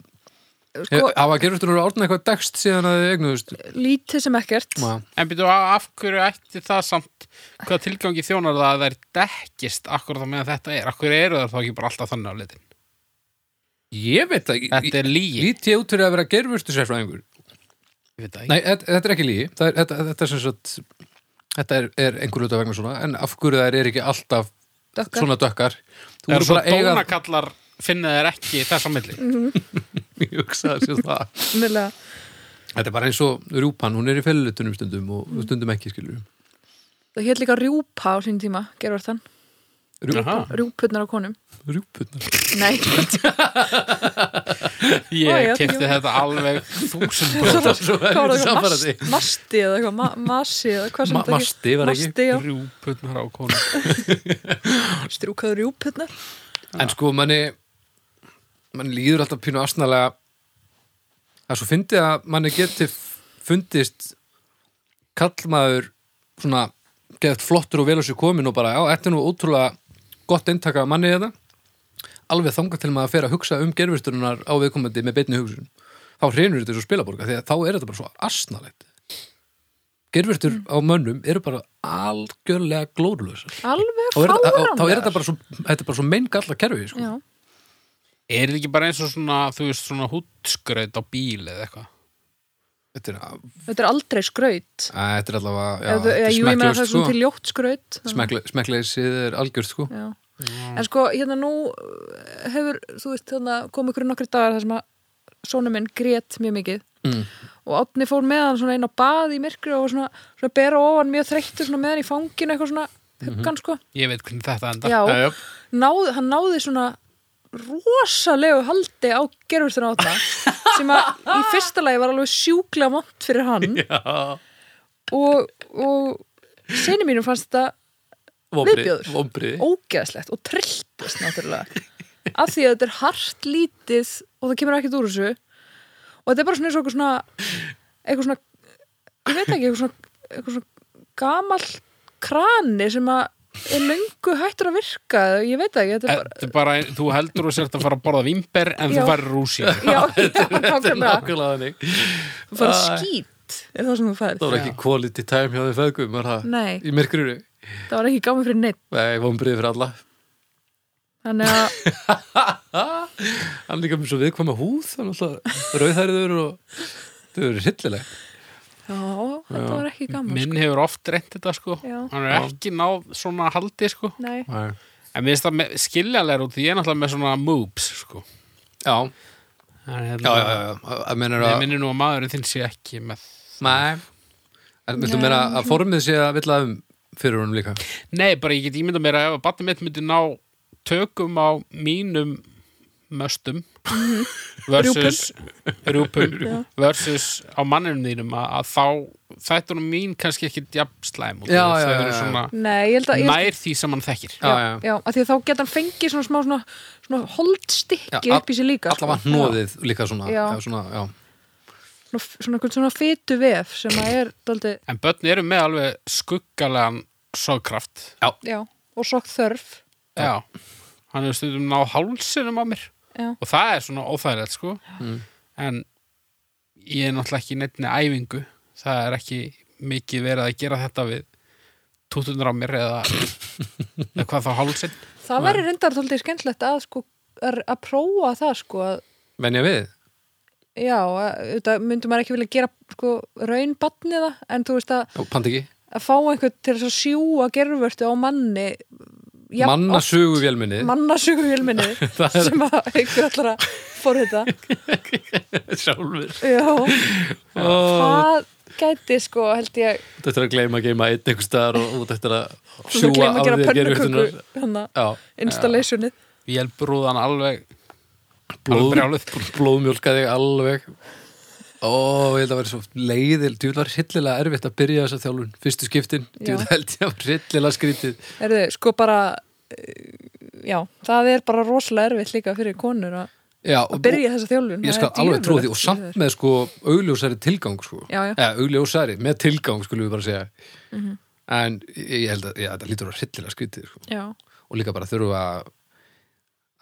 [SPEAKER 3] sko,
[SPEAKER 1] Hafa gerfurtur eru árna eitthvað dekst síðan að þið eignuðust
[SPEAKER 3] lítið sem ekkert
[SPEAKER 1] Ma,
[SPEAKER 2] en byrju á- af hverju ætti það samt hvað tilgangi þjónar það að þær dekkist akkur það meðan þetta er, akkur eru þær þá ekki bara alltaf þannig á litin
[SPEAKER 1] Ég veit það ekki
[SPEAKER 2] Þetta er lígi,
[SPEAKER 1] Lít ég út fyrir að vera gerfurtu sérfræðingur
[SPEAKER 2] ég veit það ekki
[SPEAKER 1] Nei, þetta, þetta er ekki lígi Það er, þetta, þetta er sem sagt Þetta er, er einhver hluta vegna svona En af hverju þær er ekki alltaf
[SPEAKER 3] Dökkar.
[SPEAKER 1] svona dökkar Þú
[SPEAKER 2] Er
[SPEAKER 1] eru
[SPEAKER 2] svo
[SPEAKER 1] bara að eiga
[SPEAKER 2] dónakallar finna þeir ekki þess að milli
[SPEAKER 3] Mm.
[SPEAKER 1] Ég hugsa að sé það.
[SPEAKER 3] Mögulega.
[SPEAKER 1] Þetta er bara eins og rjúpan Hún er í fellutunum stundum og stundum ekki skilur
[SPEAKER 3] Það hétt líka rjúpa á sín tíma, gervartan.
[SPEAKER 1] Rjúpan,
[SPEAKER 2] Aha,
[SPEAKER 3] Rjúputnar á konum.
[SPEAKER 1] rjúpunar
[SPEAKER 3] Nei, Ó,
[SPEAKER 2] Ég
[SPEAKER 3] já,
[SPEAKER 2] kefti
[SPEAKER 3] já.
[SPEAKER 2] þetta alveg þúsund bróð
[SPEAKER 1] Þetta er svo
[SPEAKER 3] hvað var það
[SPEAKER 1] erfitt
[SPEAKER 3] eitthvað
[SPEAKER 1] samfærandi.
[SPEAKER 3] mast- masti eða eitthvað, ma masi eða hvað sem
[SPEAKER 1] Ma-
[SPEAKER 3] þetta
[SPEAKER 1] masti var ekki.
[SPEAKER 3] Masti, já,
[SPEAKER 2] Rjúputnar á konu
[SPEAKER 3] strjúkaður rjúputnar.
[SPEAKER 1] En sko, manni manni líður alltaf pínu asnalega að svo fyndi að manni geti fundist kallmaður svona geðt flottur og vel á sér komin og bara, já, þetta er nú ótrúlega gott eintaka að manni þetta alveg þangað til maður að fer að hugsa um gerfisturunar á viðkomandi með beinni hugsun þá hreinur þetta svo spilaborga því að þá er þetta bara svo asnalegt gerfistur á mönnum eru bara algjörlega glórulösa
[SPEAKER 3] Alveg
[SPEAKER 1] þá er, þetta, þá,
[SPEAKER 3] fáranlegar.
[SPEAKER 1] þá er þetta bara svo, þetta er bara svo mein galla kerfi sko.
[SPEAKER 3] Já,
[SPEAKER 2] Er þetta ekki bara eins og svona, þú veist, svona hútskraut á bíl eða eitthvað?
[SPEAKER 1] þetta, er, að,
[SPEAKER 3] þetta er aldrei skraut.
[SPEAKER 1] þetta er allavega já,
[SPEAKER 3] Já,
[SPEAKER 1] þetta
[SPEAKER 3] já,
[SPEAKER 1] er
[SPEAKER 3] jú, ég meina það er
[SPEAKER 1] smekklaust,
[SPEAKER 3] svona til ljótt skraut.
[SPEAKER 1] sko. Smekkle- smekkleysið er algjört sko.
[SPEAKER 3] Já. En sko, hérna nú eh, hefur, þú veist, þannig að kom ykkur nokkri dagar þar sem að sonu minn grét mjög mikið.
[SPEAKER 1] Mm.
[SPEAKER 3] og Átni fór með hann svona inn á bað í myrkri og var svona, svona bera ofan mjög þreyttur svona með hann í fanginu eitthvað svona
[SPEAKER 1] Mhm.
[SPEAKER 3] huggan sko
[SPEAKER 2] Ég veit hvernig þetta endar.
[SPEAKER 3] Já.
[SPEAKER 2] Jæja.
[SPEAKER 3] náð, hann náði svona rosalegu haldi á gerfurstuna átna sem að í fyrsta lagi var alveg sjúklega mont fyrir hann Já. og, og sinni mínum fannst þetta Viðbjóður.
[SPEAKER 1] Vombriði.
[SPEAKER 3] ógeðslegt og trilltist náttúrulega af því að þetta er hart lítið og það kemur ekkert úr þessu og þetta er bara svona eins og eitthvað svona eitthvað svona, ég veit ekki eitthvað svona, eitthvað svona gamal krani sem að er löngu hættur að virka ég veit það ekki, þetta er bara
[SPEAKER 2] Þetta er bara, þú heldur og sért að fara að borða vimber en
[SPEAKER 3] Já.
[SPEAKER 2] þú færir rúsi
[SPEAKER 3] já, já, nákvæmlega,
[SPEAKER 1] Nákvæmlega þannig.
[SPEAKER 3] þú fara skít er það sem þú færð,
[SPEAKER 1] Það var ekki quality time hjá því feðgum, var það?
[SPEAKER 3] Nei.
[SPEAKER 1] Í myrkurinu?
[SPEAKER 3] það var ekki gámi fyrir neitt
[SPEAKER 1] Nei, vonbriði fyrir alla.
[SPEAKER 3] þannig að,
[SPEAKER 1] Hann líka með svo viðkvæma húð, hann alltaf rauðhæriður og þau eru hryllileg.
[SPEAKER 3] já, þetta var ekki gaman sko.
[SPEAKER 2] Minn hefur oft reynt þetta sko
[SPEAKER 3] Já.
[SPEAKER 2] Hann er ekki náð svona haldi sko
[SPEAKER 3] sko. nei,
[SPEAKER 2] En mér finnst það me- skiljanlegar út því ég er náttúrulega með svona moobs sko
[SPEAKER 1] Já,
[SPEAKER 2] Það er
[SPEAKER 1] já,
[SPEAKER 2] hérna-
[SPEAKER 1] já, já. Það meinar
[SPEAKER 2] Ég
[SPEAKER 1] að...
[SPEAKER 2] minnir nú að maðurinn þinn sé ekki með
[SPEAKER 1] Nei. En viltu meina að formið sé að vilja um fyrir honum líka?
[SPEAKER 2] Nei, bara ég get ímynda mér að ef að batni mitt myndi ná tökum á mínum möstum versus rjúpum versus á manninum þínum að, að þá þetta er nú mín kannski ekki jafnslæm og
[SPEAKER 1] Já,
[SPEAKER 2] það
[SPEAKER 1] já,
[SPEAKER 2] eru
[SPEAKER 1] já, já.
[SPEAKER 2] svona
[SPEAKER 3] nei, ég held að ég held,
[SPEAKER 2] nær því sem hann þekkir
[SPEAKER 1] Já, já.
[SPEAKER 3] já, að því að þá geta hann fengið svona smá svona, svona holdstykki
[SPEAKER 1] Já,
[SPEAKER 3] upp í sig líka
[SPEAKER 1] Alla var hnóðið líka svona.
[SPEAKER 3] Já.
[SPEAKER 1] Já. Svona, já.
[SPEAKER 3] Já, svona, svona, einhvern svona fytu vef sem að er daldi,
[SPEAKER 2] en börn eru með alveg skuggalegan sogkraft
[SPEAKER 3] já, og svo þörf
[SPEAKER 2] já, hann hefur stundum náð hálsinum á mér
[SPEAKER 3] Já.
[SPEAKER 2] og það er svona óþægilegt sko
[SPEAKER 1] Mm.
[SPEAKER 2] en ég er náttúrulega ekki í neinni æfingu það er ekki mikið verið að gera þetta við tútunar á mér eða eða hvað þá hálsin
[SPEAKER 3] það væri reyndar daldi skemmtlegt að sko að að prófa það sko að
[SPEAKER 1] Venja við?
[SPEAKER 3] Já, þetta myndi maður ekki vilja gera sko, raun batniða, en þú veist að,
[SPEAKER 1] Já, Pandi ekki?
[SPEAKER 3] að fá einhvern til þess að sjúa gerfurtu á manni
[SPEAKER 1] Já, Mannasugu vélminni.
[SPEAKER 3] mannasuguvélminni sem að einhver allar að forrita
[SPEAKER 1] Sjálfur.
[SPEAKER 3] Já, það gæti sko, held ég
[SPEAKER 1] Þú ættir að gleyma að geima einn einhver staðar og þú ættir að
[SPEAKER 3] þú
[SPEAKER 1] sjúga
[SPEAKER 3] gleyma
[SPEAKER 1] af
[SPEAKER 3] að gera
[SPEAKER 1] því að gera
[SPEAKER 3] pönnuköku
[SPEAKER 1] jötunar.
[SPEAKER 3] hana,
[SPEAKER 1] Já,
[SPEAKER 3] installationið
[SPEAKER 2] við helbrúðan alveg
[SPEAKER 1] blóð,
[SPEAKER 2] brjáluð.
[SPEAKER 1] blóðmjólka þig alveg Ó, ég held að vera svo leiðil Þú var hryllilega erfitt að byrja þessa þjálfun Fyrstu skiptin,
[SPEAKER 3] Já.
[SPEAKER 1] þú held ég að var hryllilega skrítið
[SPEAKER 3] Erðu, sko bara eh, já, það er bara rosalega erfitt líka fyrir konur að
[SPEAKER 1] Já,
[SPEAKER 3] að byrja hérna þessa þjálfun
[SPEAKER 1] Ég skal alveg trúa því og samt með sko augljósari tilgang sko
[SPEAKER 3] Já, Mhm. já.
[SPEAKER 1] Eða, augljósari með tilgang skulum við bara segja En ég ég held að, já, þetta lítur að vera hryllilega skrítið sko.
[SPEAKER 3] Já,
[SPEAKER 1] Og líka bara þurfa að-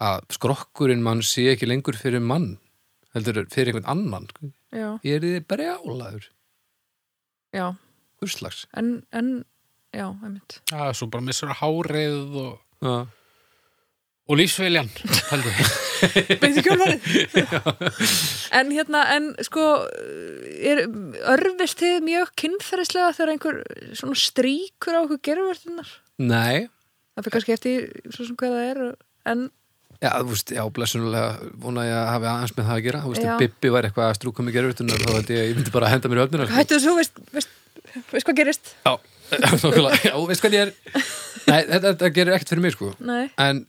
[SPEAKER 1] að skrokkurinn mann sé ekki lengur fyrir mann heldur fyrir einhvern annan sko.
[SPEAKER 3] já,
[SPEAKER 1] Ég er þið bara álaður,
[SPEAKER 3] já
[SPEAKER 1] urslags
[SPEAKER 3] en, en já, einmitt
[SPEAKER 2] já, svo bara missur hárið og,
[SPEAKER 1] Já
[SPEAKER 2] og lífsviljan heldur ég.
[SPEAKER 3] Beinti kjólfarið En hérna, en sko er örfist þið mjög kynferðislega þegar einhver svona stríkur á okkur gerurvörtunar
[SPEAKER 1] Nei,
[SPEAKER 3] Það fyrir kannski eftir í svo sem hvað það er og- en
[SPEAKER 1] já, þú veist, já, blessunulega vona ég að hafi aðeins með það að gera þú veist,
[SPEAKER 3] Já.
[SPEAKER 1] ef Bibbi væri eitthvað að strúka mig gerurvitunar þá veit ég, ég myndi bara að henda mér í sko. öfnir
[SPEAKER 3] hættu þessu, veist, veist, veist hvað gerist
[SPEAKER 1] Já, nákvæmlega, já, veist hvað ég er Nei, þetta, þetta gerir ekkert fyrir mig, sko
[SPEAKER 3] Nei,
[SPEAKER 1] en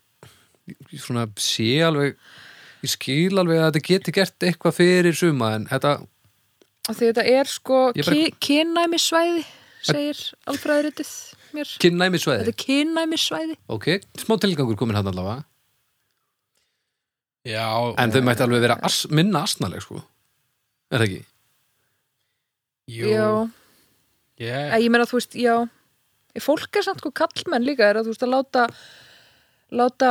[SPEAKER 1] ég svona sé alveg ég skil alveg að þetta geti gert eitthvað fyrir suma, en þetta
[SPEAKER 3] og því þetta er sko
[SPEAKER 1] Ég
[SPEAKER 3] bara...
[SPEAKER 1] bara-
[SPEAKER 3] kynnæmisvæði segir alfræðuritið mér Þetta
[SPEAKER 1] kynnæmisveði,
[SPEAKER 3] er kynnæmisvæði
[SPEAKER 1] ok, smá tilgangur komin hann allavega,
[SPEAKER 2] já,
[SPEAKER 1] en þau mætti alveg vera as, minna asnaleg, sko Er það ekki?
[SPEAKER 2] jú,
[SPEAKER 3] Já,
[SPEAKER 2] ég,
[SPEAKER 3] Æ, ég meina þú veist, já fólk er samt sko kallmenn líka er að þú veist að láta láta,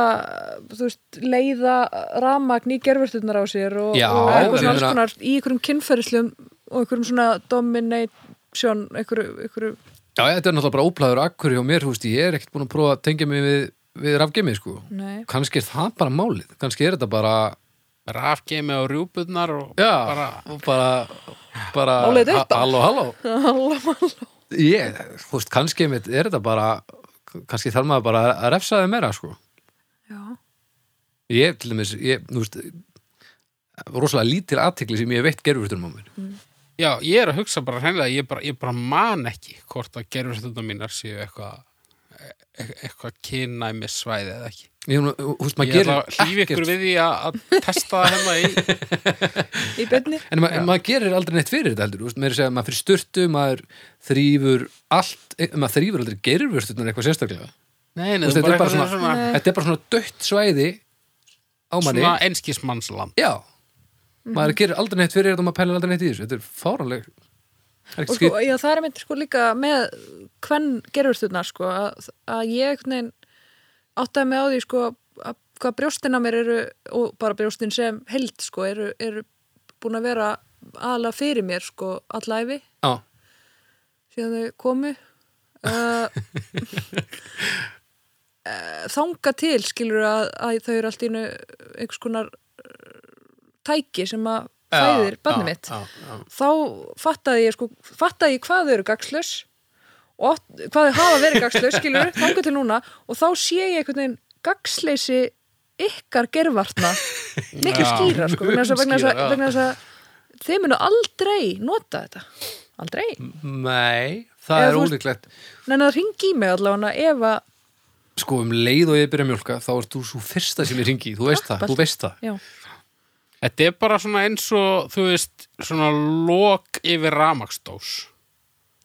[SPEAKER 3] þú veist, leiða ramagn í gerfurturnar á sér og,
[SPEAKER 1] Já,
[SPEAKER 3] og
[SPEAKER 1] ég
[SPEAKER 3] eitthvað svona alls
[SPEAKER 1] meina-
[SPEAKER 3] konar í einhverjum kynferðislum og einhverjum svona domination, einhverju, einhverju
[SPEAKER 1] Já, já, þetta er náttúrulega bara óplæður akkur hjá mér, þú veist, ég er ekkert búin að prófa að tengja mig við, við rafgemið, sko
[SPEAKER 3] nei,
[SPEAKER 1] kannski er það bara málið, kannski er þetta bara
[SPEAKER 2] rafgeimi og rjúpurnar og
[SPEAKER 1] já, bara,
[SPEAKER 2] bara
[SPEAKER 1] bara, bara
[SPEAKER 3] Málið er þetta.
[SPEAKER 1] ha- halló, halló
[SPEAKER 3] alla mann
[SPEAKER 1] ég, þú veist, kannski einmitt er þetta bara, kannski þarf maður bara að refsa þeim meira, sko
[SPEAKER 3] já,
[SPEAKER 1] ég, til dæmis, ég, þú veist rosalega lítil aðtekli sem ég hef veitt gerfurtunum á mér
[SPEAKER 2] Já, ég er að hugsa bara hreinlega, ég bara, ég bara man ekki hvort að gerur þetta mínar séu eitthvað e- e- eitthvað kynæmi svæði eða ekki.
[SPEAKER 1] ég, hún- þú veist,
[SPEAKER 2] Ég
[SPEAKER 1] maður
[SPEAKER 2] ætla
[SPEAKER 1] gerir
[SPEAKER 2] að hlýfi ykkur við því að að testa það hérna í
[SPEAKER 3] í byrni
[SPEAKER 1] en ma maður gerir aldrei neitt fyrir þetta heldur, þú veist, meira að segja maður fyrir sturtu, maður þrýfur allt, e- maður þrýfur aldrei gerfurtunum eitthvað sérstaklega
[SPEAKER 2] Nei, nei,
[SPEAKER 1] Þú veist,
[SPEAKER 2] bara
[SPEAKER 1] þetta er bara
[SPEAKER 2] eitthvað svona, svona,
[SPEAKER 3] Nei.
[SPEAKER 1] þetta er bara svona dött svæði á manni
[SPEAKER 2] svona einskismannsland.
[SPEAKER 1] Mhm. já, maður gerir aldrei neitt fyrir þetta og maður pælir aldrei neitt í þessu þetta er fáranleg er
[SPEAKER 3] og
[SPEAKER 1] ekki
[SPEAKER 3] sko,
[SPEAKER 1] skýrt
[SPEAKER 3] já, það er mitt sko líka með hvern gerurstuðnar sko að, að ég einhvern veginn áttaði mig á því sko að hvað brjóstin á mér eru og bara brjóstin sem held sko eru, eru búin að vera aðalega fyrir mér sko allæfi
[SPEAKER 1] Já,
[SPEAKER 3] síðan þau komu uh, þanga eh, til skilur að, að þau eru allt í einu einhvers konar eh, tæki sem að fæðir barnið mitt
[SPEAKER 1] já, já.
[SPEAKER 3] þá fattaði ég sko, fattaði ég hvað þau eru gagslaus og oft- hvað þau hafa verið gagslaus, skilur, þangu til núna og þá sé ég einhvern veginn gagsleysi ykkar gervartna miklu
[SPEAKER 2] Já.
[SPEAKER 3] skýra, sko, vegna þess að- vegna þess
[SPEAKER 1] Skýra, já.
[SPEAKER 3] að- vegna þess að þeir munu aldrei nota þetta, aldrei
[SPEAKER 1] Mm. Nei, það
[SPEAKER 3] Eða
[SPEAKER 1] er
[SPEAKER 3] þú veist-
[SPEAKER 1] ólíklegt
[SPEAKER 3] Nei, en það ringi í mig allavega ef að,
[SPEAKER 1] Sko, um leið og ég byrja að mjólka þá ert þú svo fyrsta sem ég ringi, í, þú veist það,
[SPEAKER 3] Takk,
[SPEAKER 1] þú veist það
[SPEAKER 3] já,
[SPEAKER 2] Þetta er bara svona eins og, þú veist, svona lok yfir ramaksdós.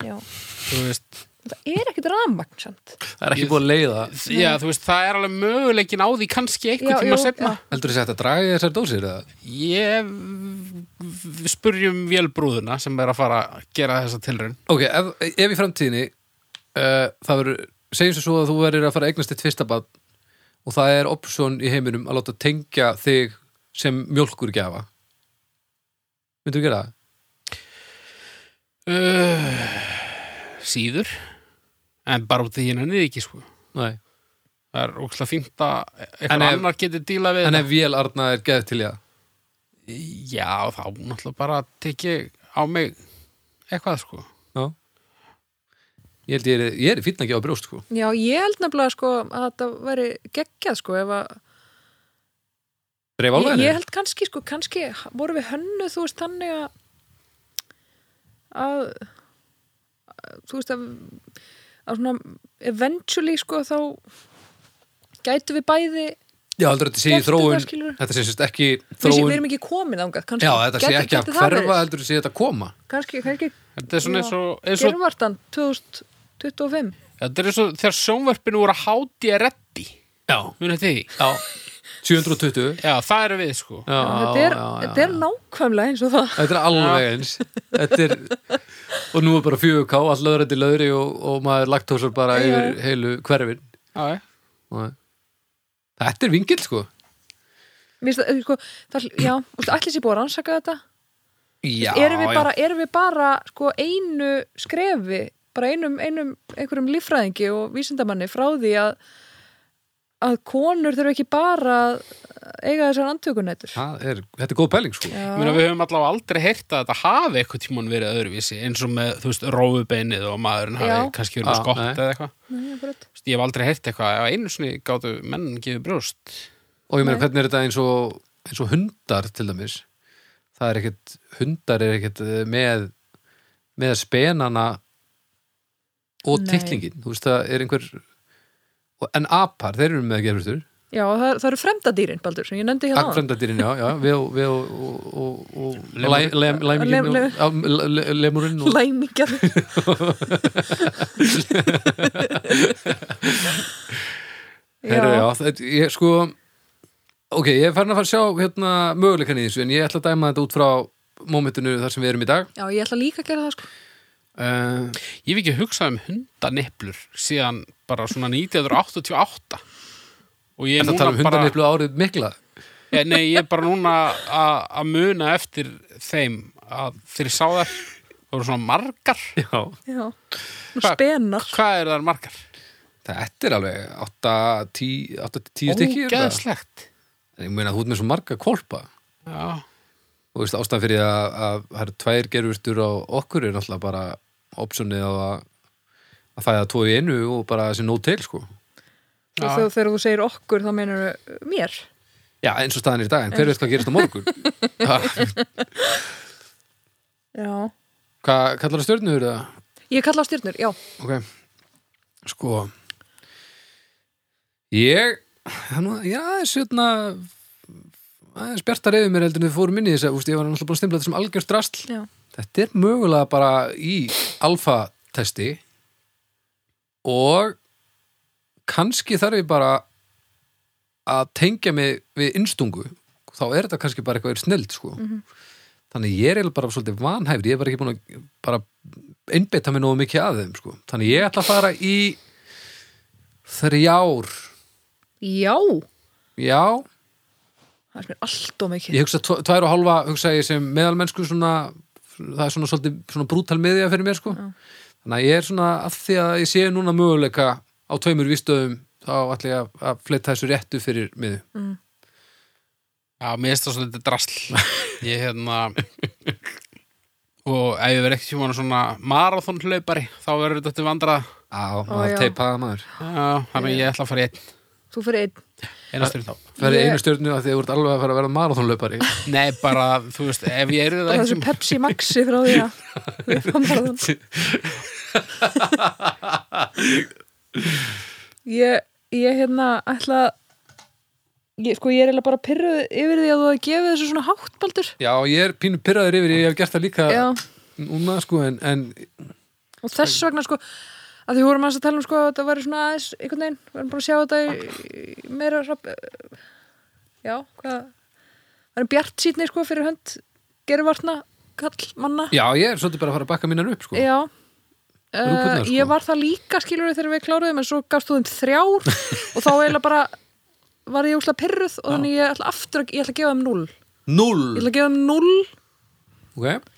[SPEAKER 3] já
[SPEAKER 2] Þú veist,
[SPEAKER 3] það er ekkit rafmagn samt
[SPEAKER 1] Það er ekki búið að leiða
[SPEAKER 2] já, þú veist, það er alveg möguleikin á því kannski
[SPEAKER 3] Já,
[SPEAKER 2] einhvern tíma
[SPEAKER 3] jú,
[SPEAKER 2] setna.
[SPEAKER 1] Heldur þess að þetta draga í þessar dósir eða?
[SPEAKER 2] Ég við spurjum um vélbrúðuna sem er að fara að gera þessa tilraun.
[SPEAKER 1] Ok, ef, ef í framtíðinni uh, það verður, segjum sem svo að þú verður að fara að eignast þitt fyrsta bann og það er option í heiminum að láta tengja þig sem mjólkur gefa Myndu gera það?
[SPEAKER 2] Uh, síður. En bara út af því henni ekki, sko.
[SPEAKER 1] Nei,
[SPEAKER 2] Það er ókslega fínt að
[SPEAKER 1] En
[SPEAKER 2] eitthvað
[SPEAKER 1] ef-
[SPEAKER 2] annar geti díla við.
[SPEAKER 1] en
[SPEAKER 2] þetta.
[SPEAKER 1] ef vél Arna er geð til ég
[SPEAKER 2] Já, þá náttúrulega bara tekið á mig eitthvað, sko.
[SPEAKER 1] Já Ég held ég er, ég er fínn að gefa brjóst sko
[SPEAKER 3] Já, ég held nefnilega sko að þetta væri geggjað sko ef að
[SPEAKER 1] Dreif
[SPEAKER 3] ég,
[SPEAKER 1] alveg
[SPEAKER 3] ég held kannski sko, kannski voru við hönnu þú veist þannig að að að- þú veist að að svona eventually sko þá gætu við bæði
[SPEAKER 1] Já, heldur þetta sé í
[SPEAKER 3] Gert
[SPEAKER 1] þróun
[SPEAKER 3] þetta, skilur.
[SPEAKER 1] Þetta sé sérst ekki
[SPEAKER 3] við sé- við
[SPEAKER 1] þróun
[SPEAKER 3] erum ekki komin ángað kannski,
[SPEAKER 1] Já, þetta sé
[SPEAKER 3] Gæti-
[SPEAKER 1] ekki að
[SPEAKER 3] gæti það
[SPEAKER 1] hverfa
[SPEAKER 3] verið?
[SPEAKER 1] heldur þetta sé þetta að koma
[SPEAKER 3] kannski, kannski
[SPEAKER 2] Þetta er svona
[SPEAKER 3] Já.
[SPEAKER 2] eins og, eins og,
[SPEAKER 3] gervartan 2025
[SPEAKER 2] þetta er eins og þegar sjónvarpinu voru að háti að reddi.
[SPEAKER 1] Já,
[SPEAKER 2] Munið þið? því?
[SPEAKER 1] já 720
[SPEAKER 2] Já, það eru við, sko.
[SPEAKER 1] Já,
[SPEAKER 3] Já, þetta, er,
[SPEAKER 1] já, já,
[SPEAKER 3] þetta er nákvæmlega eins og það
[SPEAKER 1] Þetta er alveg eins Þetta er, og nú er bara 4K all löðrætt í löðri og, og maður lagtósar bara
[SPEAKER 3] Já.
[SPEAKER 1] yfir heilu hverfin
[SPEAKER 2] Já, já.
[SPEAKER 1] Og- Þetta er vingil sko
[SPEAKER 3] Mér finnst það, sko, það, já, úst, allir sér búið að rannsaka þetta
[SPEAKER 1] Já,
[SPEAKER 3] erum við,
[SPEAKER 1] já.
[SPEAKER 3] bara, erum við bara sko, einu skrefi bara einum, einum einhverjum líffræðingi og vísindamanni frá því að að konur þurfa ekki bara að eiga þessar andtökunætur
[SPEAKER 1] Það er, þetta er góð pæling sko
[SPEAKER 3] Já.
[SPEAKER 2] Ég Meina, við höfum allavega aldrei heyrt að þetta hafi eitthvað tímann verið öðruvísi eins og með, þú veist, rófubeinið og maðurinn hafi
[SPEAKER 3] Já.
[SPEAKER 2] kannski verið með
[SPEAKER 1] Já,
[SPEAKER 2] skott
[SPEAKER 1] nei.
[SPEAKER 2] eða eitthvað. Þú
[SPEAKER 3] Nei, akkurat.
[SPEAKER 2] veist, Ég hef aldrei heyrt eitthvað, ef einu sinni gátu menn gefið brjóst.
[SPEAKER 1] Og ég meina, hvernig er þetta eins og, eins og hundar til dæmis? Það er ekkert, hundar er ekkert eh, með, með spenana og
[SPEAKER 3] Nei.
[SPEAKER 1] titlingin. Þú veist, það er einhver, og- en apar, þeir eru með gerfustur.
[SPEAKER 3] já, og það, það eru fremdadýrin, Baldur, sem ég nefndi hérna áðan.
[SPEAKER 1] Akfrendadýrin, já, já, við og, við og, og, og, og
[SPEAKER 2] Lemur-
[SPEAKER 1] læ- lem-
[SPEAKER 3] Lem-
[SPEAKER 1] læmingin
[SPEAKER 3] lem-
[SPEAKER 1] og- já, le- le- lemurinn og,
[SPEAKER 3] læmingjar
[SPEAKER 1] Heru, já, þetta, ég sko ok, ég er farin að fara að sjá hérna, möguleikan í þessu, en ég ætla að dæma þetta út frá mómentinu þar sem við erum í dag
[SPEAKER 3] já, ég ætla líka að gera það sko
[SPEAKER 1] uh,
[SPEAKER 2] Ég hef ekki hugsað um hundanipplur síðan bara svona 1988 og ég
[SPEAKER 1] Er það að
[SPEAKER 2] er núna
[SPEAKER 1] tala um
[SPEAKER 2] bara
[SPEAKER 1] hundaniplu árið mikla?
[SPEAKER 2] Eh, Nei, ég er bara núna að að muna eftir þeim að þeir sá þær það voru svona margar
[SPEAKER 1] Já.
[SPEAKER 3] já,
[SPEAKER 2] Hva-
[SPEAKER 3] spenar
[SPEAKER 2] Hvað eru þær margar?
[SPEAKER 1] Þetta er alveg 8-10 stykki er um það?
[SPEAKER 2] Ógeðslegt
[SPEAKER 1] En Ég meina þú ert með svo marga kolpa
[SPEAKER 2] Já,
[SPEAKER 1] og veist ástæðan fyrir að, að það eru tvær gerfurtur á okkur er náttúrulega bara optionið á að að fæða tvo í einu og bara þessi nóg til sko.
[SPEAKER 3] og þegar þegar þú segir okkur, þá meinar mér
[SPEAKER 1] Já, eins og staðan er í dag, en hver veist hvað gerist á morgun? Ha,
[SPEAKER 3] já,
[SPEAKER 1] Hvað kallar það stjörnur það?
[SPEAKER 3] ég kalla á styrnur, já
[SPEAKER 1] Ok, sko ég það er nú- já, sérna aðeins bjartar yfir mér heldur en við fórum inn í þess að ég var náttúrulega búin að stimpla þetta sem algjörst drasl
[SPEAKER 3] Já.
[SPEAKER 1] þetta er mögulega bara í alfa-testi og kannski þarf ég bara að tengja mig við innstungu þá er þetta kannski bara eitthvað snild sko. þannig ég er eiginlega bara svolítið vanhæfri, ég er bara ekki búin að bara einbytta mig nógu mikið að þeim sko. þannig ég ætla að fara í þrjár
[SPEAKER 3] Já,
[SPEAKER 1] já,
[SPEAKER 3] það er mér allt og mikið
[SPEAKER 1] ég hugsa tv- tvær og hálfa hugsa ég sem meðalmennsku svona, það er svona svolítið svona brútal miðja fyrir mér sko. þannig að ég er svona að því að ég sé núna möguleika á tveimur vístöðum þá ætla ég að, að flytta þessu réttu fyrir miðu
[SPEAKER 3] Mm.
[SPEAKER 2] Já, mér finnst það svolítið drasl Ég hérna Og ef ég verið ekki tjóman svona marathon hlaupari, þá verður þetta til vandra
[SPEAKER 1] á,
[SPEAKER 3] já.
[SPEAKER 1] maður teipaða maður
[SPEAKER 2] Já, þannig að ég ætla að fara í einn
[SPEAKER 3] Þú fyrir einn
[SPEAKER 2] einastur þá
[SPEAKER 1] Það er
[SPEAKER 3] Ég-
[SPEAKER 1] einu stjörnu að því að þú ert alveg að fara að vera marathónlaupari
[SPEAKER 2] Nei, bara, þú veist, ef ég er það
[SPEAKER 3] Bara
[SPEAKER 2] ekki
[SPEAKER 3] þessu Pepsi Maxi frá því að við framfæra þann Ég, ég hérna ætla að- ég, sko ég er eiginlega bara pyrruð yfir því að þú hafi gefið þessu svona hátt baldur
[SPEAKER 1] Já, ég er pínu pyrraður yfir, ég hef gert það líka
[SPEAKER 3] Já,
[SPEAKER 1] núna sko en, en
[SPEAKER 3] og þess vegna sko að því vorum aðeins að tala um sko að þetta væri svona aðeins einhvern veginn, við erum bara að sjá þetta í, í meira rapp já, hvað það er bjart sýtni sko fyrir hönd gervartna kall manna
[SPEAKER 1] já, ég er svolítið bara að fara að bakka mínar upp sko
[SPEAKER 3] Já
[SPEAKER 1] Rúpurnar,
[SPEAKER 3] Uh,
[SPEAKER 1] sko.
[SPEAKER 3] ég var það líka skilur þegar við kláruðum en svo gafst þú þeim þrjár og þá eiginlega bara var ég úslega pyrruð og þannig ég ætla aftur að, ég ætla að gefa þeim null ég
[SPEAKER 1] Null,
[SPEAKER 3] ætla að gefa þeim null
[SPEAKER 1] ok,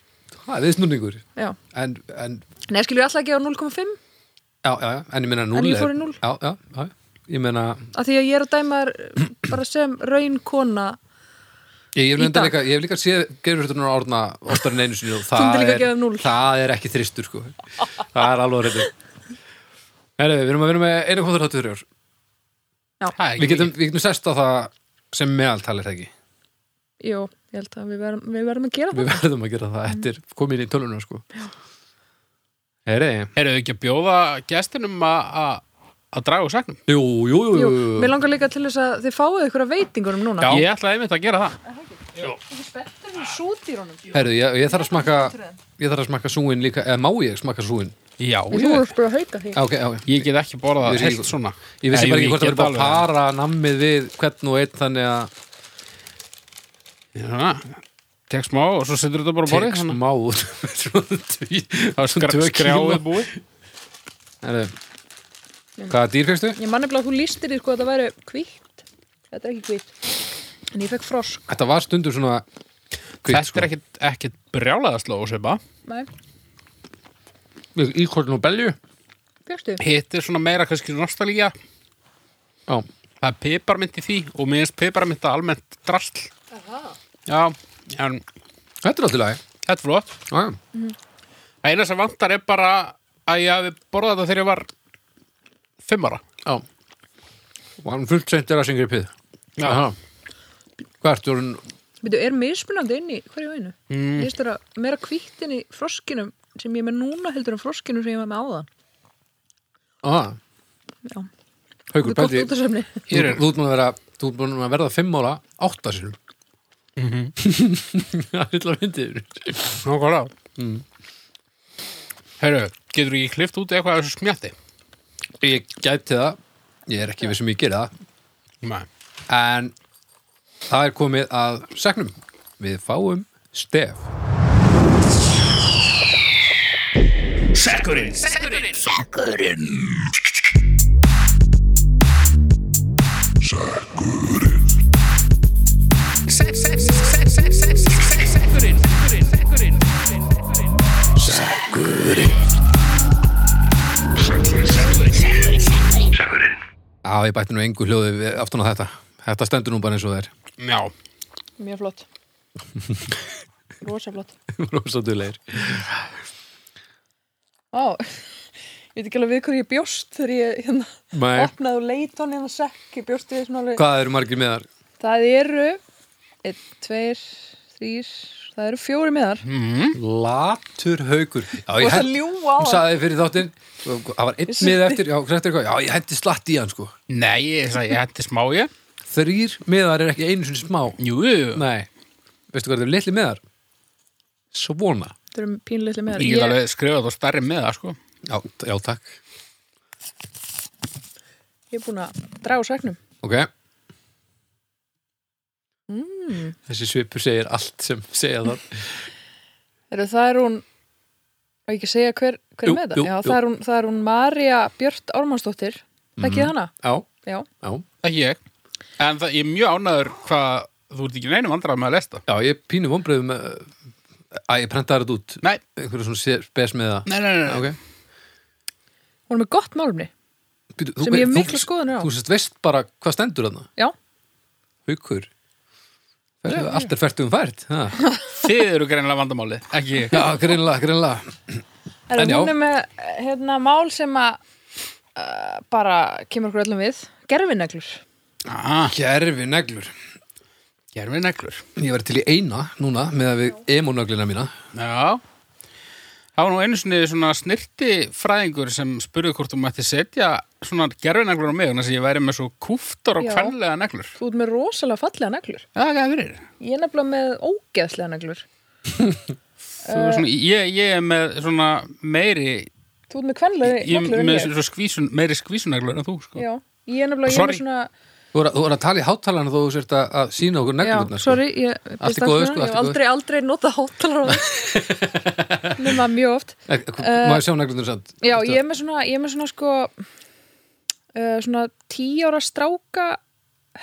[SPEAKER 1] það er viðsnúningur
[SPEAKER 3] já.
[SPEAKER 1] en, en,
[SPEAKER 3] nei skilur ég ætla að gefa 0,5
[SPEAKER 1] já, já, já, en ég meina null
[SPEAKER 3] En ég
[SPEAKER 1] er-
[SPEAKER 3] fór í núll.
[SPEAKER 1] Já, já, já, ég meina
[SPEAKER 3] af því að ég er að dæma þér bara sem raun kona
[SPEAKER 1] Ég, ég, hef
[SPEAKER 3] Í
[SPEAKER 1] reyndar
[SPEAKER 3] dag.
[SPEAKER 1] líka, ég hef líka séð gerurhjörtunar árna oftar en einu sinni og
[SPEAKER 3] myndir
[SPEAKER 1] það
[SPEAKER 3] líka
[SPEAKER 1] er,
[SPEAKER 3] gefa núll.
[SPEAKER 1] það er ekki þristur sko það er alveg reyndið Herri, við erum að vera með 1.33 ár
[SPEAKER 2] Hæ,
[SPEAKER 1] Við getum, við getum sest á það sem meðaltal er það ekki
[SPEAKER 3] jú, ég held að við verðum, við verðum að gera það
[SPEAKER 1] Við verðum að gera það eftir komin í tölunum sko Heyri
[SPEAKER 2] Eruðu ekki að bjóða gestinum að að- að draga úr saknum?
[SPEAKER 1] Jú, jú, jú,
[SPEAKER 3] jú,
[SPEAKER 1] jú,
[SPEAKER 3] mér langar líka til þess að þið fáið ykkur að veitingunum núna
[SPEAKER 2] Ég ætlaði einmitt að gera það
[SPEAKER 3] spettur við sútýrunum
[SPEAKER 1] Heyri, ég, ég þarf að smakka Ég þarf að smakka súin líka, eða má ég smakka súin
[SPEAKER 2] Já,
[SPEAKER 3] þú
[SPEAKER 2] ég,
[SPEAKER 3] ert bara að hauka því
[SPEAKER 1] Já, ok, já,
[SPEAKER 2] ég get ekki borðað
[SPEAKER 1] Ég-
[SPEAKER 2] heilt svona
[SPEAKER 1] Ég vissi
[SPEAKER 2] Já,
[SPEAKER 1] bara
[SPEAKER 2] jú,
[SPEAKER 1] ekki hvort
[SPEAKER 2] ég
[SPEAKER 1] það verið bara
[SPEAKER 2] get
[SPEAKER 1] að fara nammið við hvern og einn þannig að
[SPEAKER 2] alveg- Já, Tek smá og svo setur þetta bara á borðið
[SPEAKER 1] tek
[SPEAKER 2] þannig
[SPEAKER 1] smá út Svona tví-
[SPEAKER 2] að
[SPEAKER 1] svona
[SPEAKER 2] skra-
[SPEAKER 1] tvö kíló.
[SPEAKER 2] Skrjáið búið
[SPEAKER 1] Herri, Hvaða dýr fegstu?
[SPEAKER 3] ég manni bara að þú lístir því sko að það væri hvítt þetta er ekki hvítt en ég fekk frosk
[SPEAKER 1] Þetta var stundum svona sko. kvitt,
[SPEAKER 2] Þetta er ekkit, ekkit brjálaðast lóð svipa
[SPEAKER 3] nei,
[SPEAKER 1] ekki Íkorn og belju
[SPEAKER 3] fjöxtu
[SPEAKER 2] Hitt er svona meira kannski nostalía
[SPEAKER 1] Já,
[SPEAKER 2] Það er piparmynd í því og mér finnst piparmynd almennt drasl Já, en
[SPEAKER 1] þetta er alltaf lagi
[SPEAKER 2] þetta er flott
[SPEAKER 1] Já, já.
[SPEAKER 2] Það eina sem vantar er bara að ég hafi borðað þetta þegar ég var fimm ára
[SPEAKER 1] Já Og hann fullt sent er að syngja í pið
[SPEAKER 2] Já.
[SPEAKER 1] Hvað ertu orðin
[SPEAKER 3] Býtu, er mismunandi inn í hverju einu? Mm. Ég veist það meira hvítt inn í froskinum sem ég er með núna heldur en froskinum sem ég var með áðan.
[SPEAKER 1] ah,
[SPEAKER 3] Já,
[SPEAKER 1] Haukur
[SPEAKER 3] þú tótt
[SPEAKER 1] Beldi
[SPEAKER 3] út af semni.
[SPEAKER 1] Þú
[SPEAKER 2] Hér
[SPEAKER 1] þú
[SPEAKER 2] er-
[SPEAKER 1] ert búin að vera Þú ert búin að verða fimm ára átta sinum
[SPEAKER 2] Mhm.
[SPEAKER 1] Það er illa myndið
[SPEAKER 2] Nákvæmlega mm. Herru, getur ekki klift út eitthvað af þessu smjatti?
[SPEAKER 1] Ég gæti það Ég er ekki við sem ég geri það
[SPEAKER 2] Nei
[SPEAKER 1] En það er komið að segnum Við fáum stef
[SPEAKER 4] Sekkurinn
[SPEAKER 1] Já, ég bætti nú engu hljóði við aftan á þetta Þetta stendur nú bara eins og það er
[SPEAKER 2] Já,
[SPEAKER 3] Mjög flott. Rosa flott.
[SPEAKER 1] Rósa duðlegir
[SPEAKER 3] Á, ég veit ekki alveg við hverju ég bjóst þegar ég hérna,
[SPEAKER 1] Nei.
[SPEAKER 3] opnaði og leit hann hérna sekk, ég bjóst við svona alveg.
[SPEAKER 1] Hvað eru margir meðar?
[SPEAKER 3] Það eru, einn, tveir, þrýr, það eru fjóri meðar.
[SPEAKER 1] Hmm. Latur haukur Já,
[SPEAKER 3] Þú
[SPEAKER 1] ég
[SPEAKER 3] varst að
[SPEAKER 1] hent-
[SPEAKER 3] ljúga á
[SPEAKER 1] Hún
[SPEAKER 3] hann.
[SPEAKER 1] sagði fyrir þáttinn Það var einn
[SPEAKER 3] Ég
[SPEAKER 1] mið eftir Já, hrættir eitthvað Já, ég hendi slatt í hann sko
[SPEAKER 2] nei, ég, sagði, ég hætti smá ég
[SPEAKER 1] Þrýr miðar er ekki einu sinni smá
[SPEAKER 2] Jú, jú.
[SPEAKER 1] Nei Veistu hvað þetta er litli miðar? Svona
[SPEAKER 3] Það eru pínleitli meðar.
[SPEAKER 2] ég get alveg skrifað þá stærri með það sko
[SPEAKER 1] Já, t- já takk
[SPEAKER 3] ég er búin að draga úr sekknum.
[SPEAKER 1] Ok Þessi svipur segir allt sem segja það
[SPEAKER 3] Eru, það er hún og ekki að segja hver, hver
[SPEAKER 1] Jú,
[SPEAKER 3] er með
[SPEAKER 1] jú,
[SPEAKER 3] það? Já,
[SPEAKER 1] jú.
[SPEAKER 3] það er hún, það er hún Marja Björt Ármannsdóttir
[SPEAKER 1] Mhm.
[SPEAKER 3] Þekkið hana?
[SPEAKER 1] Já,
[SPEAKER 3] Já,
[SPEAKER 1] já
[SPEAKER 2] ekki ég en það, ég er mjög ánæður hvað þú ert ekki í neinum andrar með að lesta
[SPEAKER 1] Já, ég er pínu vonbröðum að ég prentaði þetta út
[SPEAKER 2] nei,
[SPEAKER 1] einhverju svona spes með það
[SPEAKER 2] nei, nei, nei, nei.
[SPEAKER 1] okay.
[SPEAKER 3] hún er með gott málumni
[SPEAKER 1] Býtu,
[SPEAKER 3] Sem ég hef mikla skoðanir á.
[SPEAKER 1] Þú sérst veist bara hvað stendur þarna
[SPEAKER 3] Já,
[SPEAKER 1] Haukur Ferðu, Allt er fært um fært ha.
[SPEAKER 2] þið eru greinlega vandamáli ekki ég
[SPEAKER 1] Já, greinlega, greinlega
[SPEAKER 3] er,
[SPEAKER 1] En já.
[SPEAKER 3] hún er með hérna, mál sem að uh, bara kemur okkur öllum við Gerfineglur
[SPEAKER 2] ah,
[SPEAKER 1] Gerfi neglur
[SPEAKER 2] ég er við neglur
[SPEAKER 1] Ég var til í eina núna með að við emónaglina mína
[SPEAKER 2] Já Það var nú einu sinni svona snirtifræðingur sem spurði hvort þú mætti setja svona gerfineglur á mig þannig að ég væri með svo kúftar og
[SPEAKER 3] Já.
[SPEAKER 2] kvenlega neglur
[SPEAKER 3] Þú ert með rosalega fallega neglur
[SPEAKER 2] Já, það er verið
[SPEAKER 3] Ég er nefnilega með ógeðslega neglur
[SPEAKER 2] Þú er svona, ég, ég er með svona meiri
[SPEAKER 3] Þú ert með kvenlega
[SPEAKER 2] ég er
[SPEAKER 3] neglur en
[SPEAKER 2] með
[SPEAKER 3] ég
[SPEAKER 2] svona skvísun, meiri skvísuneglur en þú sko.
[SPEAKER 3] Já, ég er nefnilega ég er
[SPEAKER 2] Sorry.
[SPEAKER 3] með svona
[SPEAKER 1] Þú voru, þú voru að tala í hátalana þó þú sért að, að sína okkur
[SPEAKER 3] Já,
[SPEAKER 1] neglurna
[SPEAKER 3] sorry, ég biðst
[SPEAKER 1] sko. Allt í góðu,
[SPEAKER 3] afsökunar,
[SPEAKER 1] sko,
[SPEAKER 3] Ég
[SPEAKER 1] allt í
[SPEAKER 3] hef aldrei, aldrei notað hátalara Nefna mjög oft
[SPEAKER 1] Eh, Má ég sjá neglurna samt?
[SPEAKER 3] Eh, Já,
[SPEAKER 1] Þetta-
[SPEAKER 3] ég er með svona, ég er með svona sko uh, svona tíu ára stráka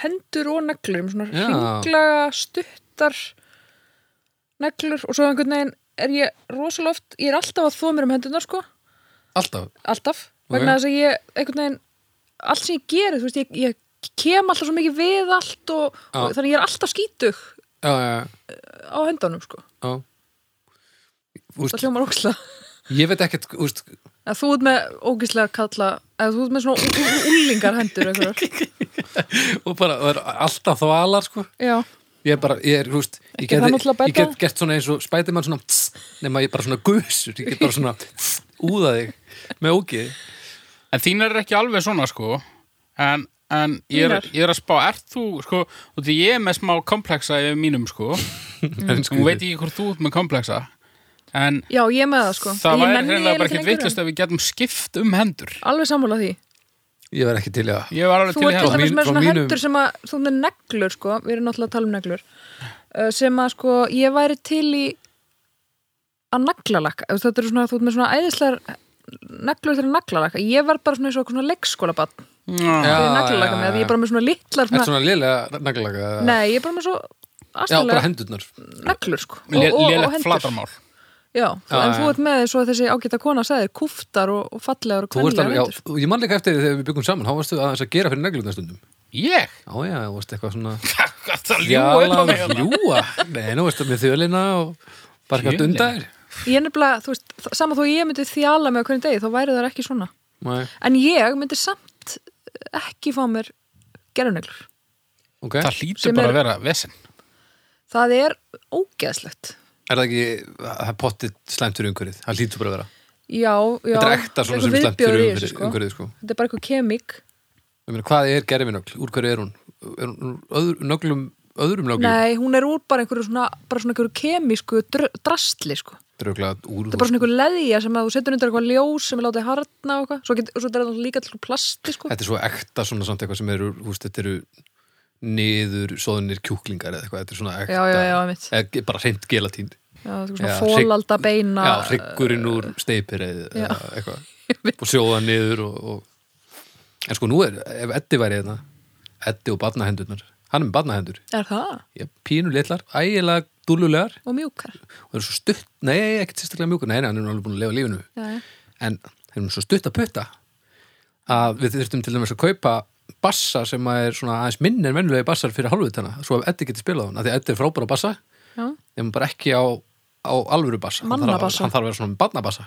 [SPEAKER 3] hendur og neglur um svona
[SPEAKER 1] Já.
[SPEAKER 3] hringlaga, stuttar neglur og svo einhvern veginn er ég rosalega oft ég er alltaf að þóa mér um hendunar sko
[SPEAKER 1] Alltaf
[SPEAKER 3] alltaf,
[SPEAKER 1] Ok.
[SPEAKER 3] vegna þess að ég einhvern veginn, allt sem ég geri þú veist, ég, ég kem alltaf svo mikið við allt og,
[SPEAKER 1] Já.
[SPEAKER 3] og þannig ég er alltaf skítug
[SPEAKER 1] Já, já, já,
[SPEAKER 3] á hendunum sko,
[SPEAKER 1] já.
[SPEAKER 3] það
[SPEAKER 1] Úst,
[SPEAKER 3] hljómar ógislega
[SPEAKER 1] Ég veit ekkert, úst,
[SPEAKER 3] að þú ert með ógislega kalla eða þú ert með svona úlingar hendur einhverjar,
[SPEAKER 1] og bara, það er alltaf þvalar sko
[SPEAKER 3] já
[SPEAKER 1] ég er bara, ég er, þú veist ég,
[SPEAKER 3] það
[SPEAKER 1] geti,
[SPEAKER 3] náttúrulega
[SPEAKER 1] ég
[SPEAKER 3] betra?
[SPEAKER 1] get gert svona eins og spætimann svona tss, nema ég bara svona gusur ég get bara svona tss, úða þig með ógið
[SPEAKER 2] En þínar er ekki alveg svona sko en, en ég, er,
[SPEAKER 3] Þínar?
[SPEAKER 2] ég er að spá ert þú, sko, og því ég er með smá komplexa yfir mínum sko og
[SPEAKER 3] Mm.
[SPEAKER 1] en sko,
[SPEAKER 2] veit ekki hvort þú ert með komplexa en
[SPEAKER 3] Já, ég er með það sko
[SPEAKER 2] Það
[SPEAKER 3] Ég
[SPEAKER 2] væri
[SPEAKER 3] nenni
[SPEAKER 2] hreinlega bara
[SPEAKER 3] ekki
[SPEAKER 2] ekkert
[SPEAKER 3] lengur
[SPEAKER 2] vittlust
[SPEAKER 3] en-
[SPEAKER 2] ef við getum skipt um hendur.
[SPEAKER 3] Alveg sammála því
[SPEAKER 1] ég verð ekki til í það
[SPEAKER 2] Ég var alveg
[SPEAKER 3] Þú
[SPEAKER 2] til í
[SPEAKER 3] ert til
[SPEAKER 2] það.
[SPEAKER 3] dæmis
[SPEAKER 1] Mín-
[SPEAKER 3] með
[SPEAKER 1] frá
[SPEAKER 3] svona
[SPEAKER 1] mínum-
[SPEAKER 3] hendur sem að Þú ert með neglur sko, við erum náttúrulega að tala um neglur uh, Sem að sko, ég væri til í Að naglalakka Ef Þetta er svona, þú ert með svona æðislegar Neglur til að naglalakka Ég var bara svona eins og svona leikskóla bann
[SPEAKER 2] Já,
[SPEAKER 3] Þegar naglalakka með, ég er bara með svona litlar
[SPEAKER 1] er
[SPEAKER 3] svona,
[SPEAKER 1] svona lélega naglaka
[SPEAKER 3] Nei, ég er bara með svo
[SPEAKER 1] já, bara
[SPEAKER 3] astalega
[SPEAKER 1] hendurnar
[SPEAKER 3] neglur sko
[SPEAKER 2] lé-
[SPEAKER 3] og- og- og
[SPEAKER 2] lélegt
[SPEAKER 3] hendur.
[SPEAKER 2] flatarmál.
[SPEAKER 3] Já,
[SPEAKER 1] Já,
[SPEAKER 3] en
[SPEAKER 1] já.
[SPEAKER 3] þú ert með svo þessi ágæta kona sagði, kúftar og, og fallegar og
[SPEAKER 1] Þú ert alveg,
[SPEAKER 3] kvenlegar hendur
[SPEAKER 1] já, og ég man líka eftir því þegar við byggum saman þá varstu aðeins að gera fyrir neglurnar stundum
[SPEAKER 2] Ég?
[SPEAKER 1] já, já, þú varst eitthvað svona
[SPEAKER 2] Það ljúa upp á
[SPEAKER 1] Jala,
[SPEAKER 2] mig. hérna.
[SPEAKER 1] ljúa, nei, nú varstu með þjölina og bara eitthvað
[SPEAKER 2] Þjölina?
[SPEAKER 1] dundar
[SPEAKER 3] Ég er nefnilega, þú veist, þ- sama þó ég myndi þjala með hvernig degi, þá væri það ekki svona.
[SPEAKER 1] nei,
[SPEAKER 3] En ég myndi samt ekki fá mér geruneglur.
[SPEAKER 1] ok
[SPEAKER 2] Það hlýtur
[SPEAKER 3] Sem
[SPEAKER 2] bara
[SPEAKER 3] er-
[SPEAKER 2] að vera vesen.
[SPEAKER 3] Það er ógeðslegt.
[SPEAKER 1] er það ekki, það er pottið slæmt fyrir umhverfið, það lítur bara að vera
[SPEAKER 3] Já, já.
[SPEAKER 1] þetta er ekta svona sem
[SPEAKER 3] einhver
[SPEAKER 1] er slæmt fyrir
[SPEAKER 3] viðbjóður í
[SPEAKER 1] umhverfið,
[SPEAKER 3] þessu, sko.
[SPEAKER 1] umhverfið sko.
[SPEAKER 3] Þetta er bara eitthvað kemik.
[SPEAKER 1] Ég meina, hvað er gerfinögl? Úr hverju er hún? Er hún úr öður, nöglum, öðrum nöglum?
[SPEAKER 3] Nei, hún er úr bara einhverju svona, bara svona einhverju kemísku dr drastli, sko.
[SPEAKER 1] Dröglega úr
[SPEAKER 3] Þetta er bara svona einhver leðja sem að þú setur undir eitthvað ljós sem er látið harna og eitthvað. Svo, get, svo þetta er það líka til plasti, sko.
[SPEAKER 1] Þetta er svo ekta svona samt eitthvað sem eru, húst, þetta eru niður soðunir kjúklingar eða eitthvað, þetta er svona ekta
[SPEAKER 3] Já, já, já, einmitt.
[SPEAKER 1] eða ge- bara hreint gelatín
[SPEAKER 3] Já, þetta er svona
[SPEAKER 1] Já, hrygg-
[SPEAKER 3] fólalda beina.
[SPEAKER 1] Já, hryggurinn úr steipir eða
[SPEAKER 3] eh, Já.
[SPEAKER 1] eða eitthvað og sjóða niður og, og en sko nú er, ef Eddi væri hérna Eddi og barnahendurnar, hann er með barnahendur
[SPEAKER 3] Er það?
[SPEAKER 1] ég, pínu litlar, ægilega dúlulegar
[SPEAKER 3] Og mjúkar.
[SPEAKER 1] og það eru svo stutt, nei, ekkert sérstaklega mjúkur nei, nei, hann er nú alveg búin að lifa lífinu
[SPEAKER 3] Já, já.
[SPEAKER 1] en þeir eru svo stutt að putta að við þurftum til dæmis að kaupa bassa sem að er svona aðeins minn en venjulegi bassar fyrir halvvitana svo að Eddi geti spilað á hann, af því að Eddi er frábæra bassa
[SPEAKER 3] Já.
[SPEAKER 1] en bara ekki á, á alvöru bassa Hann þarf að-
[SPEAKER 3] Mannabassa.
[SPEAKER 1] hann þarf að vera svona með barnabassa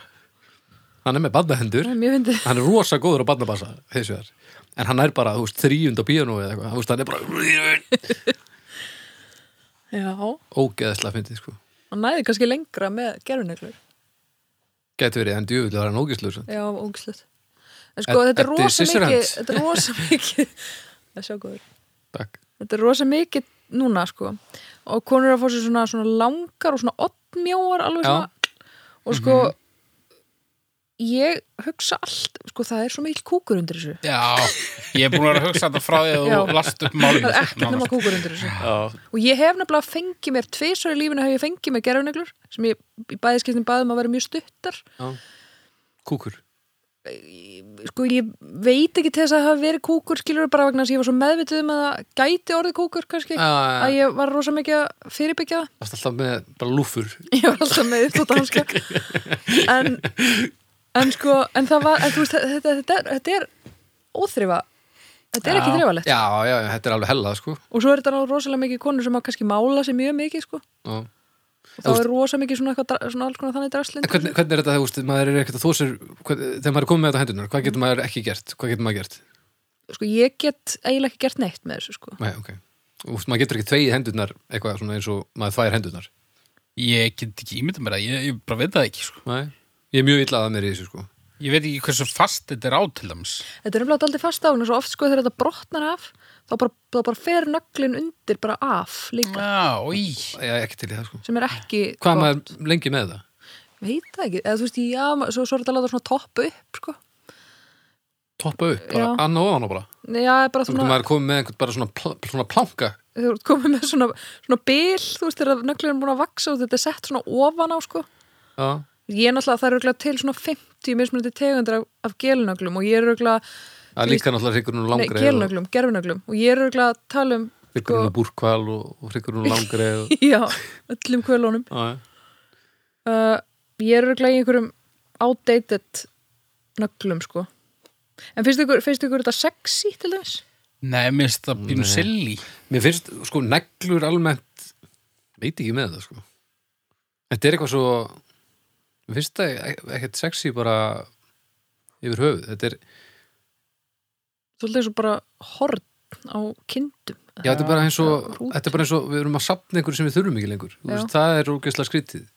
[SPEAKER 1] hann er með barnahendur
[SPEAKER 3] Það er mjög fyndið.
[SPEAKER 1] hann er rosa góður á barnabassa hins vegar en hann er bara, þú veist, þrýjund á bíónu eða eitthvað, þú veist, hann er bara
[SPEAKER 3] Já, og
[SPEAKER 1] ógeðslega fyndið, sko
[SPEAKER 3] næði kannski lengra með gerfineglur.
[SPEAKER 1] gæti verið, en djúvill var hann ógeðslega
[SPEAKER 3] Já, ógislegt. En sko,
[SPEAKER 1] Ed-
[SPEAKER 3] þetta er
[SPEAKER 1] Eddi
[SPEAKER 3] rosa
[SPEAKER 1] Scissorhands.
[SPEAKER 3] mikið, þetta er rosa mikið, það sjá góður,
[SPEAKER 1] Takk.
[SPEAKER 3] þetta er rosa mikið núna, sko, og konur eru að fá sér svona, svona langar og svona oddmjóar alveg
[SPEAKER 1] Já.
[SPEAKER 3] svona, og sko, ég hugsa allt, sko það er svo mikil kúkur undir þessu
[SPEAKER 2] Já, ég er búin að vera að hugsa þetta frá því að
[SPEAKER 3] Já.
[SPEAKER 2] þú last upp málinu
[SPEAKER 3] það er ekkert nema kúkur undir þessu og ég hef nefnilega fengið mér tvisar í lífinu hef ég fengið mér gerfuneglur sem ég í bæðiskiptin bæðum að vera mjög stuttar
[SPEAKER 1] Kúkur
[SPEAKER 3] sko ég veit ekki til þess að það hafa verið kúkur skilur bara vegna þess að ég var svo meðvitið um að það gæti orðið kúkur
[SPEAKER 1] Já, já,
[SPEAKER 3] kannski
[SPEAKER 1] já.
[SPEAKER 3] að ég var rosa mikið að fyrirbyggja það
[SPEAKER 1] Varst alltaf með bara lúfur
[SPEAKER 3] ég var alltaf með uppdótt hanska en, en sko en það var, en þú veist þetta, þetta, er, þetta er óþrifa þetta er ekki þrifalegt
[SPEAKER 1] Já, já, já, þetta er alveg hella, sko
[SPEAKER 3] og svo er þetta náttúrulega rosalega mikið konur sem að kannski mála sig mjög mikið sko
[SPEAKER 1] Já.
[SPEAKER 3] og þá er rosa mikið svona, eitthvað, dra- svona alls konar þannig
[SPEAKER 1] En
[SPEAKER 3] draslind
[SPEAKER 1] hvernig, hvernig er þetta, þú veist, maður er ekkert að þósir Þegar maður er komið með þetta á hendunar, hvað getur maður ekki gert? Hvað getur maður gert?
[SPEAKER 3] sko ég get eiginlega ekki gert neitt með þessu sko
[SPEAKER 1] Nei, ok Þú veist, maður getur ekki tveið hendunar eitthvað svona eins og maður þvær hendunar
[SPEAKER 2] Ég get ekki ímynda mér að ég, ég bara veit það ekki sko.
[SPEAKER 1] Nei, ég er mjög illa að mér í þessu, sko
[SPEAKER 2] Ég veit ekki hversu fast þetta er á til dæmis
[SPEAKER 3] þetta er umlega aldrei fast á hún og svo oft sko þegar þetta brotnar af þá bara, þá bara fer nöglin undir bara af líka
[SPEAKER 2] Já, í
[SPEAKER 1] Ég er ekki til í það, sko
[SPEAKER 3] sem er ekki
[SPEAKER 1] Hvað
[SPEAKER 3] gott.
[SPEAKER 1] maður lengi með það?
[SPEAKER 3] veit það ekki, eða þú veist, já, ma- svo, svo er þetta að láta svona topp upp, sko
[SPEAKER 1] Toppa upp, bara
[SPEAKER 3] Já.
[SPEAKER 1] annað ofan og bara
[SPEAKER 3] Nei, já, bara
[SPEAKER 1] Þannig
[SPEAKER 3] svona,
[SPEAKER 1] að maður er komið með einhvern bara svona, pl svona planka
[SPEAKER 3] þú ert komið með svona, svona bil, þú veist, þegar nöglurinn er búin að vaksa og þetta er sett svona ofan á, sko
[SPEAKER 1] Já,
[SPEAKER 3] ég er náttúrulega, það eru örugglega til svona 50 mismunandi tegundir af, af gelnöglum og ég er örugglega,
[SPEAKER 1] það er líka náttúrulega hryggur nú
[SPEAKER 3] nei,
[SPEAKER 1] langreið og
[SPEAKER 3] gelnöglum, gerfinöglum og ég er örugglega að tala um,
[SPEAKER 1] hryggur nú búrkval og, og hryggur nú langreið og,
[SPEAKER 3] já, öllum kvölunum
[SPEAKER 1] Já, já.
[SPEAKER 3] uh, ég er örugglega í einhverjum outdated nöglum, sko en finnst ykkur, finnst ykkur þetta sexy til þess?
[SPEAKER 2] Nei, mér finnst það pínu silly
[SPEAKER 1] Mér finnst, sko, neglur almennt veit ekki með það, sko Þetta er eitthvað svo mér finnst það ek- ekkert sexy bara yfir höfuð Þetta er,
[SPEAKER 3] Svolítið svo bara horn á kindum
[SPEAKER 1] já, þetta er bara eins og
[SPEAKER 3] Hrút.
[SPEAKER 1] þetta er bara eins og við erum að sapna einhverju sem við þurfum ekki lengur Þú
[SPEAKER 3] Já.
[SPEAKER 1] veist, það er ógeðslega skrítið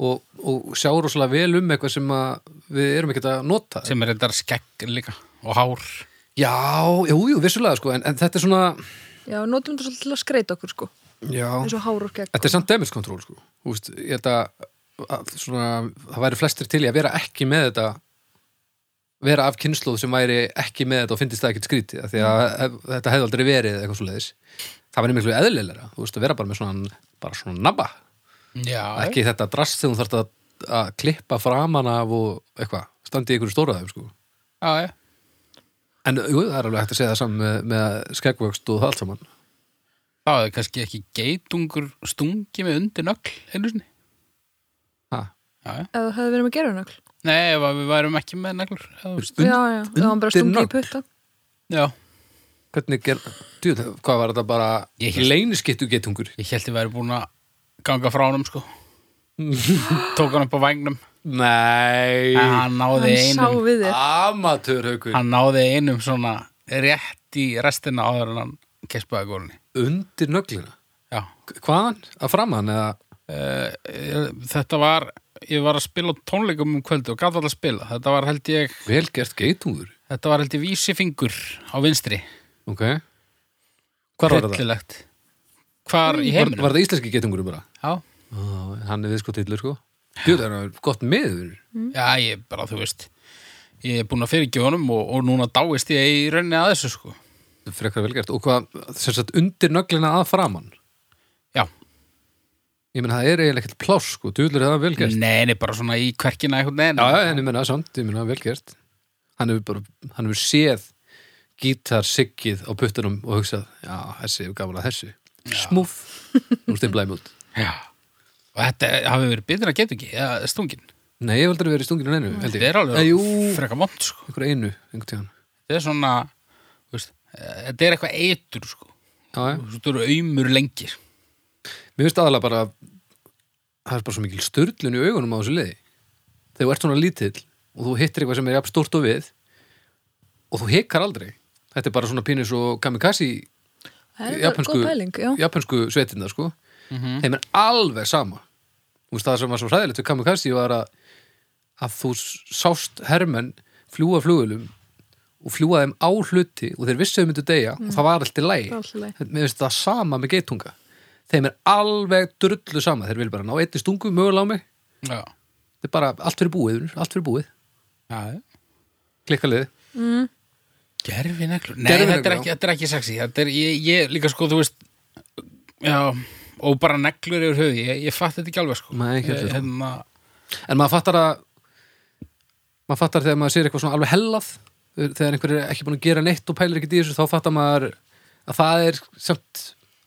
[SPEAKER 1] og, og sjá rosalega vel um eitthvað sem að við erum ekkert að nota
[SPEAKER 2] sem er þetta skegg líka og hár
[SPEAKER 1] Já, jú, jú, vissulega, sko, en, en þetta er svona
[SPEAKER 3] Já, notum þetta svolítið til að skreita okkur sko
[SPEAKER 1] Já,
[SPEAKER 3] eins og hár og gegn
[SPEAKER 1] Þetta er samt damage control sko. Þú veist, ég held að, að svona, það væri flestir til í að vera ekki með þetta vera af kynnslóð sem væri ekki með þetta og fyndist það ekkert skrítið af því að
[SPEAKER 3] Mm.
[SPEAKER 1] ef, þetta hefði aldrei verið eitthvað svo leiðis það væri miklu eðlilegra, þú veist að vera bara með svona, bara svona nabba
[SPEAKER 2] Já,
[SPEAKER 1] ekki þetta drast sem þú þarft að, að klippa framan af og eitthvað standi í ykkur stóraðum sko
[SPEAKER 2] já, já
[SPEAKER 1] en jú, það er alveg hægt að segja það saman með, með skeggvöxt og það allt saman
[SPEAKER 2] Þá er kannski ekki geitungur stungi með undir nögl einu sinni
[SPEAKER 1] ha,
[SPEAKER 2] Já, já
[SPEAKER 3] Ef það hefði verið með gerunögl
[SPEAKER 2] Nei, ef að við værum ekki með neglur eða þú veist.
[SPEAKER 1] Und-
[SPEAKER 3] Já, já, það var bara
[SPEAKER 1] undir
[SPEAKER 3] stungið í
[SPEAKER 1] nögl?
[SPEAKER 3] putta
[SPEAKER 2] Já,
[SPEAKER 1] hvernig ger, djú, hvað var þetta bara
[SPEAKER 2] Ég hélt-
[SPEAKER 1] leyniskittu getungur
[SPEAKER 2] ég held ég væri búin að ganga frá honum sko Tók hann upp á vægnum
[SPEAKER 1] Nei
[SPEAKER 2] En hann náði
[SPEAKER 3] Hann sá
[SPEAKER 2] einum
[SPEAKER 3] við þér
[SPEAKER 1] Amatörhaukur
[SPEAKER 2] Hann náði einum svona rétt í restina áður en hann kespaði gólunni
[SPEAKER 1] Undir nöglina
[SPEAKER 2] Já
[SPEAKER 1] Hvaðan? Að framan eða
[SPEAKER 2] Eh, eh, Þetta var, ég var að spila á tónleikum um kvöldu og gaf það að spila Þetta var held ég,
[SPEAKER 1] velgert geitungur
[SPEAKER 2] þetta var held ég vísifingur á vinstri
[SPEAKER 1] Ok Hvar var það?
[SPEAKER 2] Hryllilegt. Hvar í
[SPEAKER 1] Var,
[SPEAKER 2] heiminum?
[SPEAKER 1] var það íslenski geitungur bara?
[SPEAKER 2] Já,
[SPEAKER 1] Ó, hann er viðskotillur sko Jú, það er gott miður
[SPEAKER 2] Já, ég bara, þú veist Ég er búin að fyrirgjöf honum og, og núna dáist ég í rauninni að þessu, sko
[SPEAKER 1] Frekar velgert Og hvað, sem sagt, undir nöglina að framan
[SPEAKER 2] Já,
[SPEAKER 1] Ég meina, það er eiginlega ekkert pláss sko Djúlur er það velgert
[SPEAKER 2] neini, bara svona í kverkina einhvern veginn
[SPEAKER 1] Já, já, en ég meina, samt, ég meina, velgert Hann hefur bara, hann hefur séð gítar siggið á puttunum og hugsað, já, þessi, hefur gaman að þessu Smúf, nú stimplæmi út
[SPEAKER 2] já. Og þetta hafi verið betur að geta ekki, eða stungin
[SPEAKER 1] Nei, ég hef aldrei verið stungin á neinu, held ég.
[SPEAKER 2] Þetta er
[SPEAKER 1] Nei,
[SPEAKER 2] alveg
[SPEAKER 1] jú,
[SPEAKER 2] freka vond, sko
[SPEAKER 1] einhver einu, einhver tíðan.
[SPEAKER 2] Þetta er svona, þú veist eh, Þetta er eitthvað eitur, sko
[SPEAKER 1] Já, já.
[SPEAKER 2] Þetta eru aumur lengi
[SPEAKER 1] Mér finnst aðalega bara, það er bara svo mikil störlun í augunum á þessu liði. Þegar þú ert svona lítill og þú hittir eitthvað sem er jafn stórt og við og þú hikar aldrei. Þetta er bara svona pínu svo kamikasi
[SPEAKER 3] Það er bara
[SPEAKER 1] japansku,
[SPEAKER 3] góð pæling, já
[SPEAKER 1] japansku sveitinda, sko. Þeim er alveg sama. Þú veist það sem var svo hræðilegt við kamikasi var að, að þú sást hermenn fljúa flugulum og fljúa þeim á hluti og þeir vissu þau myndu deyja og það var allt í lægi.
[SPEAKER 3] Mm. Allt í lagi.
[SPEAKER 1] Mér finnst það sama með geitunga. Þeim er alveg drullu sama. Þeir vil bara ná einni stungu mögulega á mig.
[SPEAKER 2] Já,
[SPEAKER 1] Þetta er bara allt fyrir búið, vinur, allt fyrir búið.
[SPEAKER 2] Já,
[SPEAKER 1] klikkalið
[SPEAKER 2] gerfi neglur Nei,
[SPEAKER 1] Gervineglur,
[SPEAKER 2] þetta, er
[SPEAKER 1] já.
[SPEAKER 2] ekki, þetta er ekki sexy Þetta er, ég, ég líka sko, þú veist Já, og bara neglur yfir höfu Ég, ég fatt þetta ekki alveg sko
[SPEAKER 1] Nei, ekki
[SPEAKER 2] Ég-
[SPEAKER 1] alveg.
[SPEAKER 2] hérna,
[SPEAKER 1] en maður fattar að maður fattar þegar maður sér eitthvað svona alveg hellað þegar einhver er ekki búin að gera neitt og pælir ekki í þessu þá fattar maður að það er samt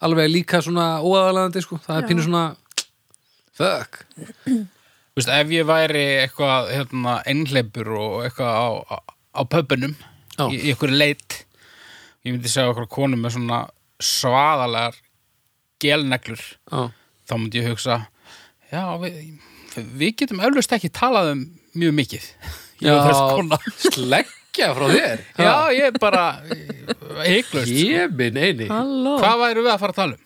[SPEAKER 1] alveg líka svona óaðalagandi sko, það er pínu svona fuck
[SPEAKER 2] Þú veist, ef ég væri eitthvað hérna, einhleipur og eitthvað á, á, á pöpunum
[SPEAKER 1] Já.
[SPEAKER 2] í, í eitthvað leit ég myndi segja okkur konu með svona svaðalegar gelneglur
[SPEAKER 1] Já.
[SPEAKER 2] þá myndi ég hugsa já, við, við getum öflust ekki talað um mjög mikið Ég var þessi kona.
[SPEAKER 1] sleggja frá þér
[SPEAKER 2] já, ég er bara heiklaust
[SPEAKER 1] ég minn eini
[SPEAKER 3] Halló,
[SPEAKER 2] hvað væru við að fara að tala um?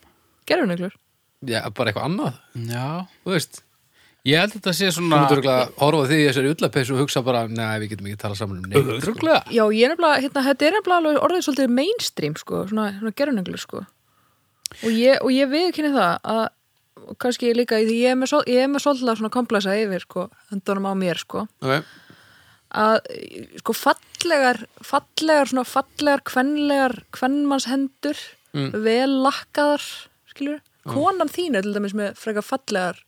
[SPEAKER 3] gerfunöglur
[SPEAKER 1] já, bara eitthvað annað,
[SPEAKER 2] já,
[SPEAKER 1] þú veist
[SPEAKER 2] ég held að þetta sé
[SPEAKER 1] þú
[SPEAKER 2] svona
[SPEAKER 1] myndur ekki að horfa á því í þessari ullapessu og hugsa bara, nei, við getum ekki tala saman um neitt
[SPEAKER 2] Örugglega.
[SPEAKER 3] Já, ég er nefnilega, hérna, þetta er nefnilega alveg orðið svolítið mainstream, sko, svona, svona gerfunöglur, sko og ég, og ég viðkynni það að, og kannski líka í því ég er með, svol- ég er með svolítið svona komplæsa yfir, sko, höndunum á mér, sko
[SPEAKER 1] okay.
[SPEAKER 3] að, sko, fallegar fallegar, svona fallegar, kvenlegar kvenmannshendur, vel lakkaðar, skilur konan þín er til dæmis með freka fallegar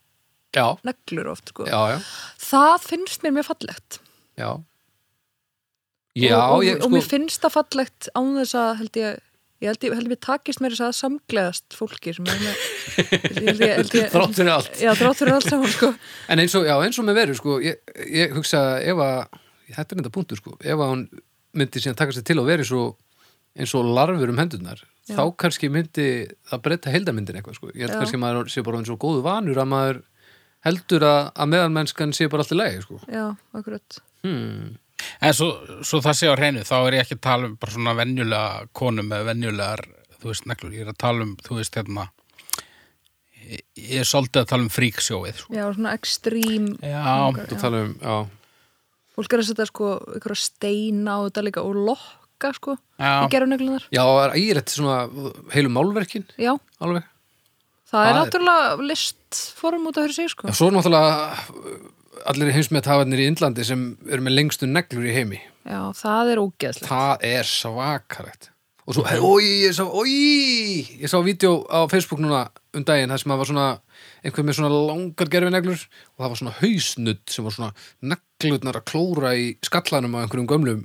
[SPEAKER 1] já,
[SPEAKER 3] neglur oft, sko
[SPEAKER 1] já, já
[SPEAKER 3] það finnst mér mjög fallegt
[SPEAKER 1] já, já
[SPEAKER 3] og, og,
[SPEAKER 1] ég,
[SPEAKER 3] og mér
[SPEAKER 1] sko,
[SPEAKER 3] finnst það fallegt án þess að held ég ég held ég, held ég takist mér þess að samgleðast fólki sem er með ég held ég, held ég, Eh,
[SPEAKER 1] þrátt fyrir allt
[SPEAKER 3] já, þrátt fyrir allt saman sko
[SPEAKER 1] En eins og, já, eins og með veru, sko, ég, ég hugsa að ef að, þetta er enda punktur, sko, ef að hún myndi síðan taka sig til að vera eins og, eins og larfur um hendurnar, þá kannski myndi það breyta heildamyndin eitthvað, sko. Ég held
[SPEAKER 3] Já.
[SPEAKER 1] kannski að maður sé bara eins og góðu vanur að maður heldur að, að meðalmennskan sé bara allt í lagi, sko.
[SPEAKER 3] já, akkurat
[SPEAKER 2] En svo, svo það sé á hreinu, þá er ég ekki að tala um bara svona venjulega konum með venjulegar, þú veist, neglur. Ég er að tala um, þú veist, hérna, ég, ég er svolítið að tala um fríksjóið, sko.
[SPEAKER 3] já, svona ekstrím
[SPEAKER 1] Eh.
[SPEAKER 2] Já,
[SPEAKER 1] Þú tala um, já,
[SPEAKER 3] fólk er að setja sko einhverja steina á þetta líka og lokka sko
[SPEAKER 2] Já.
[SPEAKER 3] í geruneglunar
[SPEAKER 1] já, það er ægilegt svona heilu málverkin,
[SPEAKER 3] já,
[SPEAKER 1] alveg.
[SPEAKER 3] það
[SPEAKER 1] Það
[SPEAKER 3] er
[SPEAKER 1] er-
[SPEAKER 3] náttúrulega listform út af hverju sig sko
[SPEAKER 1] Já, svo er náttúrulega eh, allir heimsmetafarnir í Indlandi sem eru með lengstu neglur í heimi.
[SPEAKER 3] já, það er ógeðslegt
[SPEAKER 1] Það er svakarlegt Og svo, oi, ég sá, oi Ég sá vídeo á Facebook núna um daginn þar sem það var svona, einhver með svona langar gerfi neglur og það var svona hausnudd sem var svona neglutnar að klóra í skallanum á einhverjum gömlum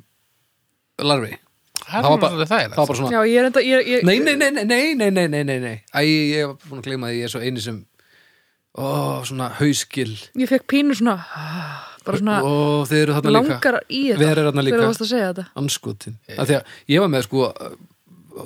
[SPEAKER 1] larfi
[SPEAKER 2] það er bara það er
[SPEAKER 1] það var bara
[SPEAKER 3] já,
[SPEAKER 1] svona,
[SPEAKER 3] ég er enda ég, ég,
[SPEAKER 1] nei, nei, nei, nei, nei, nei, nei, nei, nei, nei Æ, ég var búin að gleyma því, ég er svo eini sem Ó, svona hauskil
[SPEAKER 3] ég fekk pínu svona bara svona
[SPEAKER 1] Ó, þið eru þarna líka
[SPEAKER 3] langar í þetta
[SPEAKER 1] Vera er þarna líka.
[SPEAKER 3] þegar þú varst að segja þetta
[SPEAKER 1] anskotin af því að ég var með sko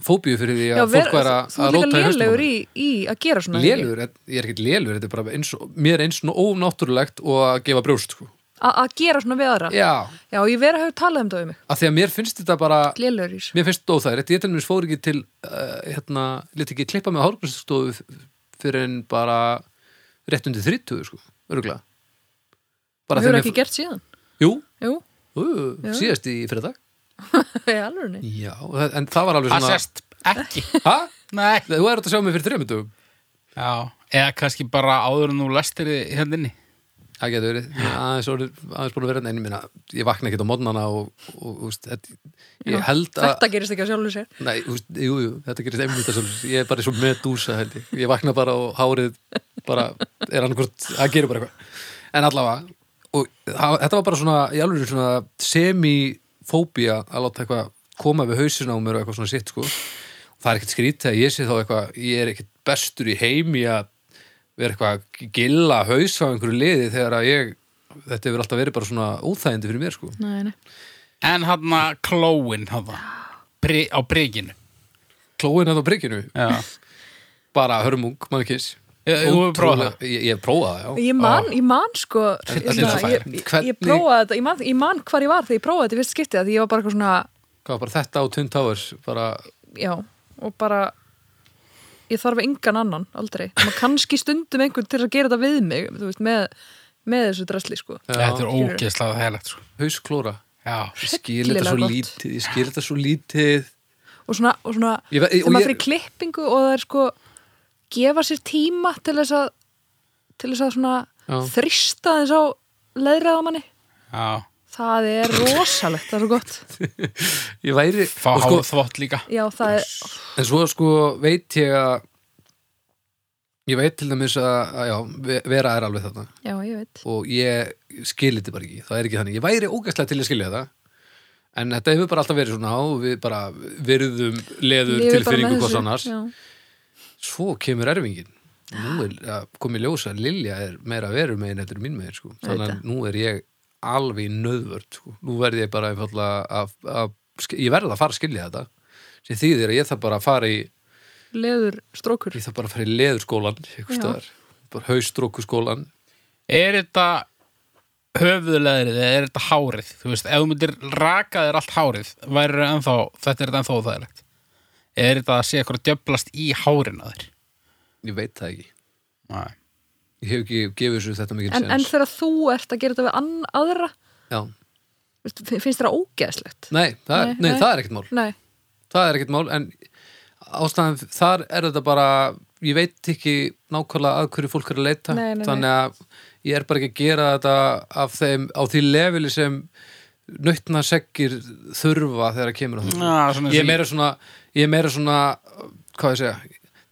[SPEAKER 1] fóbíu fyrir því að
[SPEAKER 3] Já, ver,
[SPEAKER 1] fólk væri að,
[SPEAKER 3] þú
[SPEAKER 1] að
[SPEAKER 3] ert
[SPEAKER 1] róta
[SPEAKER 3] líka lélegur
[SPEAKER 1] hausnum á
[SPEAKER 3] í, í að gera
[SPEAKER 1] mér.
[SPEAKER 3] svona
[SPEAKER 1] lélugur, en- ég er ekkert lélugur þetta er bara eins, og- mér er eins og ónáttúrulegt og að gefa brjóst sko.
[SPEAKER 3] A- að gera svona við aðra
[SPEAKER 1] já,
[SPEAKER 3] já, ég verið að hafa talað um það um mig
[SPEAKER 1] af því að mér finnst þetta bara
[SPEAKER 3] lélegur í þessu
[SPEAKER 1] mér finnst þetta óþægilegt, ég til mér fór ekki til uh, hérna, leti ekki klippa með hárgrunnstofu fyrir en bara rétt undir 30 sko, örgulega bara
[SPEAKER 3] við
[SPEAKER 1] þegar
[SPEAKER 3] erum ekki
[SPEAKER 1] mér,
[SPEAKER 3] gert síðan
[SPEAKER 1] jú,
[SPEAKER 3] jú,
[SPEAKER 1] ú,
[SPEAKER 3] Já.
[SPEAKER 1] síðast í fyrir dag
[SPEAKER 3] ég alveg nei
[SPEAKER 1] já, það- en það var alveg
[SPEAKER 2] Það
[SPEAKER 1] svona
[SPEAKER 2] sést ekki.
[SPEAKER 1] hæ?
[SPEAKER 2] Nei.
[SPEAKER 1] Þú er þetta að sjá mig fyrir þremur dögum
[SPEAKER 2] Já, eða kannski bara áður en þú læstir þið hérna inni.
[SPEAKER 1] Það getur verið, Ég er aðeins, orðið- aðeins búin að vera hérna, en ég minna, ég vakna ekkert á mótnana og, og úst, þetta, ég held að,
[SPEAKER 3] þetta gerist ekki að sjálfu sér
[SPEAKER 1] nei, úst, jú, jú, þetta gerist einmitt þess að ég er bara svo með dúsa held ég, ég vakna bara og hárið bara, er annarkvort, það gerir bara eitthvað, en allavega, og það, þetta var bara svona, í alveg svona semifóbía að láta eitthvað koma við hausina á mér og eitthvað svona sitt, sko, það er ekkert skrítið að ég sé þá eitthvað, ég er ekkert bestur í heimi að vera eitthvað að gilla haus á einhverju liði þegar að ég, þetta hefur alltaf verið bara svona óþægindi fyrir mér sko.
[SPEAKER 3] nei, nei.
[SPEAKER 2] En hann að klóin, hann Bri, á bryginu.
[SPEAKER 1] Klóin að á prikinu,
[SPEAKER 2] Já.
[SPEAKER 1] bara hörmung, maður kiss.
[SPEAKER 2] Ég- þú hefur prófað það?
[SPEAKER 1] Ég, ég prófaði, það, já.
[SPEAKER 3] ég man, ég man sko
[SPEAKER 1] Þetta er
[SPEAKER 3] hérna,
[SPEAKER 1] svo fær.
[SPEAKER 3] ég, ég,
[SPEAKER 1] Hvernig-
[SPEAKER 3] ég prófaði þetta, ég man, ég man hvar ég var þegar ég prófaði þetta í fyrst skiptið að því ég var bara eitthvað svona
[SPEAKER 1] Hvað var bara þetta á Twin Towers, bara,
[SPEAKER 3] já, og bara ég þarf engan annan, aldrei Má kannski stundum einhvern til að gera þetta við mig þú veist, með, með þessu drasli sko
[SPEAKER 2] Þetta er
[SPEAKER 3] Skilurðu.
[SPEAKER 2] ógeðslega þægilegt, sko.
[SPEAKER 1] hausklóra.
[SPEAKER 2] Já.
[SPEAKER 1] Ég skil þetta svo
[SPEAKER 3] Hryllilega gott.
[SPEAKER 1] lítið, ég skil þetta svo lítið.
[SPEAKER 3] og svona, og svona
[SPEAKER 1] Ég ve- og
[SPEAKER 3] þegar maður
[SPEAKER 1] ég-
[SPEAKER 3] fyrir klippingu og það er sko gefa sér tíma til þess að til þess að svona
[SPEAKER 1] Já.
[SPEAKER 3] þrista þess á leðrið á manni
[SPEAKER 2] Já.
[SPEAKER 3] það er rosalegt, það er svo gott
[SPEAKER 1] Ég væri
[SPEAKER 2] Fá
[SPEAKER 1] og
[SPEAKER 2] sko,
[SPEAKER 1] sko,
[SPEAKER 2] þvott líka
[SPEAKER 3] já, það er,
[SPEAKER 1] En svo sko veit ég að Ég veit til dæmis að, að já, Ve- vera er alveg þetta
[SPEAKER 3] já, ég veit
[SPEAKER 1] og ég skil þetta bara ekki það er ekki þannig, ég væri ógæslega til að skilja það en þetta hefur bara alltaf verið svona og við bara virðum leður
[SPEAKER 3] Lifir
[SPEAKER 1] til
[SPEAKER 3] bara með
[SPEAKER 1] fyrringu hvers
[SPEAKER 3] þessu,
[SPEAKER 1] annars
[SPEAKER 3] já.
[SPEAKER 1] svo kemur erfingin nú er að komið ljósa að Lilja er meira veru megin þetta er mín megin sko. þannig
[SPEAKER 3] Auðvitað.
[SPEAKER 1] að nú er ég alveg nöðvörd sko. nú verð ég bara einfallega að, að, að ég verð að fara að skilja þetta sem þýðir að ég þarf bara að fara í
[SPEAKER 3] leður strókur
[SPEAKER 1] ég þarf bara að fara í leðurskólan
[SPEAKER 3] Já.
[SPEAKER 1] bara haustrókuskólan
[SPEAKER 2] Er þetta höfuðleðrið eða er þetta hárið? Þú veist, ef þú myndir raka þér allt hárið væri ennþá, þetta er þetta ennþá þægilegt Er þetta að sé eitthvað að djöflast í hárin að þér?
[SPEAKER 1] ég veit það ekki
[SPEAKER 2] Nei.
[SPEAKER 1] ég hef ekki gefið þessu þetta mikil
[SPEAKER 3] en, en þegar þú ert að gera þetta við ann, aðra
[SPEAKER 1] Já.
[SPEAKER 3] veistu, fi- finnst þér það ógeðslegt
[SPEAKER 1] Nei, það,
[SPEAKER 3] Nei,
[SPEAKER 1] nei,
[SPEAKER 3] nei.
[SPEAKER 1] það er ekkert mál
[SPEAKER 3] nei,
[SPEAKER 1] Það er ekkert mál, en ástæðan þar er þetta bara ég veit ekki nákvæmlega að hverju fólk er að leita
[SPEAKER 3] Nei, nei, nei.
[SPEAKER 1] þannig að ég er bara ekki að gera þetta af þeim, á því levili sem nautna seggir þurfa þegar að kemur á þessu
[SPEAKER 2] Já, svona
[SPEAKER 1] Ég
[SPEAKER 2] sem-
[SPEAKER 1] er meira svona, ég er meira svona hvað ég segja,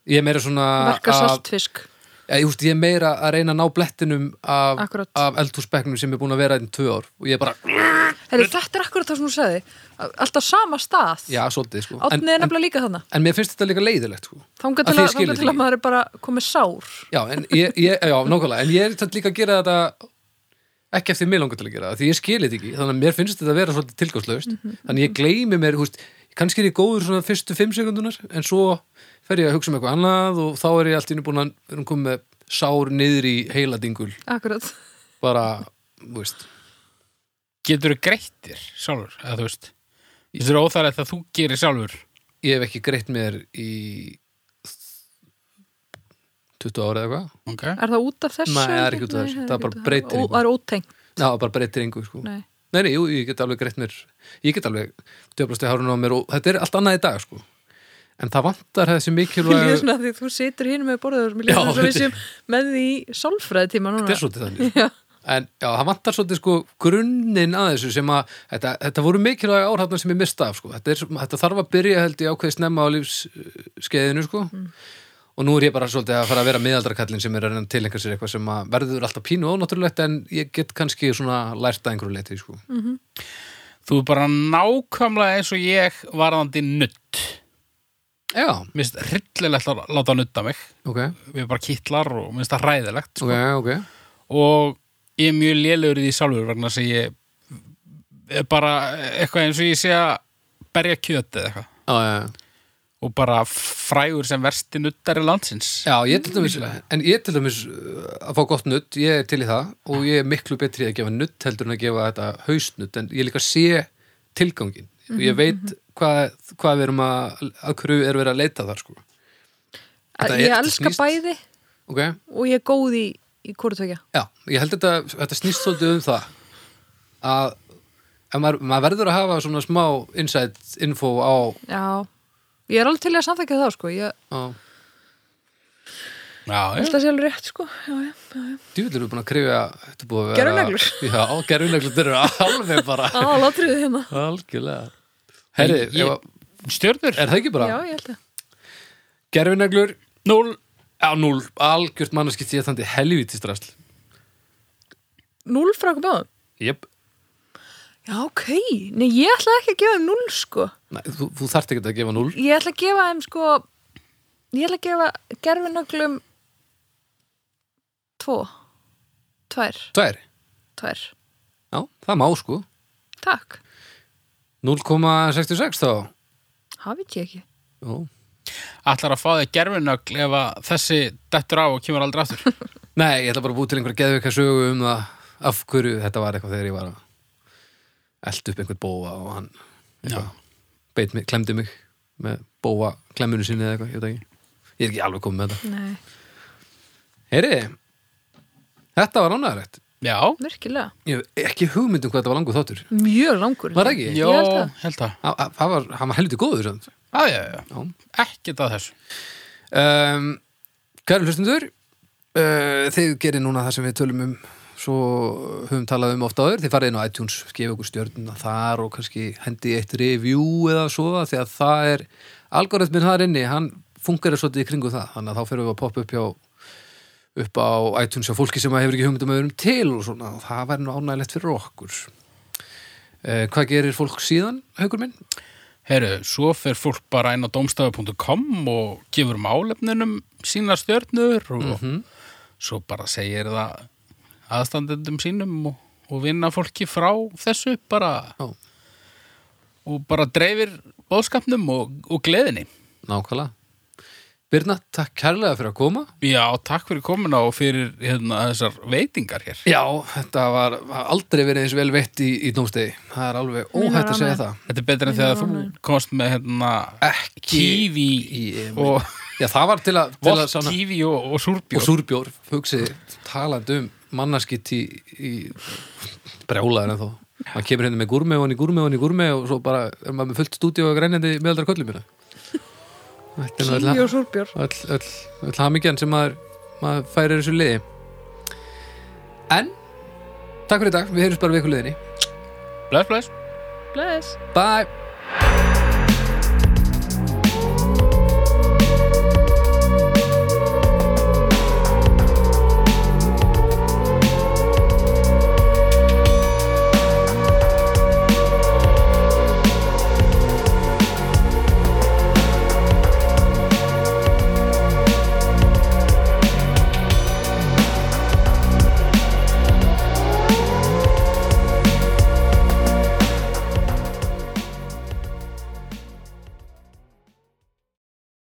[SPEAKER 1] ég er meira svona
[SPEAKER 3] verka
[SPEAKER 1] að-
[SPEAKER 3] saltfisk
[SPEAKER 1] Já, ég, veist, ég er meira að reyna að ná blettinum af,
[SPEAKER 3] Akkúrat.
[SPEAKER 1] af eldhúsbekknum sem er búin að vera einn tvö ár og ég er bara,
[SPEAKER 3] Heri, þetta er akkurat það sem þú sagði alltaf sama stað
[SPEAKER 1] já, svolítið sko. en,
[SPEAKER 3] átnið er
[SPEAKER 1] en,
[SPEAKER 3] nefnilega líka þarna
[SPEAKER 1] en mér finnst þetta líka leiðilegt sko.
[SPEAKER 3] þangað
[SPEAKER 1] Af
[SPEAKER 3] til
[SPEAKER 1] því
[SPEAKER 3] að,
[SPEAKER 1] ég skil
[SPEAKER 3] þangað
[SPEAKER 1] þetta
[SPEAKER 3] til að
[SPEAKER 1] ekki.
[SPEAKER 3] maður er bara komið sár
[SPEAKER 1] Já, en ég, ég, já, nákvæmlega, en ég er þetta líka að gera þetta ekki eftir mig langar til að gera það, því ég skil þetta ekki, þannig að mér finnst þetta að vera svolítið tilgangslaust, þannig ég gleymi mér, húst, kannski er ég góður svona fyrstu fimm sekundunar, en svo fer ég að hugsa um eitthvað annað og þá er ég allt inni búin að erum komið með sár niður í heiladingul,
[SPEAKER 3] akkurat
[SPEAKER 1] bara, þú veist,
[SPEAKER 2] Getur þú greittir sjálfur, eða þú veist Þetta er óþægilegt að þú gerir sjálfur
[SPEAKER 1] ég hef ekki greitt mér í 20 ára eða eitthvað,
[SPEAKER 2] okay.
[SPEAKER 3] er það út af þessu?
[SPEAKER 1] Nei, það er ekki út af þessu.
[SPEAKER 3] Nei,
[SPEAKER 1] Það er bara
[SPEAKER 3] ekki út af-
[SPEAKER 1] breytir
[SPEAKER 3] Ó,
[SPEAKER 1] engu.
[SPEAKER 3] það er ótengt
[SPEAKER 1] Ná, bara breytir engu, sko.
[SPEAKER 3] nei.
[SPEAKER 1] Nei, nei, jú, ég get alveg greitt mér ég get alveg djöflast í hárun á mér og þetta er allt annað í dag, sko en það vantar þessi
[SPEAKER 3] Mér líður
[SPEAKER 1] mikilvæg
[SPEAKER 3] svona því þú situr hinn með borðaður Mér líður
[SPEAKER 1] Já,
[SPEAKER 3] svona við
[SPEAKER 1] þetta-
[SPEAKER 3] séum með því sálfræði tíma núna
[SPEAKER 1] þetta er svolítið þannig sko. en já, það vantar svolítið sko grunnin að þessu sem að þetta, þetta voru mikilvæg árhafna sem ég mista af, sko þetta, er, þetta þarf að byrja held ég ákveði snemma á lífskeiðinu, sko og nú er ég bara svolítið að fara að vera miðaldrakallin sem er að reyna tilengja sér eitthvað sem að verður alltaf pínu ónáttúrulegt en ég get kannski svona lært að einhverju leiti, sko
[SPEAKER 3] Mm.
[SPEAKER 2] Þú er bara nákvæmlega eins og ég varðandi nutt
[SPEAKER 1] Já,
[SPEAKER 2] Mér finnst hryllilegt að láta nutta mig
[SPEAKER 1] ok,
[SPEAKER 2] Við erum bara kittlar og mér finnst það hræðilegt sko.
[SPEAKER 1] ok, ok
[SPEAKER 2] og ég er mjög lélugur í því sjálfur vegna þess að ég er bara eitthvað eins og ég sé að berja kjötið eða eitthvað
[SPEAKER 1] Já, já, já
[SPEAKER 2] og bara frægur sem versti nuttari landsins
[SPEAKER 1] Já, ég til dæmis, en ég til dæmis uh, að fá gott nutt, ég er til í það og ég er miklu betri að gefa nutt heldur en að gefa þetta hausnutt, en ég líka sé tilgangin og ég veit hvað, hvað við erum að, að hverju erum við að leita þar, sko.
[SPEAKER 3] Að
[SPEAKER 1] Þetta
[SPEAKER 3] Ég
[SPEAKER 1] er-
[SPEAKER 3] elska
[SPEAKER 1] snýst-
[SPEAKER 3] bæði
[SPEAKER 1] Ok?
[SPEAKER 3] og ég er góð í, í hvort tvekja
[SPEAKER 1] Já, ég held þetta, þetta snýst svolítið um það að, að maður, maður verður að hafa svona smá insight info á,
[SPEAKER 3] Já, ég er alveg til í að samþækja það sko Ég
[SPEAKER 1] á
[SPEAKER 2] Já,
[SPEAKER 3] held
[SPEAKER 2] ég,
[SPEAKER 3] að sé alveg rétt sko já, já.
[SPEAKER 1] djúvill erum við búin að krifja þetta er búið að vera...
[SPEAKER 3] Gervineglur.
[SPEAKER 1] Já, gerfuneglur, þeir eru alveg bara
[SPEAKER 3] Á, látriðu hérna
[SPEAKER 1] algjörlega. Herri,
[SPEAKER 2] Ég-
[SPEAKER 1] ég...
[SPEAKER 2] stjörnur
[SPEAKER 1] Er það ekki bara?
[SPEAKER 3] Já, ég held að
[SPEAKER 1] Gerfineglur,
[SPEAKER 2] Núl
[SPEAKER 1] á núl, algjört mannarskitt ég þannig helvítistræsl.
[SPEAKER 3] Núl frá okkur báðum
[SPEAKER 1] Jep.
[SPEAKER 3] Já, ok, nei ég ætla ekki að gefa þeim núl sko
[SPEAKER 1] Nei, þú, þú þarft ekki að gefa núl.
[SPEAKER 3] Ég ætla að gefa þeim sko Ég ætla að gefa gerfinöglum Tvo Tvær,
[SPEAKER 1] Tvær.
[SPEAKER 3] tvær
[SPEAKER 1] Já, það má sko.
[SPEAKER 3] Takk,
[SPEAKER 1] 0,66 þá.
[SPEAKER 3] hafið ég ekki
[SPEAKER 1] Jú.
[SPEAKER 2] ætlar að fá þig gerfinögl ef að þessi dettur á og kemur aldrei aftur
[SPEAKER 1] Nei, ég ætla bara að búi til einhverja geðveika sögu um það af hverju þetta var eitthvað þegar ég var að elda upp einhvern bóa og hann eitthvað, beit mig, klemdi mig með bóa klemmunu sinni eða eitthvað, ég veit ekki. Ég er ekki alveg komið með þetta.
[SPEAKER 3] Nei,
[SPEAKER 1] Heyri, þetta var ánæðarætt.
[SPEAKER 2] Já,
[SPEAKER 3] virkilega
[SPEAKER 1] Ég hef ekki hugmynd um hvað þetta var langur þáttur.
[SPEAKER 3] Mjög langur
[SPEAKER 1] Var það ekki?
[SPEAKER 2] Jó,
[SPEAKER 3] held það.
[SPEAKER 2] held það
[SPEAKER 1] Hann- hann- Hann var, hann var helviti góður samt.
[SPEAKER 2] Já, já, já,
[SPEAKER 1] Já.
[SPEAKER 2] ekkert að þessu
[SPEAKER 1] um, Kæru hlustundur uh, Þið gerir núna það sem við tölum um svo höfum talað um ofta áður, þið farið inn á iTunes, gefa okkur stjörnuna þar og kannski hendi eitt review eða svo, því að það er algoritminn þar inni, hann fungerir svolítið í kringu það, þannig að þá fyrir við að poppa upp hjá upp á iTunes hjá fólki sem hefur ekki hugmyndum öðrum til og svona, og það væri nú ánægilegt fyrir okkur eh, Hvað gerir fólk síðan, haukur minn?
[SPEAKER 2] Herru, svo fer fólk bara inn á domstafu.com og gefur málefninum sína stjörnur og
[SPEAKER 1] Mhm.
[SPEAKER 2] svo bara segir það aðstandendum sínum og, og vinna fólki frá þessu bara
[SPEAKER 1] Já.
[SPEAKER 2] og bara dreifir bóðskapnum og, og gleðinni.
[SPEAKER 1] Nákvæmlega Birna, takk kærlega fyrir að koma
[SPEAKER 2] Já, takk fyrir komuna og fyrir hérna, þessar veitingar hér.
[SPEAKER 1] Já, þetta var var aldrei verið eins vel veitt í, í dómstegi Það er alveg óhætt að segja það
[SPEAKER 2] Þetta er betra en þegar þú komst með hérna,
[SPEAKER 1] Ekki
[SPEAKER 2] kífi
[SPEAKER 1] í-
[SPEAKER 2] og,
[SPEAKER 1] Já, það var til að, til að
[SPEAKER 2] Volt
[SPEAKER 1] svona,
[SPEAKER 2] kífi og, og súrbjór.
[SPEAKER 1] og súrbjór, hugsið talandi um mannaskitt í, í brjálaður en þó maður kemur hérna með gúrmi og hann í gúrmi og hann í gúrmi og svo bara er maður með fullt stúdíu og grænjandi meðaldra köllum hérna Þetta er
[SPEAKER 6] Kífi
[SPEAKER 1] nú
[SPEAKER 6] og súrbjór
[SPEAKER 1] öll, öll, öll, öll hamingjan sem maður, maður færir þessu liði En takk fyrir í dag, við heyrjum bara við ykkur liðinni
[SPEAKER 2] Bless, bless.
[SPEAKER 6] Bless
[SPEAKER 1] Bye!